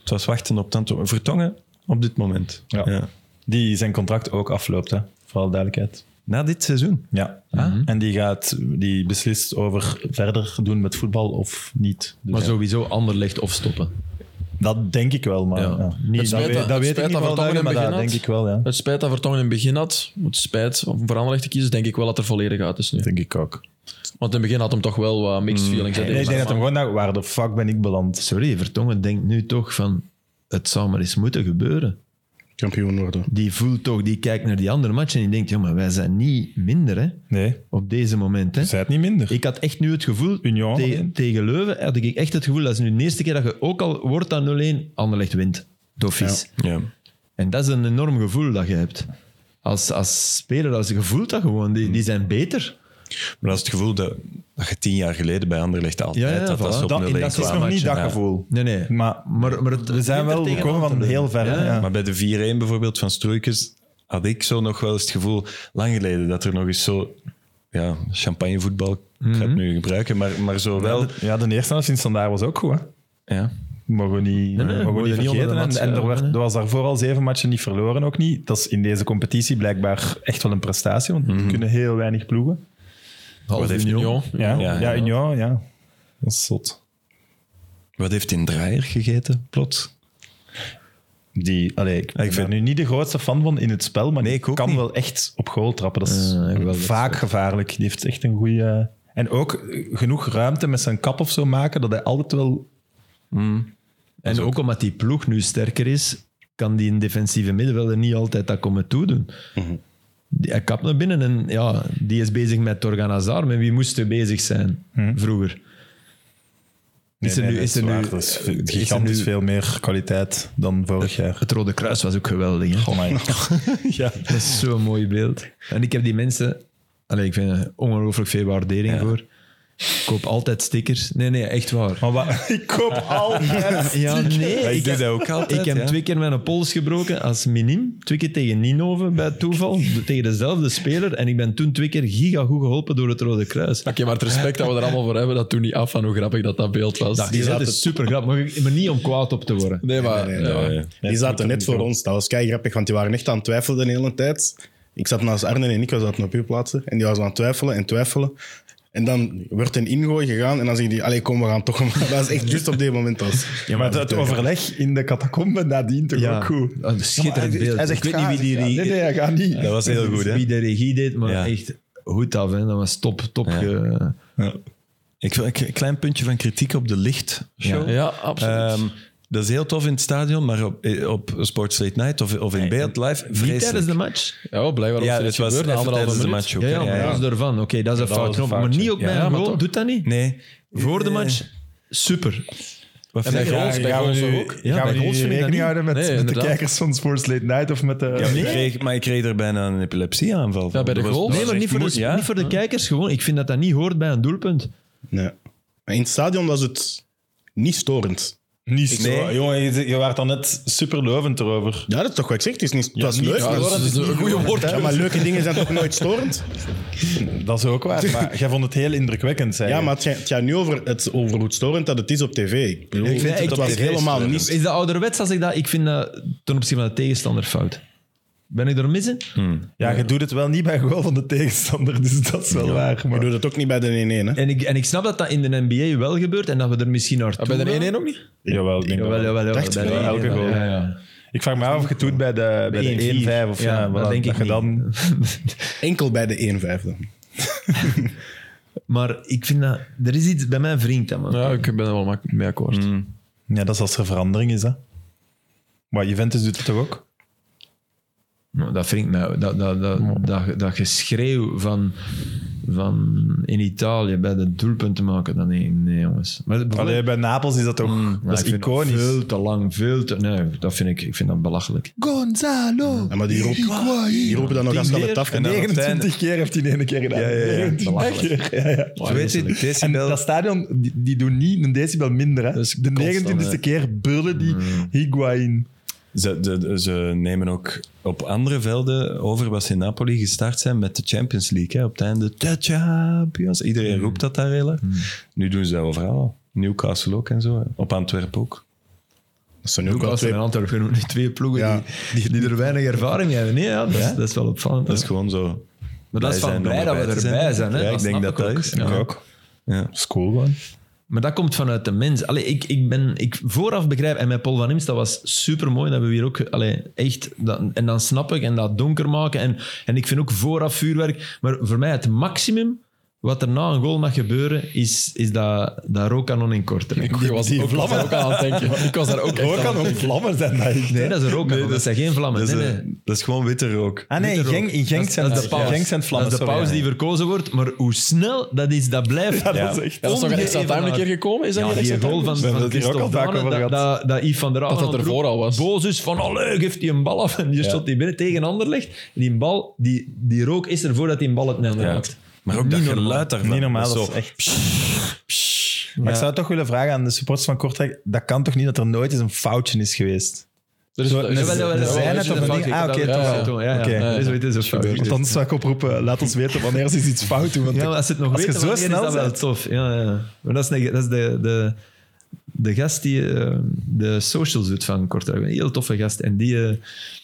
het was wachten op Tanto. Vertongen op dit moment.
Ja. Die zijn contract ook afloopt, hè? voor alle duidelijkheid.
Na dit seizoen.
Ja. En die, gaat, die beslist over verder doen met voetbal of niet. Dus
Maar
ja.
sowieso Anderlecht of stoppen.
Dat denk ik wel, maar...
Ja.
Ja.
Niet-
dat
spijt
weet,
dat-
dat
het
weet ik
spijt
niet wel
dat Vertongen
duidelijk, maar
hem
dat
begin
denk ik wel, ja.
Het spijt dat Vertongen in het begin had, het spijt om voor Anderlecht te kiezen, denk ik wel dat er volledig uit is nu.
denk ik ook.
Want in het begin had hem toch wel wat mixed
Mm.
feelings. hè,
Nee, ik
deze
denk dat hem
man.
gewoon dacht, waar de fuck ben ik beland?
Sorry, Vertongen denkt nu toch van, het zou maar eens moeten gebeuren.
kampioen worden.
Die voelt toch, die kijkt naar die andere match en die denkt, ja, maar wij zijn niet minder, hè.
Nee,
op deze moment. Hè.
zei het niet minder.
Ik had echt nu het gevoel,
Union.
te- tegen Leuven had ik echt het gevoel, dat is nu de eerste keer dat je ook al wordt aan 0-1, Anderlecht wint. Doffies.
Ja.
En dat is een enorm gevoel dat je hebt. Als, als speler, als je voelt dat gewoon, die, die zijn beter.
Maar dat is het gevoel dat, dat je tien jaar geleden bij Anderlecht altijd
Ja, ja,
had.
voilà.
Dat ze op
Dat-
dat,
0-1
dat is
kwamen.
nog niet dat
Ja.
gevoel.
Nee, nee.
Maar,
Maar, maar het,
we zijn wel
tegen
gekomen van
Antwerpen.
heel ver.
Ja,
hè, ja.
Maar bij de 4-1 bijvoorbeeld van Stroeikens had ik zo nog wel eens het gevoel, lang geleden, dat er nog eens zo... Ja, champagnevoetbal, ik ga het nu gebruiken, maar, maar zo wel...
Ja, de eerste helft in Standaard was ook goed, hè?
Ja.
Mogen we niet,
nee,
mogen we
moet
niet
je niet onder
vergeten.
de mat
En, en er,
schuiven,
werd,
hè.
er was daarvoor al zeven matchen niet verloren, ook niet. Dat is in deze competitie blijkbaar echt wel een prestatie, want er kunnen heel weinig ploegen.
Half
heeft
Union.
Ja, ja,
Ja, ja.
Union, ja. Dat is zot.
Wat heeft in Draaier gegeten, plots?
Die, allee, ik ben
ik vind-
daar nu niet de grootste fan van in het spel, maar
Nee,
die
ik ook
kan
niet.
wel echt op goal trappen. Dat is
Eh, wel, dat is
vaak gevaarlijk. Die heeft echt een goede... En ook eh, genoeg ruimte met zijn kap of zo maken, dat hij altijd wel...
En ook omdat die ploeg nu sterker is, kan die in defensieve middenvelder niet altijd dat komen toedoen. Die- Hij kapt naar binnen en ja, die is bezig met Torgan Hazard. Met wie moest hij bezig zijn vroeger? Is er
Nee,
nu-
nee,
is er
dat
nu-
waar. Dat is
is er
gigantisch
nu-
veel meer kwaliteit dan vorig jaar.
Het Rode Kruis was ook geweldig. Hè?
ja.
Dat is zo'n mooi beeld. En ik heb die mensen... Allee, ik vind er ongelooflijk veel waardering voor. Ik koop altijd stickers. Nee, nee, echt waar.
Maar wa- ik koop altijd.
Ah,
Ja, nee.
ik doe
heb-
dat ook altijd,
Ik heb
ja.
twee keer mijn pols gebroken als minim. Twee keer tegen Ninove bij toeval. Tegen dezelfde speler. En ik ben toen twee keer giga goed geholpen door het Rode Kruis.
Oké, maar het respect dat we er allemaal voor hebben, dat toen niet af van hoe grappig dat dat beeld was.
Dat is altijd super grappig. Maar, ik- maar niet om kwaad op te worden.
Nee, maar...
Nee, nee,
ja.
nee. Die zaten net voor ons. Dat was kei grappig, want die waren echt aan het twijfelen de hele tijd. Ik zat naast Arne en ik was zaten op uw plaatsen. En die was aan het twijfelen en twijfelen. En dan werd een ingooi gegaan en dan zeg je die, allee, kom, we gaan toch. Maar dat is echt juist op dit moment. als.
Ja, maar het overleg in de catacombe nadien toch ook goed.
een schitterend beeld. ik weet niet wie die,
Ja, nee, nee, hij gaat niet.
Dat was heel goed, hè?
wie de regie deed, maar
Ja.
echt goed af. Hè. Dat was top, top. ge-
Ik wil een klein puntje van kritiek op de lichtshow.
Ja, absoluut.
Ehm, dat is heel tof in het stadion, maar op, eh, op Sports Late Night of, of in beeld live,
Niet tijdens
vreselijk.
de match.
ja, blijkbaar was
Ja,
er
het
iets
was
gebeurd, na
even
anderhalve
tijdens de
minuut.
match ook.
Ja,
hè?
ja, maar dat is ervan. Oké, dat is een
dat was
fout.
een
knop. Maar
foutje.
niet op
Ja,
mij.
maar
gewoon,
toch.
doet dat niet.
Nee.
Voor de
Eh,
match, super.
Wat vind
bij
je?
Goals,
gaan
bij goals
we nu-
ook.
Ja,
gaan
bij
we
goals
nu
vind ik
rekening
dat niet.
houden met,
Nee,
met de
inderdaad.
kijkers van Sports Late Night of met de...
Ja, maar ik kreeg, maar ik kreeg er bijna een epilepsieaanval. van.
bij de
Dat was-
goal.
dat
Nee,
was
maar niet
echt
voor,
moe-
de,
ja?
niet voor de kijkers gewoon. Ik vind dat dat niet hoort bij een doelpunt.
Nee. Maar in het stadion was het niet storend.
Niet
zo.
Jongen, je, je dan net super lovend erover.
Ja, dat is toch wat ik zeg. Het, is niet, het was leuk.
Ja,
maar-
dat is een goede woord.
Ja, maar leuke dingen zijn toch nooit storend?
Dat is ook waar, maar jij vond het heel indrukwekkend, zei
Ja,
je.
maar het gaat, het gaat nu over, het, over hoe storend dat het is op tv. Ik bedoel,
Ik vind
het,
het op
was
tv
helemaal
storend.
niet...
Is dat ouderwets als ik dat... Ik vind dat ten opzichte van de tegenstander fout. Ben ik er missen?
Ja, je doet het wel niet bij goal van de tegenstander, dus dat is wel waar.
Ik
Maar...
doe dat ook niet bij de 1-1. hè.
En ik, en ik snap dat dat in de NBA wel gebeurt en dat we er misschien naartoe
Ah, Bij
gaan.
de 1-1 ook niet?
Jawel, ik denk dat
Jawel,
wel.
jawel, jawel.
Dacht
Bij de
ik wel,
1-1,
elke goal.
Ja, ja.
Ik vraag me af of je het doet bij de, bij de 1-5 of ja,
dat
voilà,
denk ik
je
niet.
dan
Enkel bij de 1-5 dan.
Maar ik vind dat... Er is iets bij mijn vriend, man. Mm.
Ja, ik ben er wel mak- mee akkoord.
Ja, dat is als er verandering is, hè. Maar Juventus doet het toch ook?
Nou, Dat vind ik mij, dat, dat, dat, dat, dat geschreeuw van, van in Italië bij de doelpunt te maken, dan nee, nee jongens. Maar bijvoorbeeld-
Allee, bij Napels is dat toch...
Nou,
dat
ik
is
vind
iconisch.
Veel te lang, veel te... Nee, dat vind ik, ik vind dat belachelijk.
Gonzalo!
Ja, maar die, roep, die roepen dan nog als dat het af
en dan op het
29 keer heeft hij in één keer gedaan.
Ja, ja, ja.
29 keer. Ja, ja.
Oh,
einde- Weet je,
En
decibel...
dat stadion, die, die doen niet een decibel minder. Hè?
Dat is
de
constant,
29e
hè.
keer brullen die Higuain.
Ze, de- ze nemen ook op andere velden over wat ze in Napoli gestart zijn met de Champions League. Hè. Op het einde, de Champions.
Hmm.
Iedereen roept dat daar heel erg. Nu doen ze dat overal al. Newcastle ook en zo. hè. Op Antwerpen ook.
Dat zijn nu ook wel
Newcastle
twee...
en Antwerpen genoemd, die twee ploegen
Ja.
die, die, die er weinig ervaring mee hebben. Nee, ja, dat, Is, dat is wel opvallend.
Dat is gewoon zo.
maar dat is van
zijn om
blij dat we
erbij
erbij
te
zijn. hè.
Ja, ik denk
snap
dat dat
ook.
is.
Ja.
Ik ook. Ja.
School gewoon.
Maar dat komt vanuit de mens. Allee, ik, ik ben ik vooraf begrijp, en met Paul van Imst, dat was super mooi. Dat we hier ook, allee, echt, dat, en dan snap ik, en dat donker maken. En, en ik vind ook vooraf vuurwerk. Maar voor mij het maximum wat er na een goal mag gebeuren, is, is dat, dat rookkanon in korter.
Ik was ook- was daar ook aan het denken. Ik was daar ook echt
Ook
aan
kan ook vlammen zijn. Dat ik,
Nee, dat is een rookkanon, dat, zijn geen vlammen.
Dat, is,
nee,
eh,
nee.
dat is gewoon witte rook.
ah nee, in Genk, in Genk zijn
dat is
dat
de pauze.
Genk zijn vlammen.
dat is de
sorry.
pauze die verkozen wordt, maar hoe snel dat is, dat blijft.
Ja, dat is echt...
Ja, dat is nog een extra time een keer gekomen? Is dat
Ja,
niet
die
extra
goal
time?
van,
We hebben
van
het hier ook al
Christophe
vaak
Dane,
over
dat,
gehad.
dat, dat Yves van der Aan
dat er voor al was.
Boos is van, oh leuk, heeft hij een bal af. En die shot die binnen tegen een ander legt. En die bal, die, die rook is er voordat die een bal het net
Ja.
raakt.
Maar ook dat geluid daarvan.
Niet normaal,
Dat is
dat
zo-
is echt... Maar ik zou toch willen vragen aan de supporters van Kortrijk, dat kan toch niet dat er nooit eens een foutje is geweest?
Er is-
Zo,
er
een
is-
zijnet
er is-
of
er
een
is
ding?
fout
Ah, oké, toch
gedaan. Ja,
wel.
ja.
Ja, ja.
Oké.
Nee, zoiets is er
Want
gebeurd.
anders zou ik oproepen, laat ons weten wanneer ze iets fout doen. Want
Ja, maar als ze het nog
Als je
weten,
zo
wanneer
snel
is dat wel
bent.
tof. Ja, ja. Maar dat is, neg- dat is de, de, de gast die eh, de socials doet van Kortrijk. Een heel toffe gast. En die... eh,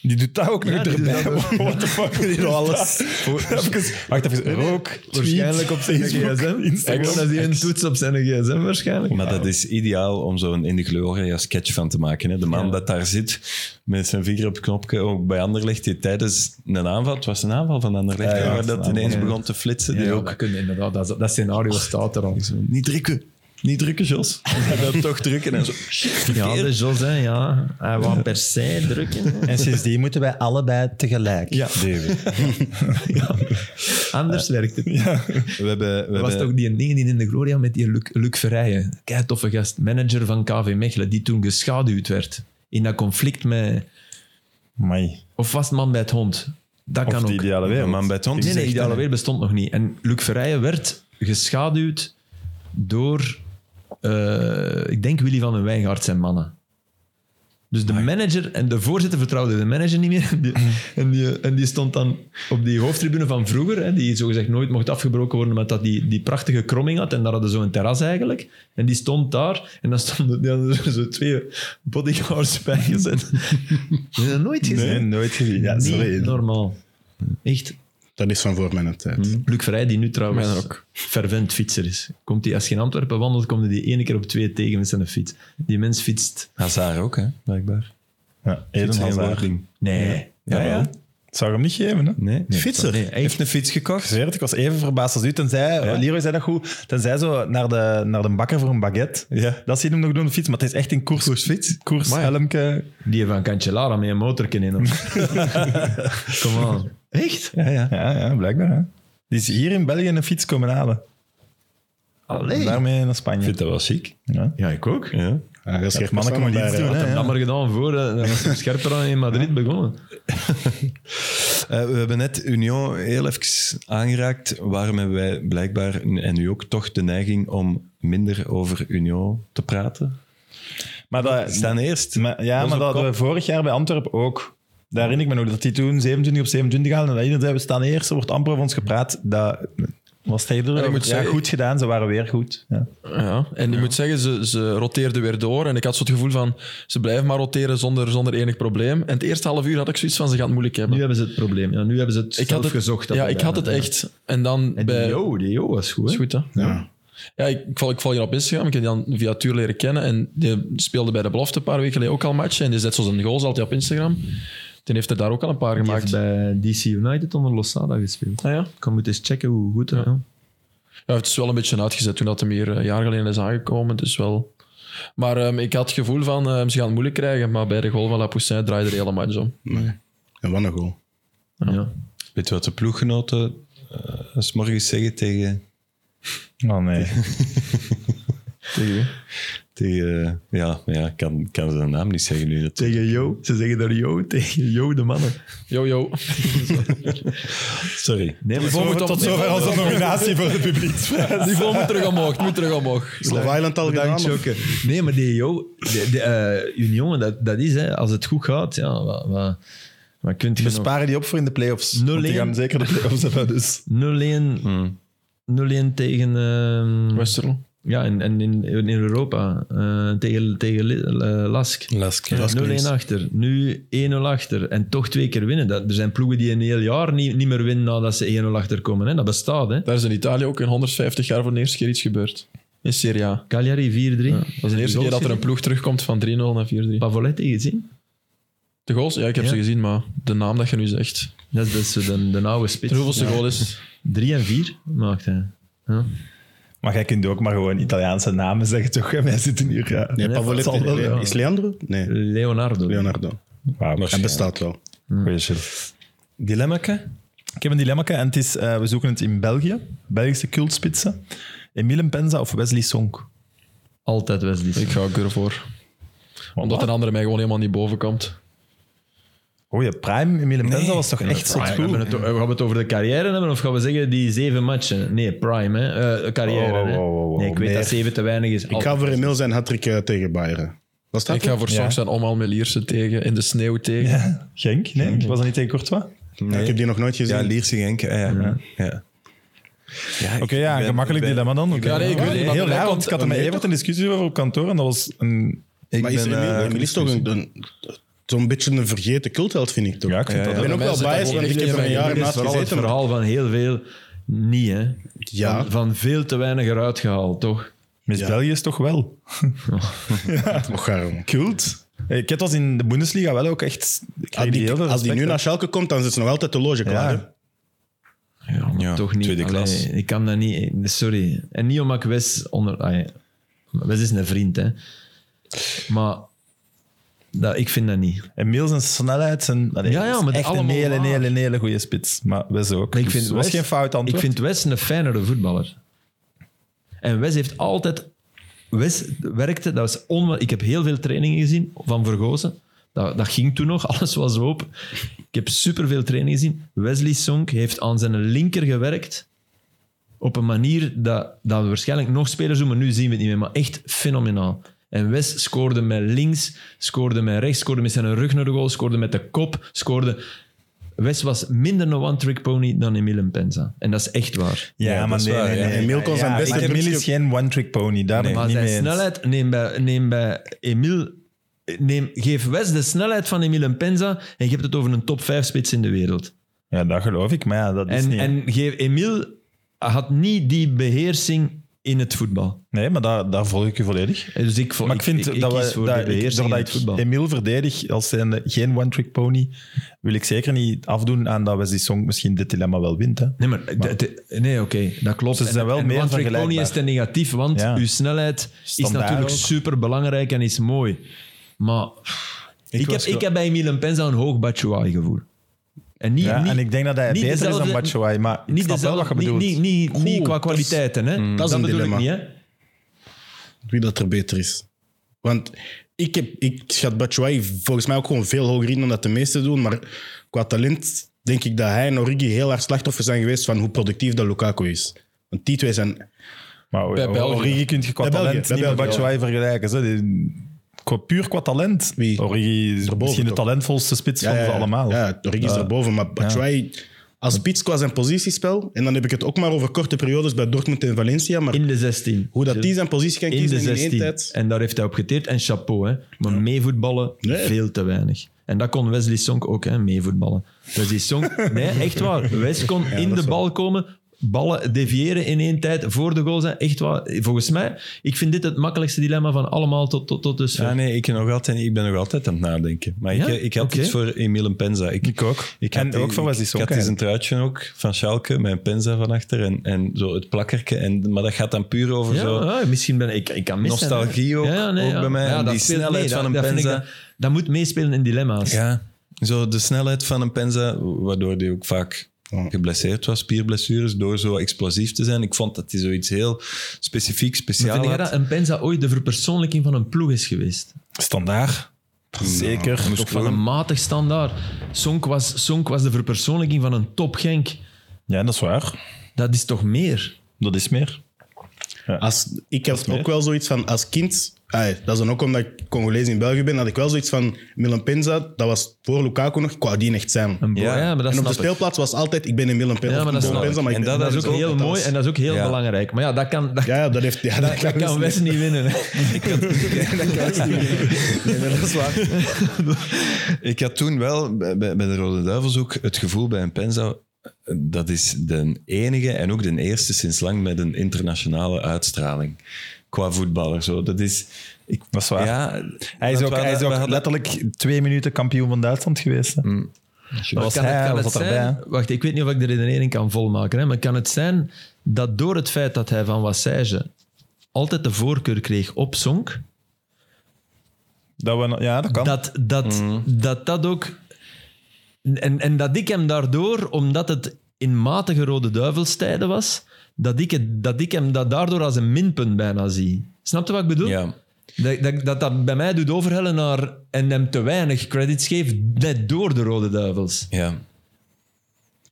Die doet dat ook nog
Ja, die doet
erbij.
dat
What the fuck? Die doet alles. Even, wacht even. Rook, tweet,
waarschijnlijk op zijn
Facebook,
gsm.
Instagram.
Gewoon Dat hij een toets op zijn gsm waarschijnlijk.
Maar dat is ideaal om zo'n In de Gloria sketch van te maken. Hè? De man dat daar zit met zijn vinger op het knopje, ook bij Anderlecht, die tijdens een aanval, het was een aanval van Anderlecht,
ja,
waar
het is
dat
een
ineens
aanval, ja.
begon te flitsen. die ook,
kun je inderdaad. Dat, dat scenario staat er al.
niet drukken, niet drukken, Jos. En dan toch drukken en zo.
Ja, dus- de Jos, hè, ja. Hij wou per se drukken.
En sindsdien moeten wij allebei tegelijk.
Ja, David.
Anders werkt het. Eh,
We hebben, we
Er was
hebben
toch die dingen die in de Gloria met die Luc, Luc Verrijen. Kei toffe gast, manager van KV Mechelen, die toen geschaduwd werd. In dat conflict met...
Amai.
Of was het man bij het hond? Dat
Of
kan
de
ook.
ideale wereld.
man bij het hond.
Nee, nee,
zegt,
ideale weer bestond nog niet. En Luc Verrijen werd geschaduwd door, eh, ik denk Willy van den Wijngaard zijn mannen. Dus de manager en de voorzitter vertrouwde de manager niet meer. En die, en die, en die stond dan op die hoofdtribune van vroeger, hè, die zogezegd nooit mocht afgebroken worden, maar dat die, die prachtige kromming had. En daar hadden ze zo'n terras eigenlijk. En die stond daar. En dan stonden die hadden er zo twee bodyguards bij gezet. Die hadden nooit gezien.
Nee, nooit gezien. Ja,
Niet
sorry.
normaal. Echt
Dat is van voor mijn tijd.
Luc Verrij, die nu trouwens
Mijn ook.
fervent fietser is. Komt hij als je in Antwerpen wandelt, komt hij die ene keer op twee tegen met zijn fiets. Die mens fietst.
Hazard ook, hè, blijkbaar.
Ja, Eden
Geen
Hazard.
woording.
Nee.
Ja, ja.
Dat zou ik hem niet geven, hè?
Nee?
Fietser.
Nee, hij heeft een fiets gekocht.
Ik zweer het, ik was even verbaasd als u. Tenzij, Leroy zei dat goed, tenzij zo naar de, naar de bakker voor een baguette.
Ja.
Dat zie je hem nog doen op fiets, maar het is echt een koers. Koersfiets? Koers, helmke.
Die van Cancellara met een motorke in hem. Kom aan. Echt?
Ja, ja.
Ja, ja, blijkbaar. Hè. Die is hier in België een fiets komen halen.
Allee.
Daarmee naar
Ik
Spanje.
vind dat wel ziek.
Ja.
Ja, ik ook.
Ja.
Ja, dat is echt
Mannen komen
persoon,
iets
maar,
doen,
eh,
hè?
Dat maar gedaan voor, eh, dan was ik scherper dan in Madrid begonnen.
Eh, we hebben net Union heel even aangeraakt. Waarom hebben wij blijkbaar, en nu ook, toch de neiging om minder over Union te praten?
Maar dat,
Ze staan eerst.
Maar, ja, maar
op
dat
kop.
hadden we vorig jaar bij Antwerpen ook. Daar herinner ik me nog dat die toen 27 op 27 haalden. En dat iedereen zei, we staan eerst, er wordt amper over ons gepraat. Dat was tegen
En
ja,
ik moet zeggen-
goed gedaan, ze waren weer goed. Ja.
Ja, en ik moet zeggen, ze, ze roteerden weer door. En ik had zo het gevoel van, ze blijven maar roteren zonder, zonder enig probleem. En het eerste half uur had ik zoiets van, ze gaan het moeilijk hebben.
Nu hebben ze het probleem. Ja, nu hebben ze het
ik
zelf
had het,
gezocht. dat
Ja,
we
ik had het
bijna-
echt. En dan
En
bij...
die Jo, die Jo was goed.
is
hè?
goed, hè?
Ja.
Ja, ik, ik val, ik val hier op Instagram. Ik heb die dan via Tuur leren kennen. En die speelde bij de belofte een paar weken geleden ook al matchen. En die zet zo zijn goals altijd op Instagram. Die heeft er daar ook al een paar
Die
gemaakt.
heeft bij DC United onder Losada gespeeld.
Ah, ja.
Ik kan moeten eens checken hoe goed dat nou-
Ja, het is wel een beetje uitgezet toen dat hem hier eh, een jaar geleden is aangekomen. Dus wel... Maar ehm, ik had het gevoel van, ehm, ze gaan het moeilijk krijgen. Maar bij de goal van Lapoussin draaide de hele match om.
Nee. En wat een goal.
ja. ja.
Weet je wat de ploeggenoten eh, s morgens zeggen tegen,
Oh nee.
tegen eh, ja, maar ja, ik kan, kan zijn naam niet zeggen nu. Dat,
Tegen Jo. Ze zeggen daar Jo tegen Jo de mannen.
Yo, yo.
sorry.
Nee, maar
moet
Tot zover onze nominatie voor de publieksprijs.
Die goal moet terug omhoog. het Moet terug omhoog.
Love Island al gedaan?
Bedankt,
of-
Jokke. Nee, maar die Jo, de, de, eh, Union, dat, dat is, hè, als het goed gaat, ja, wat, wat, wat kunt je
We
nog?
sparen die op voor in de play-offs. want
0-1.
die gaan zeker de play-offs hebben, dus...
0-1 0-1 tegen... ehm,
Westerlo.
ja, en, en in, in Europa. eh, tegen tegen Li- eh, Lask.
Lask.
Ja, 0-1 achter, nu 1-0 achter. En toch twee keer winnen. Dat, er zijn ploegen die een heel jaar niet, niet meer winnen nadat ze 1-0 achter komen. Hè. Dat bestaat. Hè.
Daar is in Italië ook in 150 jaar voor de eerste keer iets gebeurd. In Serie A.
Cagliari 4-3.
Dat is de eerste keer dat er een ploeg terugkomt van 3-0 naar 4-3.
Pavoletti gezien.
De goals? Ja, ik heb
Ja.
ze gezien, maar de naam dat je nu zegt.
Dat is dus de, de oude spits.
De hoeveelste goal is...
3 en 4 maakt hij. Ja.
Maar jij kunt ook maar gewoon Italiaanse namen zeggen, toch? En wij zitten hier... Ja.
Nee,
Nee, dat
Pavoletti.
zal wel,
Nee,
ja.
Is Leandro? Nee,
Leonardo.
Leonardo. Hij bestaat wel.
Goeie shit.
Dilemmake?
Hm. Ik heb een dilemma en het is, eh, we zoeken het in België. Belgische cultspitsen. Emile Penza of Wesley Sonk?
Altijd Wesley.
Ik ga ook ervoor. Omdat een andere mij gewoon helemaal niet boven komt.
Oh ja, Prime Emile Penza was toch echt zot
Prime,
goed?
hebben het, gaan we het over de carrière hebben of gaan we zeggen die zeven matchen? Nee, prime, hè? Eh, carrière.
Oh, oh,
hè?
oh, oh, oh,
nee, ik weet
meer.
dat zeven te weinig is.
Ik ga voor Emil zijn hat-trick eh, tegen Bayern. Was dat?
Ik ga voor
Ja.
Songs en Omal Melierse tegen, in de sneeuw tegen.
Genk? Nee, was dat niet tegen Courtois?
Ja, ik heb die nog nooit gezien.
Ja, Lierse Genk. ah, ja. Ja. Ja. ik-
Oké, ja,
ik
een
ben-
gemakkelijk
ik ben-
dilemma dan. Oké.
Ja, nee, ik wil- maar
heel
bij mij
raar, want
komt-
ik had er met Evert een discussie over op kantoor en dat was een...
Ik
maar is
ben,
Emil
eh,
Emil is toch een- een- zo'n beetje een vergeten cultheld, vind ik toch?
Ja, ik vind
Ja,
dat
Ik ben
Bij
ook
mij
wel
zit dat
biased,
gewoon
want ik
echt in
heb er een
mijn
jaar
Dat is
naast
vooral het
gezeten. maar-
verhaal van heel veel niet, hè?
Ja.
Van, van veel te weinig eruit gehaald, toch?
Miss
Ja.
België is toch wel
Och, waarom?
cult. Ik heb dat in de Bundesliga wel ook echt... ik kreeg
Als die,
heel veel
als die nu
respect,
naar
hè.
Schalke komt, dan zit ze nog altijd de loge klaar. hè?
Ja, maar
Ja,
toch niet.
tweede klas.
Allee, ik kan dat niet. Sorry. En niet omdat ik Wes onder. allee, Wes is een vriend, hè? Maar dat, ik vind dat niet.
En Miels en snelheid zijn allee,
Ja, ja,
is
maar
echt een
allemaal
hele,
waar.
hele, hele goede spits. Maar Wes ook.
Ik
Dus
vind
was
Wes-
geen fout
Ik
antwoord.
vind Wes een fijnere voetballer. En Wes heeft altijd. Wes werkte, dat was onwa- Ik heb heel veel trainingen gezien van Vergozen. Dat, dat ging toen nog, alles was open. Ik heb superveel trainingen gezien. Wesley Sonk heeft aan zijn linker gewerkt. Op een manier dat, dat we waarschijnlijk nog spelers doen, maar nu zien we het niet meer. Maar echt fenomenaal. En Wes scoorde met links, scoorde met rechts, scoorde met zijn rug naar de goal, scoorde met de kop, scoorde... Wes was minder een one-trick pony dan Emile Penza. En dat is echt waar.
Ja,
Ja, dat
maar
is
nee,
waar,
nee,
ja.
nee.
Emil kon zijn
Ja,
beste
ik- Emil
drukje-
is geen one-trick pony, daar ben ik
Maar
niet
zijn
mee eens.
snelheid, neem bij, neem bij Emile, neem, geef Wes de snelheid van Emile Penza en je hebt het over een top 5 spits in de wereld.
Ja, dat geloof ik, maar ja, dat is
En,
niet...
en geef Emile had niet die beheersing in het voetbal.
Nee, maar daar, daar volg ik je volledig.
En Dus ik, vo-
Maar ik vind dat
kies
we,
voor
dat
de
ik-
beheersing in
doordat
het
ik
voetbal.
Emiel verdedig als zijnde geen one-trick pony, wil ik zeker niet afdoen aan dat Wesley Song misschien dit dilemma wel wint. Hè.
Nee, maar, de- de- nee, oké, dat klopt.
Ze zijn wel meer
want pony
vergelijkbaar.
is te negatief, want
Ja.
uw snelheid
Standaard
is natuurlijk
ook.
super belangrijk en is mooi. Maar pff, ik, heb,
was ge-
ik heb bij Emile Penza een hoog Batshuayi gevoel. En niet,
Ja,
niet,
en ik denk dat hij
niet
beter is dan
dezelfde-
Batshuayi, maar ik
niet
snap wel
dezelfde-
wat je bedoelt. Mm.
Niet, niet, niet, niet
Oeh,
qua
dat is-
kwaliteiten, hè?
dat is een
bedoel
dilemma.
ik niet, hè?
wie dat er beter is. Want ik, heb, ik schat Batshuayi volgens mij ook gewoon veel hoger in dan dat de meesten doen. Maar qua talent denk ik dat hij en Origi heel erg slachtoffer zijn geweest van hoe productief dat Lukaku is. Want die twee zijn...
Maar
Bij België.
Origi kun je qua
Bij België,
talent
bij
niet met
België.
Batshuayi vergelijken. Zo. Die- qua- Puur qua talent.
Wie?
Origi is misschien de
toch?
talentvolste spits van ze allemaal.
eh, Ja, Origi is erboven. Maar Batshuayi als spits qua zijn positiespel... En dan heb ik het ook maar over korte periodes bij Dortmund en Valencia. Maar
In de 16.
hoe dat die zijn positie kan
in de
kiezen in, één
16.
tijd...
En daar heeft hij op geteerd. En chapeau, hè. Maar meevoetballen,
Nee.
veel te weinig. En dat kon Wesley Song ook, hè, meevoetballen. Wesley Song, nee, echt waar. Wes kon in de bal komen, ballen deviëren in één tijd, voor de goal zijn. Echt waar. Volgens mij, ik vind dit het makkelijkste dilemma van allemaal tot, tot, tot dusver.
Ja, nee, ik, nog altijd, ik ben nog altijd aan het nadenken. Maar
Ja?
ik, ik had
Oké.
iets voor Emile Penza. Ik,
Ik ook.
Ik
en
had die-
ook van Wesley
Ik,
Song.
ik had eens een
eigenlijk.
truitje ook van Schalke, mijn penza van achter en, en zo het plakkerke. En, maar dat gaat dan puur over
Ja,
zo.
ja, misschien ben ik, ik kan mis zijn, hè.
Nostalgie ook- ook bij mij. En
dat
die
speelt
snelheid
mee.
van een
dat, dat vind ik
Penza.
Dat, dat moet meespelen in dilemma's.
Ja, zo de snelheid van een penza, waardoor die ook vaak geblesseerd was, spierblessures, door zo explosief te zijn. Ik vond dat hij zoiets heel specifiek,
Maar
speciaal
vind jij
had.
dat een Penza ooit de verpersoonlijking van een ploeg is geweest?
Standaard. Zeker.
Ook van een matig standaard. Sonk was, Sonk was de verpersoonlijking van een topgenk.
Ja, dat is waar.
Dat is toch meer?
Dat is meer.
Als, ik had ook wel zoiets van, als kind, ah, dat is dan ook omdat ik Congolees in België ben, had ik wel zoiets van Milan Penza, dat was voor Lukaku nog, ik wou die echt zijn.
Een bo-
Ja.
Oh maar dat
en op de
snap ik.
speelplaats was altijd, ik ben een Milan Penza.
Ja, maar dat snap ik.
En dat
Dat is ook heel mooi en dat is ook heel
Ja.
belangrijk. Maar ja, dat kan, dat,
Ja, ja, dat heeft... Ja, dat, kan
dat kan
dus
Wes niet winnen. hè.
Nee, maar dat is waar. ik had toen wel bij, bij bij de Rode Duivels ook het gevoel bij een Penza. Dat is de enige en ook de eerste sinds lang met een internationale uitstraling qua voetballer. Zo. Dat is, ik,
Dat is waar.
Ja,
Hij is
want
ook,
we hadden-
hij is
we
ook
hadden-
letterlijk twee minuten kampioen van Duitsland geweest. hè. Dat was
Mm. kan het,
hij,
kan
hij
het
was
zijn,
erbij. hè.
Wacht, ik weet niet of ik de redenering kan volmaken. Hè, maar kan het zijn dat door het feit dat hij van Wassage altijd de voorkeur kreeg op Sonk,
Dat we, ja, dat kan.
dat dat,
Mhm.
dat dat ook... En, en dat ik hem daardoor, omdat het in matige Rode Duivelstijden was, dat ik, het, dat ik hem dat daardoor als een minpunt bijna zie. Snap je wat ik bedoel?
ja.
Dat, dat, dat dat bij mij doet overhellen naar en hem te weinig credits geeft, net door de Rode Duivels.
ja.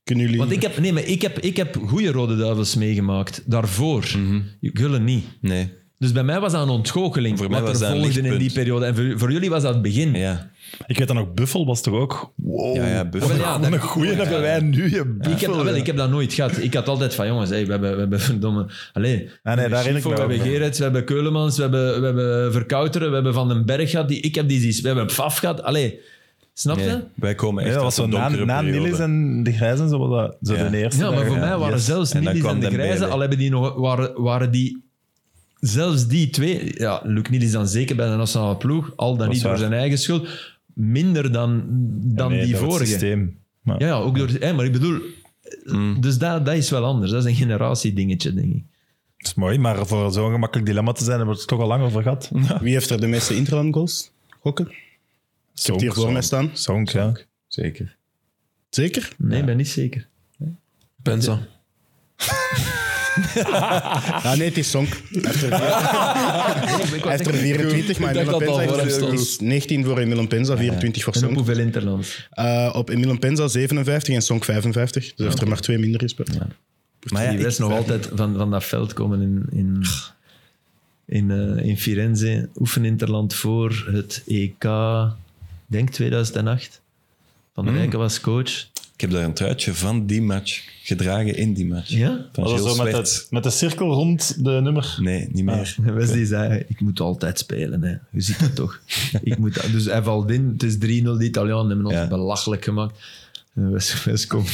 Kunnen jullie...
Want ik heb, nee, maar ik heb, ik heb goede Rode Duivels meegemaakt, daarvoor.
Mhm.
Gullen niet.
Nee.
Dus bij mij was dat een ontgoocheling.
Voor mij
wat
was
er
dat een
volgde in die
lichtpunt.
periode. En voor, voor jullie was dat het begin.
Ja.
Ik weet dan ook, Buffel was toch ook... Wow.
Ja, ja, Buffel.
Wel,
oh,
ja, dat-
een goeie hebben wij nu. hè, Buffel,
Ik heb, dat wel, ik heb dat nooit gehad. Ik had altijd van, jongens, hey, we hebben, we hebben verdomme... Allee, we hebben
daar herinner ik
Schifo,
me
we
wel
hebben
van.
Gerets, we hebben Keulemans, we hebben, we hebben Verkouteren, we hebben Van den Berg gehad. Die, ik heb die zien- We hebben Pfaff gehad. Allee, snap je?
Nee, wij komen
Ja,
echt
dat was
uit
zo
een
na,
donkere
na
periode.
Nilis en de Grijzen, zo, was dat, zo
Ja.
de eerste.
Ja, maar voor
dagen.
mij waren
Yes.
zelfs
En dan
Nilis
kwam
en de
Dembele.
Grijze, al hebben die nog, waren, waren die... Zelfs die twee, ja, Luc Nilis dan zeker bij de nationale ploeg, al dan niet door
waar.
zijn eigen schuld, minder dan, dan
Nee,
die
door het
vorige.
systeem. Maar,
Ja, ja, ook door... hè, maar ik bedoel... Dus dat, dat is wel anders. Dat is een generatiedingetje, denk ik.
Dat is mooi, maar voor zo'n gemakkelijk dilemma te zijn, hebben we het toch al lang over gehad.
Wie heeft er de meeste interland goals? Gokken? Ik heb het hier voor mij staan.
Song, ja.
Zeker.
Zeker?
Nee, ik ben niet zeker.
Penza.
Ah nee, het is Song. Hij heeft er- Hij heeft er 24, maar
Ik dacht
Milan
dat het al
Penza
voor
heeft
hem
er-
stond.
is 19 voor Milan Penza, 24 voor
En op
Song.
hoeveel interlands?
Eh, op Milan Penza 57 en Song 55. Dus hij
Ah,
heeft er maar twee minder gespeeld.
Maar die West nog altijd van, van dat veld komen in, in, in, eh, in Firenze. Oefen interland voor het EK, denk 2008. Van der Rijken was coach.
Ik heb daar een truitje van die match gedragen in die match.
Ja?
Van
Dat was
Gilles
zo met,
Swerts.
het, met de cirkel rond de nummer.
Nee, niet
Ah.
meer.
En West die zei, ik moet altijd spelen. Hè. U ziet het toch. ik moet, dus hij valt in, het is 3-0, de Italianen hebben ons
Ja.
belachelijk gemaakt. En West, West komt,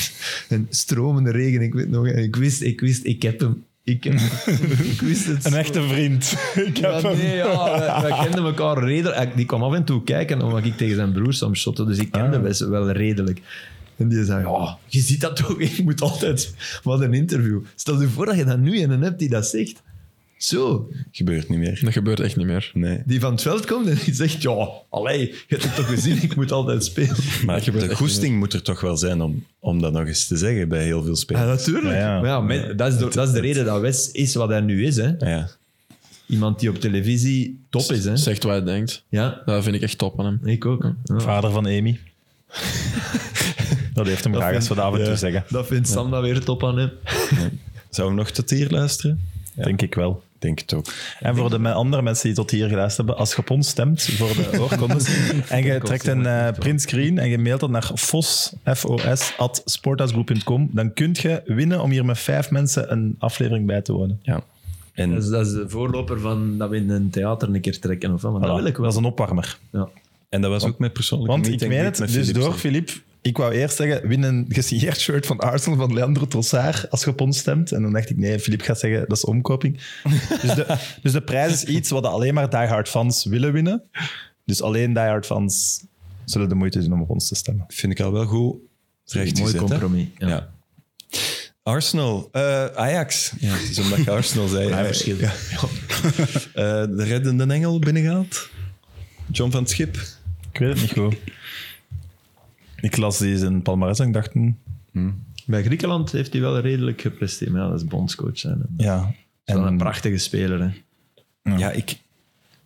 een stromende regen, ik weet nog, en ik wist, ik wist, ik heb hem. Ik, ik wist het.
Een echte vriend. Ik heb
Ja,
hem.
nee, ja, wij, wij kenden elkaar redelijk. Die kwam af en toe kijken, omdat ik tegen zijn broer soms shotte. Dus ik kende best wel redelijk. En die zei, ja, je ziet dat toch, ik moet altijd... Wat een interview. Stel je voor dat je dat nu in een hebt die dat zegt. Zo.
Gebeurt niet meer.
Dat gebeurt echt niet meer.
Nee.
Die van het veld komt en die zegt, ja, allee, je hebt het toch gezien, ik moet altijd spelen.
Maar
gebeurt
de
echt
goesting moet er toch wel zijn om, om dat nog eens te zeggen bij heel veel
Ja,
spelers.
natuurlijk.
Ja, ja.
Maar ja, men- dat, is de, dat is de reden dat Wes is wat hij nu is. Hè.
ja.
Iemand die op televisie top is. Hè.
Zegt wat hij denkt.
Ja,
Dat vind ik echt top aan hem.
ik ook. Ja.
Vader van Amy. Dat heeft hem graag als we dat af en toe
ja.
zeggen.
Dat vindt Sam dan weer top aan hem.
Zou we nog tot hier luisteren?
Denk ik wel.
Ik Denk het ook.
En voor de me- andere mensen die tot hier geluisterd hebben, als je op ons stemt voor de oorkondes en je trekt een eh, printscreen en je mailt dat naar fos, F-O-S, at sporthuisgroep.com, dan kun je winnen om hier met vijf mensen een aflevering bij te wonen.
Ja. En
Dat is, Dus dat is de voorloper van dat we in een theater een keer trekken. Of, wat, maar dat
Voilà.
wil ik
Dat
wel.
is een opwarmer.
Ja.
En dat was ook mijn persoonlijke
Want
meeting,
ik meen
niet
het,
met
dus
Philips.
door Filip. Ik wou eerst zeggen, win een gesigneerd shirt van Arsenal van Leandro Trossard als je op ons stemt. En dan dacht ik, nee, Filip gaat zeggen, dat is omkoping. Dus de, dus de prijs is iets wat alleen maar diehard fans willen winnen. Dus alleen diehard fans zullen de moeite doen om op ons te stemmen.
Vind ik al wel goed
Ah,
recht
Mooi compromis.
Ja.
Ja.
Arsenal, eh, Ajax. Ja, het is omdat je Arsenal zei. eh, Ja, verschil. de reddende engel binnengehaald. John van het Schip.
Ik weet het niet goed. Ik las die in Palmares en ik dacht, hm,
Bij Griekenland heeft hij wel redelijk gepresteerd. Maar ja, dat is bondscoach. Hè. Dat is
ja.
wel een
En-
prachtige speler. Hè.
Ja, ik,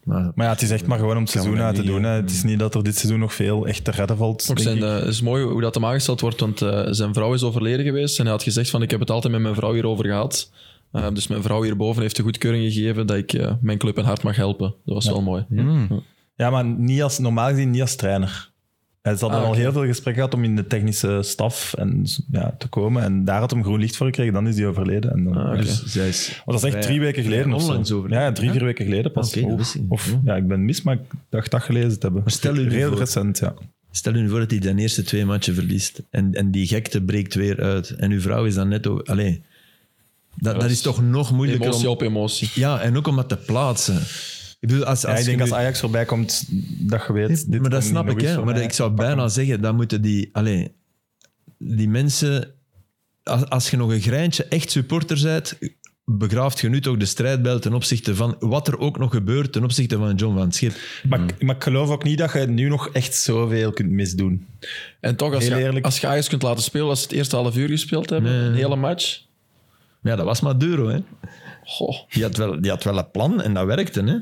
Maar
maar ja, het is echt maar gewoon om het seizoen
mij
uit te
niet, eh,
doen. Hè. Het is niet dat er dit seizoen nog veel echt te redden valt.
Ook
denk
zijn,
ik.
eh, het is mooi hoe dat hem aangesteld wordt, want eh, zijn vrouw is overleden geweest. En hij had gezegd van, ik heb het altijd met mijn vrouw hierover gehad. Eh, dus mijn vrouw hierboven heeft de goedkeuring gegeven dat ik eh, mijn club en hart mag helpen. Dat was wel mooi.
Ja, maar niet als, normaal gezien niet als trainer. Hij had
Ah,
al
oké.
heel veel gesprekken gehad om in de technische staf en, ja, te komen. En daar had hem groen licht voor gekregen. Dan is hij overleden. En dan,
Ah, oké.
dus,
zij is...
want
Ah,
dat is echt
Ja,
drie weken geleden of zo.
onlangs over.
Ja, drie, vier weken geleden pas.
Oké, dat
Of-
wist ik niet.
of, ja, ik ben mis, maar ik dacht dat gelezen te hebben.
Maar stel u nu
Heel
voor-
recent, ja.
Stel u voor dat hij de eerste twee matchen verliest. En, en die gekte breekt weer uit. En uw vrouw is dan net... Over... Allee, dat, dat is toch nog moeilijker om...
Emotie op emotie.
Ja, en ook om dat te plaatsen. Ik bedoel, als, als
ja. Ik
je
denk
nu-
als Ajax voorbij komt, dat je weet... dit
maar
kan
dat snap
nog
ik,
eens
hè.
voor
Maar
mij.
ik zou bijna zeggen, dan moeten die... Allee, die mensen... Als, als je nog een greintje echt supporter bent, begraaft je nu toch de strijdbel ten opzichte van wat er ook nog gebeurt ten opzichte van John van het Schip.
Maar, ik- maar ik geloof ook niet dat je nu nog echt zoveel kunt misdoen.
En toch, als
Heel
je,
eerlijk.
als je Ajax kunt laten spelen als ze het eerste half uur gespeeld hebben,
Nee.
een hele match.
Maar ja, dat was Maduro, hè.
Goh.
Die had wel, die had wel een plan en dat werkte, hè.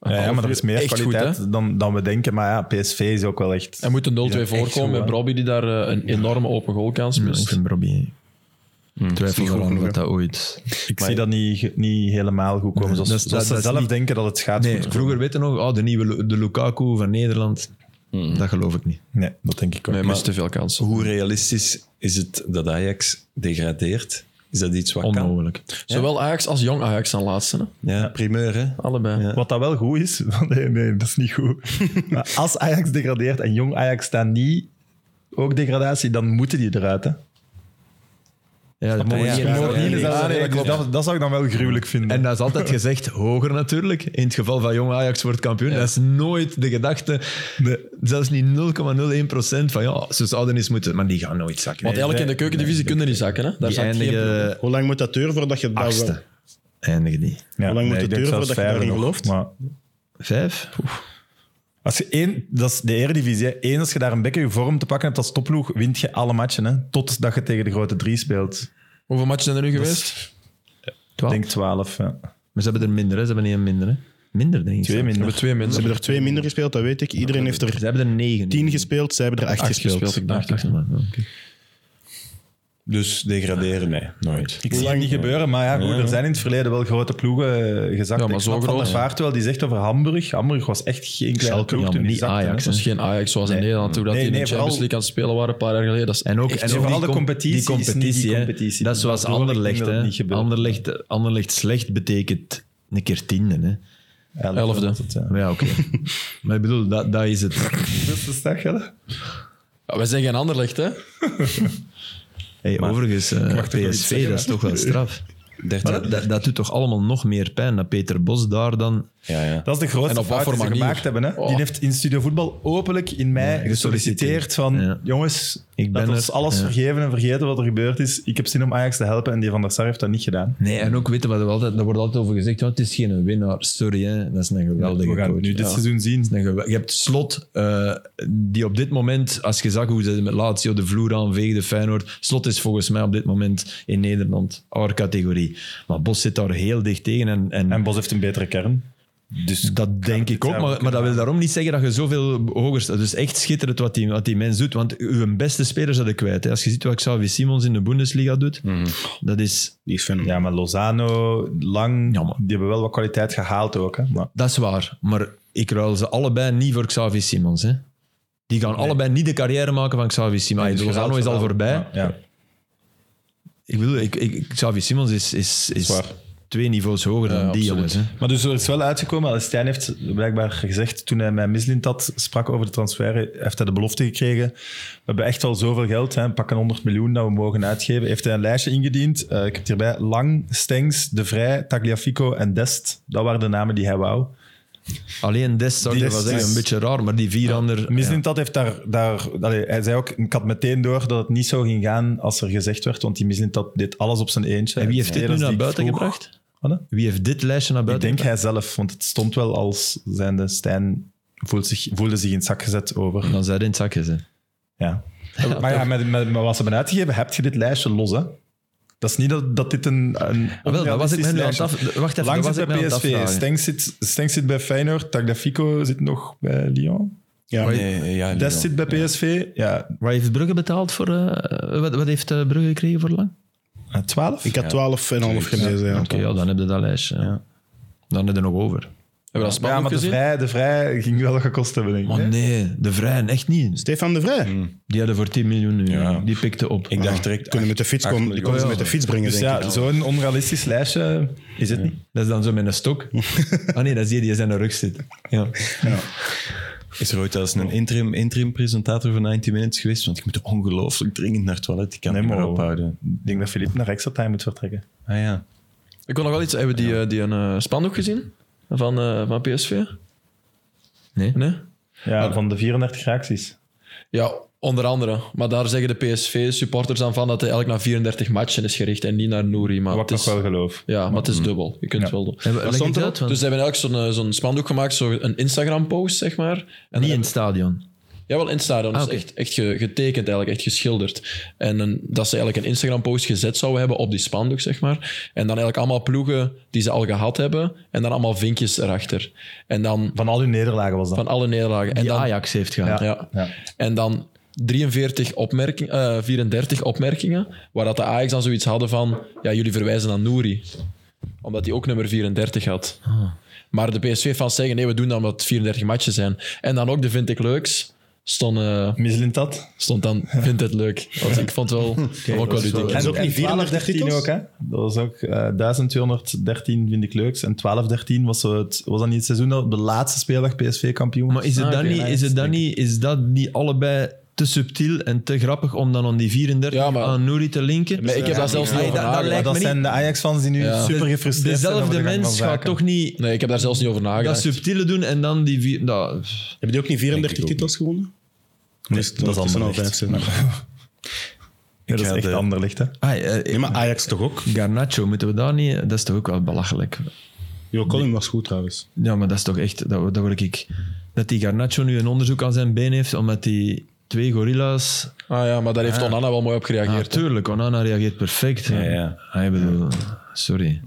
Ah,
Ja, ja, maar er is meer
Echt goed,
kwaliteit dan, dan we denken. Maar ja, PSV is ook wel echt...
Er moet een 0-2
echt goed,
voorkomen
hè.
met Robbie die daar eh, een enorme open goalkans
Ja, ik
mist.
vind Robbie...
Hmm.
Ik twijfel
goed
eraan
genoeg,
dat dat ooit...
Ik zie dat niet, niet helemaal goed komen. Zoals,
dat is-
zoals
dat-
ze
dat is
zelf
niet-
denken dat het gaat
Nee,
goed komen.
vroeger weten nog, oh, de nieuwe Lu- de Lukaku van Nederland.
Hmm.
Dat geloof ik niet.
Nee, dat denk ik ook.
Nee, mist te veel kansen.
hoe realistisch is het dat Ajax degradeert? Is dat iets wat
Onmogelijk.
Zowel Ajax als jong Ajax aan laatste. Hè?
kan? Ja, primeur, hè?
Allebei.
Ja.
Wat dat wel goed is, want nee, nee, dat is niet goed. Maar als Ajax degradeert en jong Ajax staan niet ook degradatie, dan moeten die eruit. Hè?
Ja, dat mogen
ja.
niet-
Ja,
mogen
ja,
niet-
ja.
Ah, nee, dat, dat, zou ik dan wel gruwelijk vinden.
En dat is altijd gezegd, hoger natuurlijk. In het geval van jong Ajax wordt kampioen. Dat is nooit de gedachte, zelfs niet 0,01% van ja, ah, ze zouden eens moeten, maar die gaan nooit zakken.
Want eigenlijk in de keukendivisie kunnen die zakken. Hè? Daar
die
zijn geen
eindigen
Hoe lang moet dat duren voordat je dat wel...
achtste. Eindigen die.
Ja,
Hoe lang moet
ik
het
denk
duren
zelfs
voordat je
vijfde
daarin
nog.
gelooft?
Maar
Vijf?
als je één, dat is de Eredivisie. hè. Eén, als je daar een bekken je vorm te pakken hebt als topploeg, wint je alle matchen. Hè? Totdat je tegen de grote drie speelt.
Hoeveel matchen zijn er nu geweest?
Ik denk twaalf. Ja.
Maar ze hebben er minder, hè? ze hebben één minder. Hè? Minder, denk ik.
Twee
We
minder.
hebben twee
Ze
mensen.
hebben er twee minder gespeeld, dat weet ik. Iedereen heeft
Ze
er
hebben er negen.
tien gespeeld, zij hebben er acht, gespeeld.
gespeeld, ik dacht.
Acht, maar, ja, oké.
Dus degraderen, nee, nooit.
Ik zie het niet gebeuren, maar ja, goed, er zijn in het verleden wel grote ploegen eh, gezakt.
Ja, maar
Ik
zo
snap Van
groot,
der
ja.
Vaart wel, die zegt over Hamburg. Hamburg was echt geen kleine
Schalke,
ploeg
ja,
toen
maar
die
niet
zakte,
Ajax,
hè.
Dat is geen Ajax zoals in Nederland. Toen dat
Nee,
die in
nee,
de Champions
vooral-
League aan het spelen waren een paar jaar geleden. Dat is
En ook,
Echt
en ook
vooral
die
de
com-
competitie
die
is niet
competitie,
die
hè.
competitie.
Dat is zoals
Daardoor
Anderlecht.
denk ik dat
hè.
het niet gebeurt.
Anderlecht, Anderlecht slecht betekent een keer tiende. Hè.
Elfde.
was het, ja.
Maar ja, oké. maar ik bedoel, dat, dat is het.
Ja, wij zijn geen Anderlecht, hè?
Hey, overigens, eh, PSV, dat is toch wel straf.
13
Maar dat, dat doet toch allemaal nog meer pijn, dat Peter Bos daar dan...
Ja, ja.
Dat is de
En
grootste
op wat
fout die
voor
ze
manier?
gemaakt hebben. Hè?
Oh.
Die heeft in Studio Voetbal openlijk in mei gesolliciteerd van...
Ja.
Jongens,
Ik ben
laat ons
er.
alles
Ja.
vergeven en vergeten wat er gebeurd is. Ik heb zin om Ajax te helpen en die van der Sar heeft dat niet gedaan.
Nee, en ook weten wat er altijd, daar wordt altijd over gezegd, want het is geen winnaar. Sorry, hè. dat is een geweldige
We gaan
coach.
het nu dit
Ja.
seizoen zien.
Een gewe- Je hebt slot, eh, die op dit moment, als je zag hoe ze met Lazio de vloer aanveegden, Feyenoord. Slot is volgens mij op dit moment in Nederland our categorie. Maar Bos zit daar heel dicht tegen. En, en,
En Bos heeft een betere kern.
dus dat denk
dit
ik ook.
jaar ook
Maar, maar dat wil daarom niet zeggen dat je zoveel hoger staat. Dus echt schitterend wat die, wat die mens doet. Want uw beste spelers hadden kwijt. Hè. Als je ziet wat Xavi Simons in de Bundesliga doet, dat is
Die is fenomenaal.
Ja, maar Lozano, Lang,
Jammer.
die hebben wel wat kwaliteit gehaald ook. Hè? Maar
Dat is waar, maar ik ruil ze allebei niet voor Xavi Simons. Hè. Die gaan allebei niet de carrière maken van Xavi Simons.
dus
Lozano
je
is
ruilt
al
ze wel.
voorbij.
ja.
Ik wil, ik, ik, Xavi Simons is, is, is
Zwaar.
twee niveaus hoger dan
Ja,
die
absoluut.
jongens. Hè.
Maar dus er is wel uitgekomen, Al Stijn heeft blijkbaar gezegd, toen hij met Mislint had, sprak over de transfer, heeft hij de belofte gekregen. We hebben echt wel zoveel geld, hè, pakken 100 miljoen dat we mogen uitgeven. Heeft hij een lijstje ingediend. Eh, ik heb het hierbij Lang, Stengs, De Vrij, Tagliafico en Dest. Dat waren de namen die hij wou.
Alleen Dest zou ik
Die
wel
Dest
zeggen,
is-
een beetje raar, maar die vier anderen... ja.
Mislint dat heeft daar... daar allee, hij zei ook, ik had meteen door dat het niet zo ging gaan als er gezegd werd, want die Mislint dat deed alles op zijn eentje.
En wie heeft
Ja,
dit nu
spelers die
naar
ik
buiten
vroeg-
gebracht?
Wat, hè?
Wie heeft dit lijstje naar
Ik
buiten
denk hij zelf, want het stond wel als zijnde Stijn voelt zich, voelde zich in het zak gezet over.
gebracht? Dan zijn in het zakje zijn.
Ja. maar ja, met, met, met wat ze hebben uitgegeven, heb je dit lijstje los, hè? Dat is niet dat, dat dit een, een
Ah, wel, dat was ik
onrealistisch
me nu aan het
lijstje.
af... Wacht even,
Lang
dat was
zit
ik me aan
bij
het
PSV,
afvragen.
Stengs zit, Stengs zit bij Feyenoord, Tagliafico zit nog bij Lyon.
Ja.
Nee, ja, Lyon.
Dest zit bij PSV, ja,
Waar heeft Brugge betaald voor... eh, wat, wat heeft eh, Brugge gekregen voor lang?
eh, 12.
Ik had 12 en half gelezen. Ja.
Oké, ja, dan heb je dat lijstje. ja. Dan heb je nog over.
we dat
ja,
spannend
maar de
gezien?
vrij, de vrij ging wel gekost hebben, denk ik.
Maar
hè?
nee, de Vrijen echt niet.
Stefan de Vrij.
Die hadden voor 10 miljoen nu. hè.
Ja.
Die pikte op.
Ik dacht direct...
Kunnen met de fiets
acht
komen. Die
miljoen.
konden ze met de fiets brengen,
Dus
denk
ja,
ik.
zo'n onrealistisch lijstje is het niet.
Dat is dan zo met een stok. Ah nee, dat is die die zijn rug zit. Ja.
ah, Is er ooit als een interim, interim presentator van 90 Minutes geweest? Want ik moet ongelooflijk dringend naar het toilet. Ik kan
Nee,
niet meer
maar-
ophouden.
Ik denk dat Filip naar extra time moet vertrekken.
Ah ja.
Ik kon nog wel iets... Hebben die, eh, die een eh, spandoek gezien? Van, eh, van PSV?
Nee.
Nee?
Ja, van de 34 reacties.
Ja, onder andere. Maar daar zeggen de PSV-supporters dan van dat hij eigenlijk naar 34 matchen is gericht en niet naar Nouri. Maar
Wat
het
ik
is,
nog wel geloof.
Ja, maar het is dubbel. Je kunt wel doen.
Leg
stond
het
erop?
uit, want
Dus ze hebben eigenlijk zo'n eh, zo'n spandoek gemaakt, zo'n Instagram-post, zeg maar. En dan
niet in
hebben-
het stadion.
Jawel, in het stadion.
Ah,
Dus
oké.
echt, echt ge- getekend eigenlijk, echt geschilderd. En een- dat ze eigenlijk een Instagram-post gezet zouden hebben op die spandoek, zeg maar. En dan eigenlijk allemaal ploegen die ze al gehad hebben en dan allemaal vinkjes erachter. En dan
Van al uw nederlagen was dat.
van alle nederlagen. En
Die
dan,
Ajax heeft gehad.
ja.
Ja.
En dan 43 opmerking, eh, 34 opmerkingen, waar dat de Ajax dan zoiets hadden van, ja, jullie verwijzen naar Nouri. Omdat hij ook nummer 34 had.
Ah.
Maar de PSV-fans zeggen, nee, we doen dat omdat het 34 matchen zijn. En dan ook, de vind ik leuks, stond, eh,
Mislint dat.
stond dan, vind het leuk. Want ik vond wel, dat ook wel ludiek.
Dat is ook niet 34
13
titels?
ook, hè? Dat was ook eh, 1213 vind ik leuks. En 1213 was, zo het, was dat niet het seizoen dat op de laatste speeldag PSV kampioen
Maar is het,
Ah,
dan
oké,
niet, is, het dan niet, is dat niet allebei te subtiel en te grappig om dan aan die 34
Ja, maar-
aan Nouri te linken?
Maar ik heb daar zelfs niet
Ah,
over
dat- dat
nagedacht.
lijkt me
dat
niet-
zijn de Ajax-fans die nu
Ja.
super
De-
gefrustreerd zijn. over
Dezelfde
de gang
mens
van
gaat
zaken.
toch niet
Nee, ik heb daar zelfs niet over
dat
nagedacht.
subtiele doen en dan die... Vier, dat,
Hebben die ook niet 34
Denk ik ook
titels gewonnen? Dus
dat is
ondertussen al
Anderlecht.
vijf zijn.
Ja, dat
Ik
is
ga
echt
de-
ander licht, hè?
Ah, eh,
Nee, maar Ajax toch ook?
Garnacho, moeten we daar niet... Dat is toch ook wel belachelijk.
Jo, Colin was goed trouwens.
Ja, maar dat is toch echt... Dat, dat word ik... Dat die Garnacho nu een onderzoek aan zijn been heeft, omdat die twee gorilla's
Ah ja, maar daar heeft Onana wel mooi op
Ja,
gereageerd.
tuurlijk. Onana reageert perfect. Ja,
ja.
Hij bedoelt... Sorry.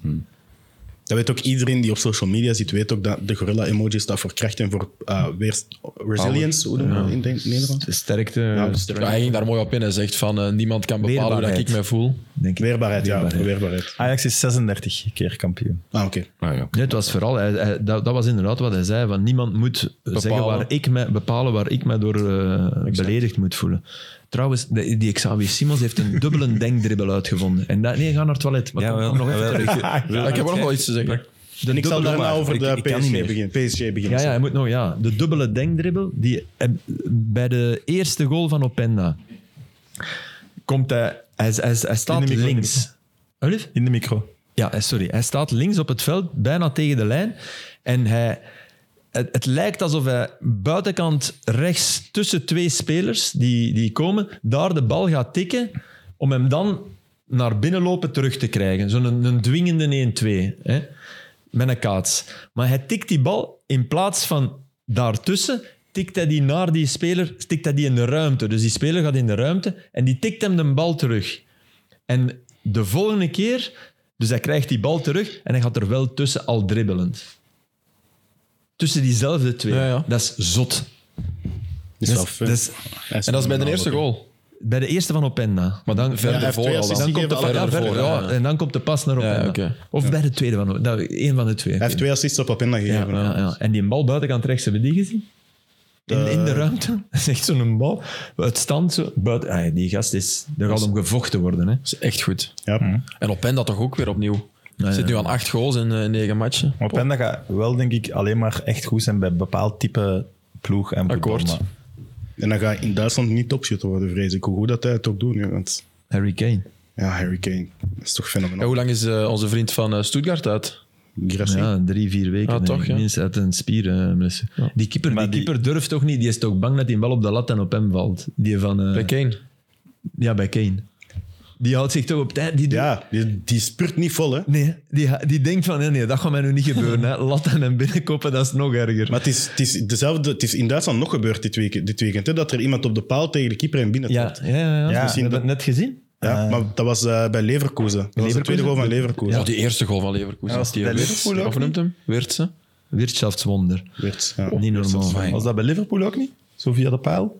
Dat weet ook iedereen die op social media zit, weet ook dat de gorilla-emoji staat voor kracht en voor eh, weer- resilience, hoe noemen we dat in het Nederlands?
Sterkte.
Ja, hij ging daar mooi op in en zegt van, eh, niemand kan bepalen hoe dat ik
Weerbaarheid.
me voel.
denk ik.
Weerbaarheid, ja, weerbaarheid.
Ajax is 36 keer kampioen.
Ah, oké.
Ah, ja.
Nee, het was vooral... hij- hij- dat, dat was inderdaad wat hij zei. Van niemand moet eh, zeggen waar ik me, bepalen waar ik me door eh, beledigd moet voelen. Trouwens, de- die Xavier Simons heeft een dubbele denkdribbel uitgevonden. En dat, nee, ga naar het toilet. Maar
Ja,
kom-
wel.
kom nog even
Ah, Wel,
terug.
ik- wil-
Ah, ik heb ook nog wel iets te zeggen.
De
Ik zal
dubbele-
daarna over
Ik-
de
ik kan
PSG
niet meer.
beginnen. PSG beginnen.
Ja, ja, hij moet nog, ja. De dubbele denkdribbel, die eh, bij de eerste goal van Openda komt hij, hij, hij, hij staat
In de micro-
links. Alsjeblieft?
In de micro.
Ja, eh, sorry. Hij staat links op het veld, bijna tegen de lijn. En hij, het, het lijkt alsof hij buitenkant rechts tussen twee spelers die, die komen, daar de bal gaat tikken om hem dan naar binnen lopen terug te krijgen. Zo'n een, een dwingende 1-2. Hè? Met een kaats. Maar hij tikt die bal in plaats van daartussen, tikt hij die naar die speler, tikt hij die in de ruimte. Dus die speler gaat in de ruimte en die tikt hem de bal terug. En de volgende keer, dus hij krijgt die bal terug en hij gaat er wel tussen al dribbelend. Tussen diezelfde twee.
Ja, ja.
Dat is zot.
Is
Dat
wel
is-
fun.
Dus- dat is
Hij
En dat is bij de
fenomenaal,
eerste
ook, hè.
goal.
bij de eerste van Openda.
Nou, Maar dan
hij
verder
heeft
voor
twee
al. dan.
Dan
assists
komt de,
gegeven
ja,
aan
verder
verder,
voor,
ja.
ja.
En dan komt de pas naar Openda.
Ja, oké.
Of bij de tweede van Openda. Dat- Eén van de twee.
Hij heeft twee assists op Openda
Ja,
gegeven.
ja, ja. En die bal buitenkant rechts hebben we die gezien? In, in
Eh.
de ruimte. Dat is echt zo'n bal. Het stand zo. Buiten, ah, die gast is. Er gaat om gevochten worden. Hè.
Dat is echt goed.
Ja.
Mm.
En Openda toch ook weer opnieuw.
Ah,
Zit nu aan acht goals in eh, negen matchen.
Oh.
Maar Openda gaat wel, denk ik, alleen maar echt goed zijn bij een bepaald type ploeg en voetbal,
Akkoord.
maar-
En dan ga je in Duitsland niet topschutter worden, vrees ik. Hoe goed dat hij het ook doet. nu, Want
Harry Kane.
ja, Harry Kane, dat is toch
Ja,
fenomenaal.
hoe lang is eh, onze vriend van eh, Stuttgart uit?
Grassi.
Ja, drie, vier weken.
Ah,
denk
toch,
ik.
ja.
Minstens uit een spiermessie. Die, keeper, die,
Maar die-
keeper durft toch niet. Die is toch bang dat die bal op de lat en op hem valt. Die van. eh,
Bij Kane.
Ja, bij Kane. Die houdt zich toch op tijd. Die doet-
Ja, die, die spurt niet vol, hè.
Nee, die, die denkt van, nee, nee, dat gaat mij nu niet gebeuren. Hè. Latten en binnenkoppen, dat is nog erger.
Maar het is, het is, dezelfde, het is in Duitsland nog gebeurd dit weekend, dit weekend hè, dat er iemand op de paal tegen de keeper en binnen
ja,
trapt.
ja, ja, ja.
Ja,
Misschien
dat-
dat net gezien.
Ja, maar dat was eh, bij Leverkusen. Dat was de
Leverkusen?
tweede goal van Leverkusen.
Oh, die eerste goal van Leverkusen.
Ja,
was die
bij
Wirtz.
Liverpool ook
Of noemt hem? Wirtse.
Wirtschaftswonder.
Werd, ja.
Niet normaal.
Amai.
Was dat bij Liverpool ook niet? Zo via de paal?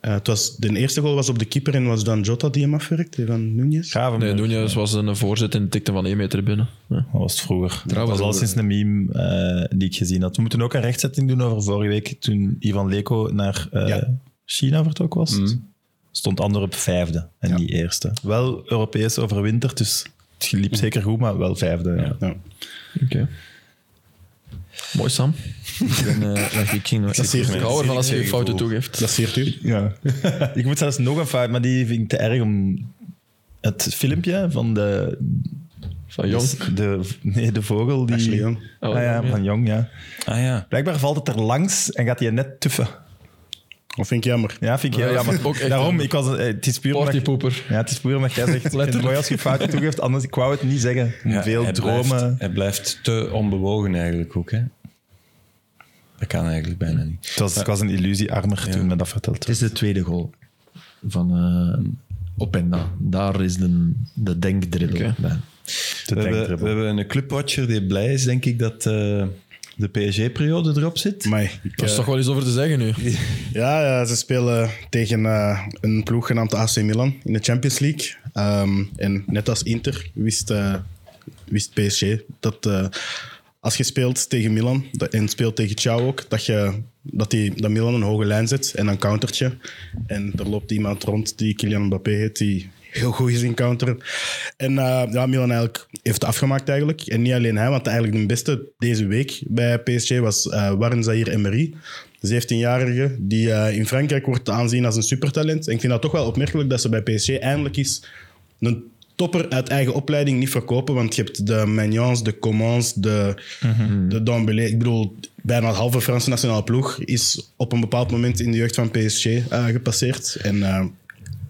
Eh, het was, de eerste goal was op de keeper en was dan Jota die hem afwerkt, die van Nunez.
Nee,
Gravenberg.
Nunez was een voorzet en tikte van één meter binnen. Ja.
Dat was het vroeger. dat was al sinds een meme eh, die ik gezien had. We moeten ook een rechtzetting doen over vorige week toen Ivan Leko naar eh,
Ja.
China vertrokken was. Stond Antwerp vijfde en niet eerste. Wel Europees overwinterd, dus het liep zeker goed, maar wel vijfde. Ja.
Ja.
Mooi, Sam.
Ik ben, eh, wacht, ik ging nog-
Dat zeer
Ik hou ervan als je je fouten toegeeft.
Dat zeert u.
Ja. ik moet zelfs nog een fout, maar die vind ik te erg om... Het filmpje van de...
Van Jong.
De, nee, de vogel die...
Ashley Young.
Oh,
ah, ja,
Jong, ja.
van Jong, ja.
Ah ja.
Blijkbaar valt het er langs en gaat hij net tuffen.
Dat vind ik jammer.
Ja, vind ik heel
Ja,
jammer.
ook echt
Daarom,
jammer.
ik was, eh, het is puur omdat-
Partypoeper.
Ja, het is puur omdat jij zegt, ik vind het mooi als je fouten toegeeft, anders ik wou het niet zeggen.
Ja,
Veel
hij
dromen.
Blijft, hij blijft te onbewogen eigenlijk ook. Hè? Dat kan eigenlijk bijna niet.
Het was, ik was een illusiearmer toen men dat vertelde.
Het is de tweede goal van eh Openda. Daar is de, de denkdribbel
Oké.
bij.
De
We hebben, we
denkdribbel.
hebben een clubwatcher die blij is, denk ik, dat eh, de PSG-periode erop zit.
Maar ik,
Er is
eh,
toch wel iets over te zeggen nu.
Ja, ja, ze spelen tegen eh, een ploeg genaamd AC Milan in de Champions League. Ehm, en net als Inter wist, eh, wist PSG dat eh, als je speelt tegen Milan dat- en speelt tegen Ciao ook, dat, je, dat, die, dat Milan een hoge lijn zet en dan countert je. En er loopt iemand rond die Kylian Mbappé heet, die heel goed is in counteren. En eh, ja, Milan eigenlijk heeft het afgemaakt eigenlijk. En niet alleen hij, want eigenlijk de beste deze week bij PSG was eh Warren Zahir Emery. De 17-jarige die eh, in Frankrijk wordt aanzien als een supertalent. En ik vind dat toch wel opmerkelijk dat ze bij PSG eindelijk is een topper uit eigen opleiding niet verkopen. Want je hebt de Magnans, de Comans, de,
Mhm.
de Dembélé. Ik bedoel, bijna de halve Franse nationale ploeg is op een bepaald moment in de jeugd van PSG eh, gepasseerd. En eh,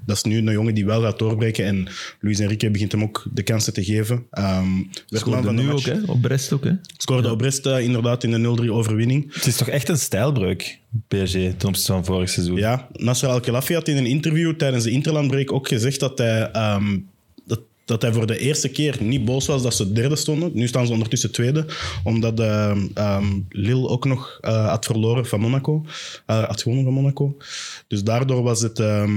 dat is nu een jongen die wel gaat doorbreken. En Luis Enrique begint hem ook de kansen te geven. Ehm werd man
Scoorde
van de
nu ook,
match.
hè? op Brest ook. Hè?
Scoorde op Brest eh, inderdaad in de 0-3 overwinning.
Het is toch echt een stijlbreuk, PSG, ten opzichte van vorig seizoen.
Ja, Nasser Al-Khelaifi had in een interview tijdens de Interlandbreak ook gezegd dat hij, ehm, dat, dat hij voor de eerste keer niet boos was dat ze derde stonden. Nu staan ze ondertussen tweede, omdat ehm, ehm, Lille ook nog eh, had verloren van Monaco. Eh, had gewonnen van Monaco. Dus daardoor was het... ehm,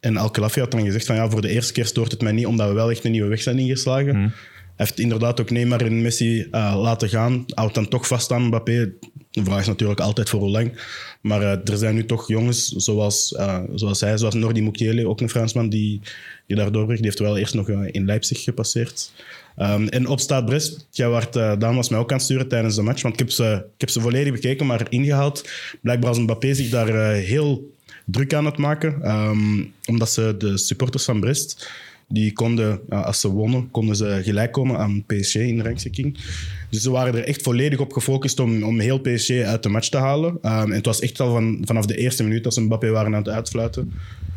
en Al-Khelaifi had dan gezegd van ja, voor de eerste keer stoort het mij niet, omdat we wel echt een nieuwe weg zijn ingeslagen. Hij heeft inderdaad ook Neymar en Messi eh, laten gaan. Houdt dan toch vast aan Mbappé. De vraag is natuurlijk altijd voor hoe lang. Maar eh, er zijn nu toch jongens zoals, eh, zoals hij, zoals Nordi Mukiele, ook een Fransman die, die daar doorbreekt. Die heeft wel eerst nog eh, in Leipzig gepasseerd. Ehm, en op Staat Brest, jij werd eh dames mij ook aan het sturen tijdens de match. Want ik heb ze, ik heb ze volledig bekeken, maar ingehaald. Blijkbaar was Mbappé zich daar eh, heel druk aan het maken. ehm, omdat ze de supporters van Brest Die konden, ja, als ze wonnen, konden ze gelijk komen aan PSG in de rangschikking. Dus ze waren er echt volledig op gefocust om, om heel PSG uit de match te halen. Um, en het was echt al van, vanaf de eerste minuut dat ze Mbappé waren aan het uitfluiten.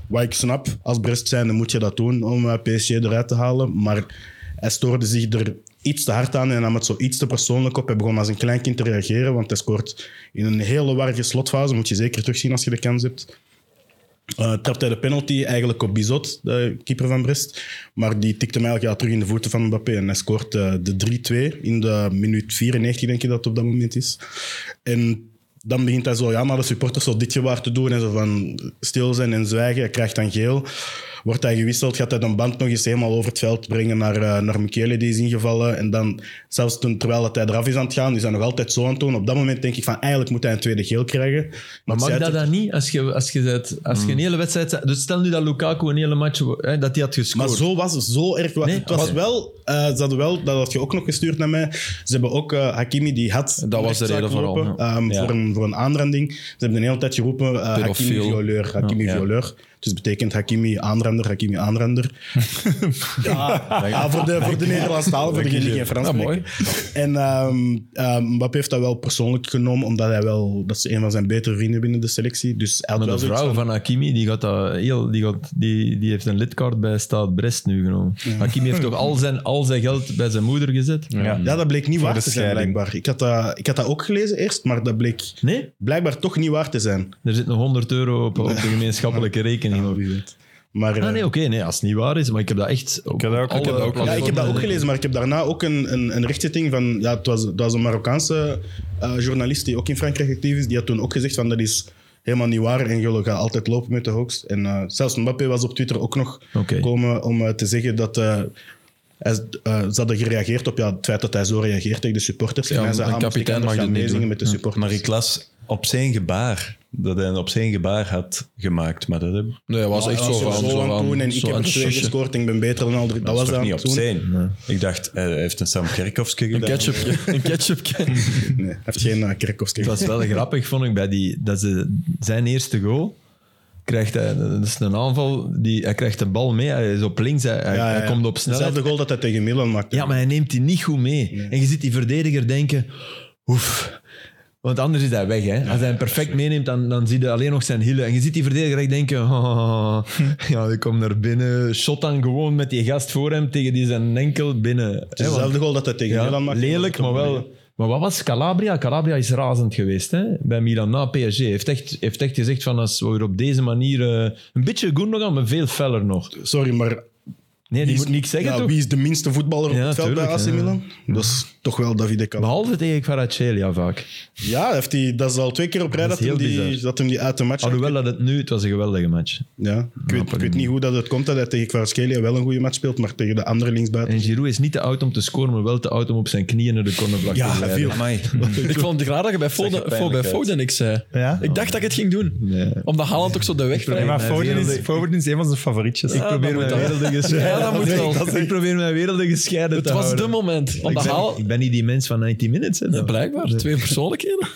Wat ik snap, als Brest zijnde moet je dat doen om eh, PSG eruit te halen. Maar hij stoorde zich er iets te hard aan en nam het zo iets te persoonlijk op. Hij begon als een klein kind te reageren, want hij scoort in een hele warrige slotfase. Moet je zeker terugzien als je de kans hebt. Eh trapte hij de penalty eigenlijk op Bizot, de keeper van Brest. Maar die tikte hem eigenlijk ja, terug in de voeten van Mbappé. En hij scoort eh, de 3-2 in de minuut 94, denk ik dat het op dat moment is. En dan begint hij zo, ja, maar de supporters zo ditje waar te doen. En zo van stil zijn en zwijgen. Hij krijgt dan geel. Wordt hij gewisseld, gaat hij dan band nog eens helemaal over het veld brengen naar, eh, naar Michele, die is ingevallen. En dan, zelfs toen, terwijl dat hij eraf is aan het gaan, is hij nog altijd zo aan het doen. Op dat moment denk ik van, eigenlijk moet hij een tweede geel krijgen.
Maar
ik
mag
zei
dat
het-
dan niet als je, als je, zet, als
Hmm.
je een hele wedstrijd... zet- Dus stel nu dat Lukaku een hele match... wo- Hè, dat hij had gescoord.
Maar zo was het zo erg. wa-
Nee,
het was
oké.
wel, eh, ze hadden wel, dat had je ook nog gestuurd naar mij. Ze hebben ook eh, Hakimi, die had.
Dat
een
was de
rechtszaak
reden vooral,
gelopen, ehm,
Ja.
Voor, een, voor een aanranding. Ze hebben de hele tijd geroepen: eh, Hakimi
Pedofiel.
violeur, Hakimi violeur. Dus het betekent Hakimi aanrander, Hakimi aanrander. ja, ja, voor de, voor de Nederlandstaal, voor degenen die geen Frans
Ja,
spreken. En ehm, ehm, Mbappé heeft dat wel persoonlijk genomen, omdat hij wel, dat is een van zijn betere vrienden binnen de selectie. Dus hij had
Maar
wel
de
zoiets
vrouw van Hakimi, die, gaat dat heel, die, gaat, die, die heeft een lidkaart bij Staat Brest nu genomen. Hakimi heeft toch al zijn, al zijn geld bij zijn moeder gezet?
Ja, dat bleek niet waar
de
te zijn,
scheiding.
blijkbaar. Ik had, dat, ik had dat ook gelezen eerst, maar dat bleek
Nee?
blijkbaar toch niet waar te zijn.
Er zit nog 100 euro op, op de gemeenschappelijke rekening.
Wie weet. Maar, eh,
Ah, nee, oké, nee, als het niet waar is, maar ik heb dat echt. Op,
heb dat ook-
alle
ik heb
dat ook-
ja, ik heb dat ook
platformen.
gelezen, maar ik heb daarna ook een, een, een rechtszitting van... Ja, het was, dat was een Marokkaanse eh, journalist die ook in Frankrijk actief is. Die had toen ook gezegd van dat is helemaal niet waar en jullie gaan altijd lopen met de hoax. En eh, zelfs Mbappé was op Twitter ook nog
Oké.
komen om eh, te zeggen dat... eh, hij, eh, ze hadden gereageerd op ja, het feit dat hij zo reageert tegen de supporters. en hij zei,
een
ah, maar ik
kapitein
kan
mag
gaan
dit niet
meezingen
doen.
met de supporters.
Maar ik las op zijn gebaar, dat hij een op zijn gebaar had gemaakt. Maar dat heb ik
Nee, hij was
Ah,
echt zo van.
zo aan het doen en ik
zo
heb
aan
er
het
twee
shushen.
gescoord en ik ben beter dan al drie. Dat,
was
was
toch
aan
niet op
het doen.
zijn? Ik dacht, hij heeft een Sam Kerkhoffske
Een
gedaan.
ketchupje. Een ketchupje.
Nee, hij heeft geen uh,
Het was wel grappig, vond ik, bij die, dat ze, zijn eerste goal. Krijgt hij, dat is een aanval, die, hij krijgt de bal mee, hij is op links, hij, hij- hij komt op snelheid.
Hetzelfde goal dat hij tegen Milan maakte.
Ja, maar hij neemt die niet goed mee. En je ziet die verdediger denken, oef. Want anders is hij weg. Hè. Als hij hem perfect meeneemt, dan, dan zie je alleen nog zijn hielen. En je ziet die verdediger echt denken, oh, ja, die komt naar binnen. Shot dan gewoon met die gast voor hem tegen die zijn enkel binnen.
Het is
Hè, want-
hetzelfde goal dat hij tegen
ja,
Milan maakte.
lelijk, maar wel... Maar wat was Calabria? Calabria is razend geweest hè? bij Milan na PSG. Heeft echt, heeft echt gezegd van als we hier op deze manier... eh, een beetje goed nog aan, maar veel feller nog.
Sorry, maar
Nee, die
wie is-
moet niks zeggen
ja,
toch?
Wie is de minste voetballer
Ja,
op het veld bij AC
tuurlijk, ja.
Milan? Dat is toch wel Davide Calabria.
Behalve tegen Kvaratskhelia vaak.
Ja, heeft hij, dat is al twee keer op rij
Dat
dat,
is
hem
heel
die,
bizar.
dat hem die uit de match
Alhoewel dat het nu, het was een geweldige match.
Ja, ik weet, ik weet niet hoe dat het komt dat hij tegen Kvaratskhelia wel een goede match speelt, maar tegen de andere linksbuiten...
En Giroud is niet te oud om te scoren, maar wel te oud om op zijn knieën naar de cornervlak te
dat
glijden.
viel.
Amai.
Ik vond het raar dat je bij
Zag er
Foden,
pijnlijk
bij
uit.
Foden niks zei.
Ja?
Ik dacht dat ik het ging doen.
Nee.
Omdat Haaland ook zo de weg
Nee,
vrij.
maar
Nee,
Foden is,
wereldig-
Foden is een van zijn favorietjes.
Ja, dat moet wel. Ja, dat moet wel.
Ik probeer mijn werelden gescheiden
Het
te
was
houden.
de moment.
nou, Ik
Omdat
ben,
Haaland...
ik ben niet die mens van 90 minutes. Hè,
Ja, Blijkbaar, twee persoonlijkheden.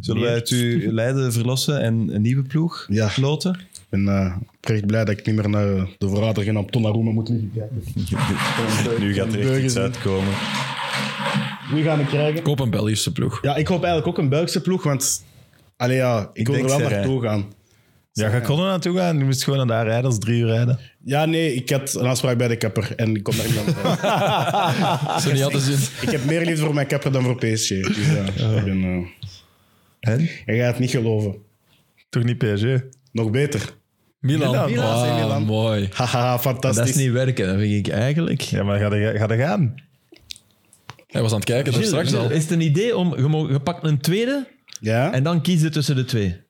Zullen wij uit uw Leiden verlossen en een nieuwe ploeg
Ja.
loten?
Ik ben eh, oprecht blij dat ik niet meer naar eh, de verrader en op Donnarumma moet liggen dus- kijken.
Nu gaat er echt iets uitkomen.
Wie gaan we krijgen?
Koop een Belgische ploeg.
Ja, ik hoop eigenlijk ook een Belgische ploeg, want allee, ja, ik, wil
denk
er wel
Serre.
naartoe gaan.
Ja, je kon er naartoe gaan. Je moest gewoon naar daar rijden. Dat is drie uur rijden.
Ja, nee, ik had een afspraak bij de kapper en ik kom daar niet aan. voorbij.
Ze niet hadden zin.
ik heb meer liefde voor mijn kapper dan voor PSG. Dus ja, ik ben, eh,
En?
je gaat het niet geloven.
Toch niet PSG?
Nog beter.
Milan.
Milan,
Ah,
zei Milan.
mooi.
Haha,
Dat
fantastisch.
is niet werken, dat vind ik eigenlijk.
Ja, maar ga je, ga je gaan?
Hij was aan het kijken, daar
Gilles,
straks al.
Gilles, Is het een idee om, je, mo- je pakt een tweede
Ja?
en dan kies je tussen de twee?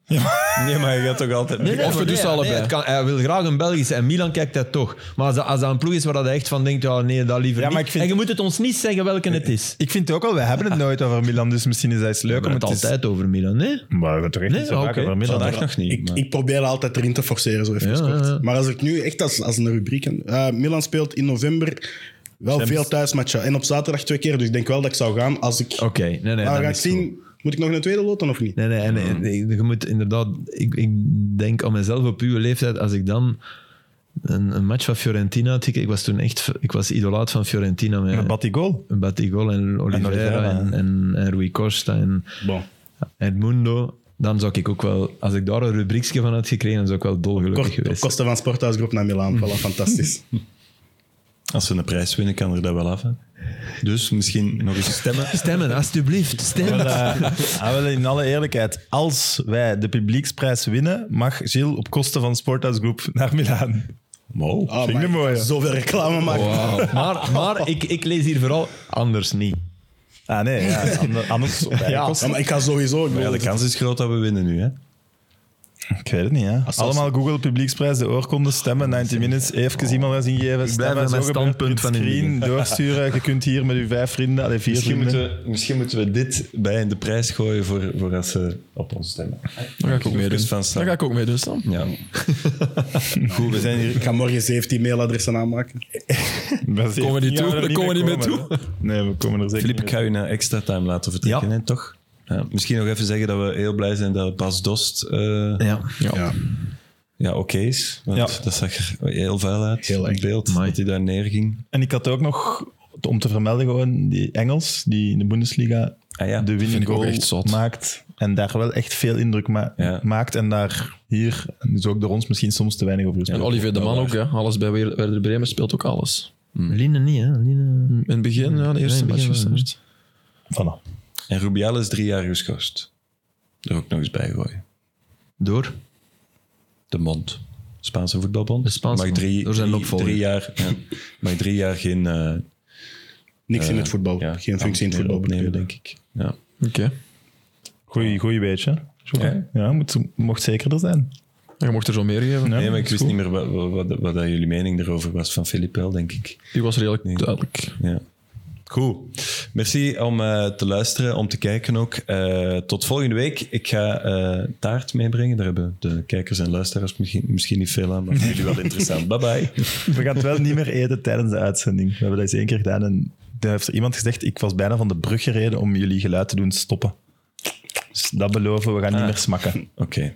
Nee, maar je gaat toch altijd...
Of je
maar
doet ze dus allebei.
het kan, hij wil graag een Belgische en Milan kijkt dat toch. Maar als, dat- als dat een ploeg is waar dat hij echt van denkt, ja, nee, dat liever
Ja, maar
niet.
ik vind-
En je moet het ons niet zeggen welke het is.
Ik vind het ook al, we hebben het nooit over Milan, dus misschien is dat iets leuk
We
om
hebben
het
het altijd over Milan, hè?
Is... Maar we hebben toch echt
Nee,
niet zo vaak
oké.
over Milan.
Vandaag nog niet.
Ik,
maar-
ik probeer altijd erin te forceren, zo even
Ja,
kort.
ja.
Maar als ik nu echt als, als een rubriek... aan- eh, Milan speelt in november wel veel thuismatchen. En op zaterdag twee keer, dus ik denk wel dat ik zou gaan. Als ik...
Oké, nee, nee.
maar
dan
we gaan
is Hmm. het goed.
zien, moet ik nog een tweede loten of niet?
Nee, nee, en, en, je moet inderdaad... Ik, ik denk aan mezelf op uw leeftijd, als ik dan
Een, een match van Fiorentina had ik. Ik was toen echt... Ik was idolaat van Fiorentina. Met,
Met Batigol.
Batigol en Oliveira
Oliveira,
en, en, en Rui Costa en
Bon.
Edmundo. Dan zou ik ook wel... Als ik daar een rubriekje van had gekregen, dan zou ik wel dolgelukkig
Kort, op
geweest
kosten van Sporthuisgroep naar Milaan. Voilà, fantastisch.
Als ze een prijs winnen, kan er dat wel af. Hè? Dus misschien nog eens stemmen.
Stemmen, alstublieft. Stemmen.
Maar, eh, ah, wel, in alle eerlijkheid, als wij de publieksprijs winnen, mag Gilles op kosten van Sporthouse Group naar Milaan.
Wow.
Ah,
Vind ik
maar
mooi, hè?
Zoveel reclame maken.
Maar, maar ik, ik lees hier vooral anders niet.
Ah nee, ja, ander- anders op eigen kosten.
Ja, Ah, maar ik ga sowieso... Ik
Ja,
bedoel,
de
het-
kans is groot dat we winnen nu. Hè?
Ik weet het niet, hè.
Als-
Allemaal Google Publieksprijs, de oorkonde, stemmen, 90 minutes, even iemand ingeven, stemmen,
bij mijn
zo gebeurt
standpunt
het
van in de
screen, doorsturen. Je kunt hier met je vijf vrienden, allee, vier
Misschien,
vrienden.
moeten we, misschien moeten we dit bij in de prijs gooien voor, voor als ze op ons stemmen.
Daar ga ik ook mee doen.
Kus van
Daar
staan.
ga ik ook mee doen, Sam.
Ja. Goed, we zijn hier.
Ik ga morgen 17 mailadressen aanmaken.
Dat
Komen we niet toe?
gaan er
Daar komen we niet mee
komen, hè. Nee, we komen er zeker
Filip,
niet
ik ga u naar extra time laten vertrekken,
Ja.
hè, toch? Ja, misschien nog even zeggen dat we heel blij zijn dat Bas Dost eh, ja.
Ja.
Ja.
oké is. Want
Ja.
dat zag er heel vuil uit,
Heel
het
eng.
beeld
Amai.
dat hij daar neerging.
mee. En ik had ook nog, om te vermelden gewoon, die Engels, die in de Bundesliga
Ah ja,
de winning
ik ook
goal
echt zot.
maakt en daar wel echt veel indruk ma-
Ja.
maakt en daar hier, en dus ook door ons misschien soms te weinig over
En
gesproken.
Olivier de Man ook, hè. Alles bij Wer- Werder Bremen speelt ook alles.
Line niet, hè. Line...
In het begin, ja, de
in
eerste
het
match
begin wel,
gestart.
Voilà.
En Rubial is drie jaar geschorst. Er ook nog eens bij gooien.
Door.
De mond. Spaanse voetbalbond.
De Spaanse
mag drie,
Door zijn
drie-
opvolger.
drie jaar, ja, mag drie jaar geen, eh,
Niks in het voetbal.
ja,
Oh, Geen functie in het
ambt meer
voetbal.
opnemen, denk ik. Ja.
Oké.
Goeie, goeie beetje.
Ja.
Ja, ja moet, mocht zekerder zijn.
En Je mocht er zo meer geven.
Nee, maar ik wist niet meer wat, wat, wat, wat dat jullie mening erover was van Filip wel, denk ik.
Die was redelijk duidelijk.
Ja. Goed. Merci om eh, te luisteren, om te kijken ook. Eh, tot volgende week. Ik ga eh, taart meebrengen. Daar hebben de kijkers en luisteraars misschien, misschien niet veel aan, maar voor jullie wel interessant. Bye bye.
We gaan het wel niet meer eten tijdens de uitzending. We hebben dat eens één keer gedaan en daar heeft er iemand gezegd, ik was bijna van de
Ah.
brug gereden om jullie geluid te doen stoppen. Dus dat beloven, we gaan niet meer smakken.
Oké.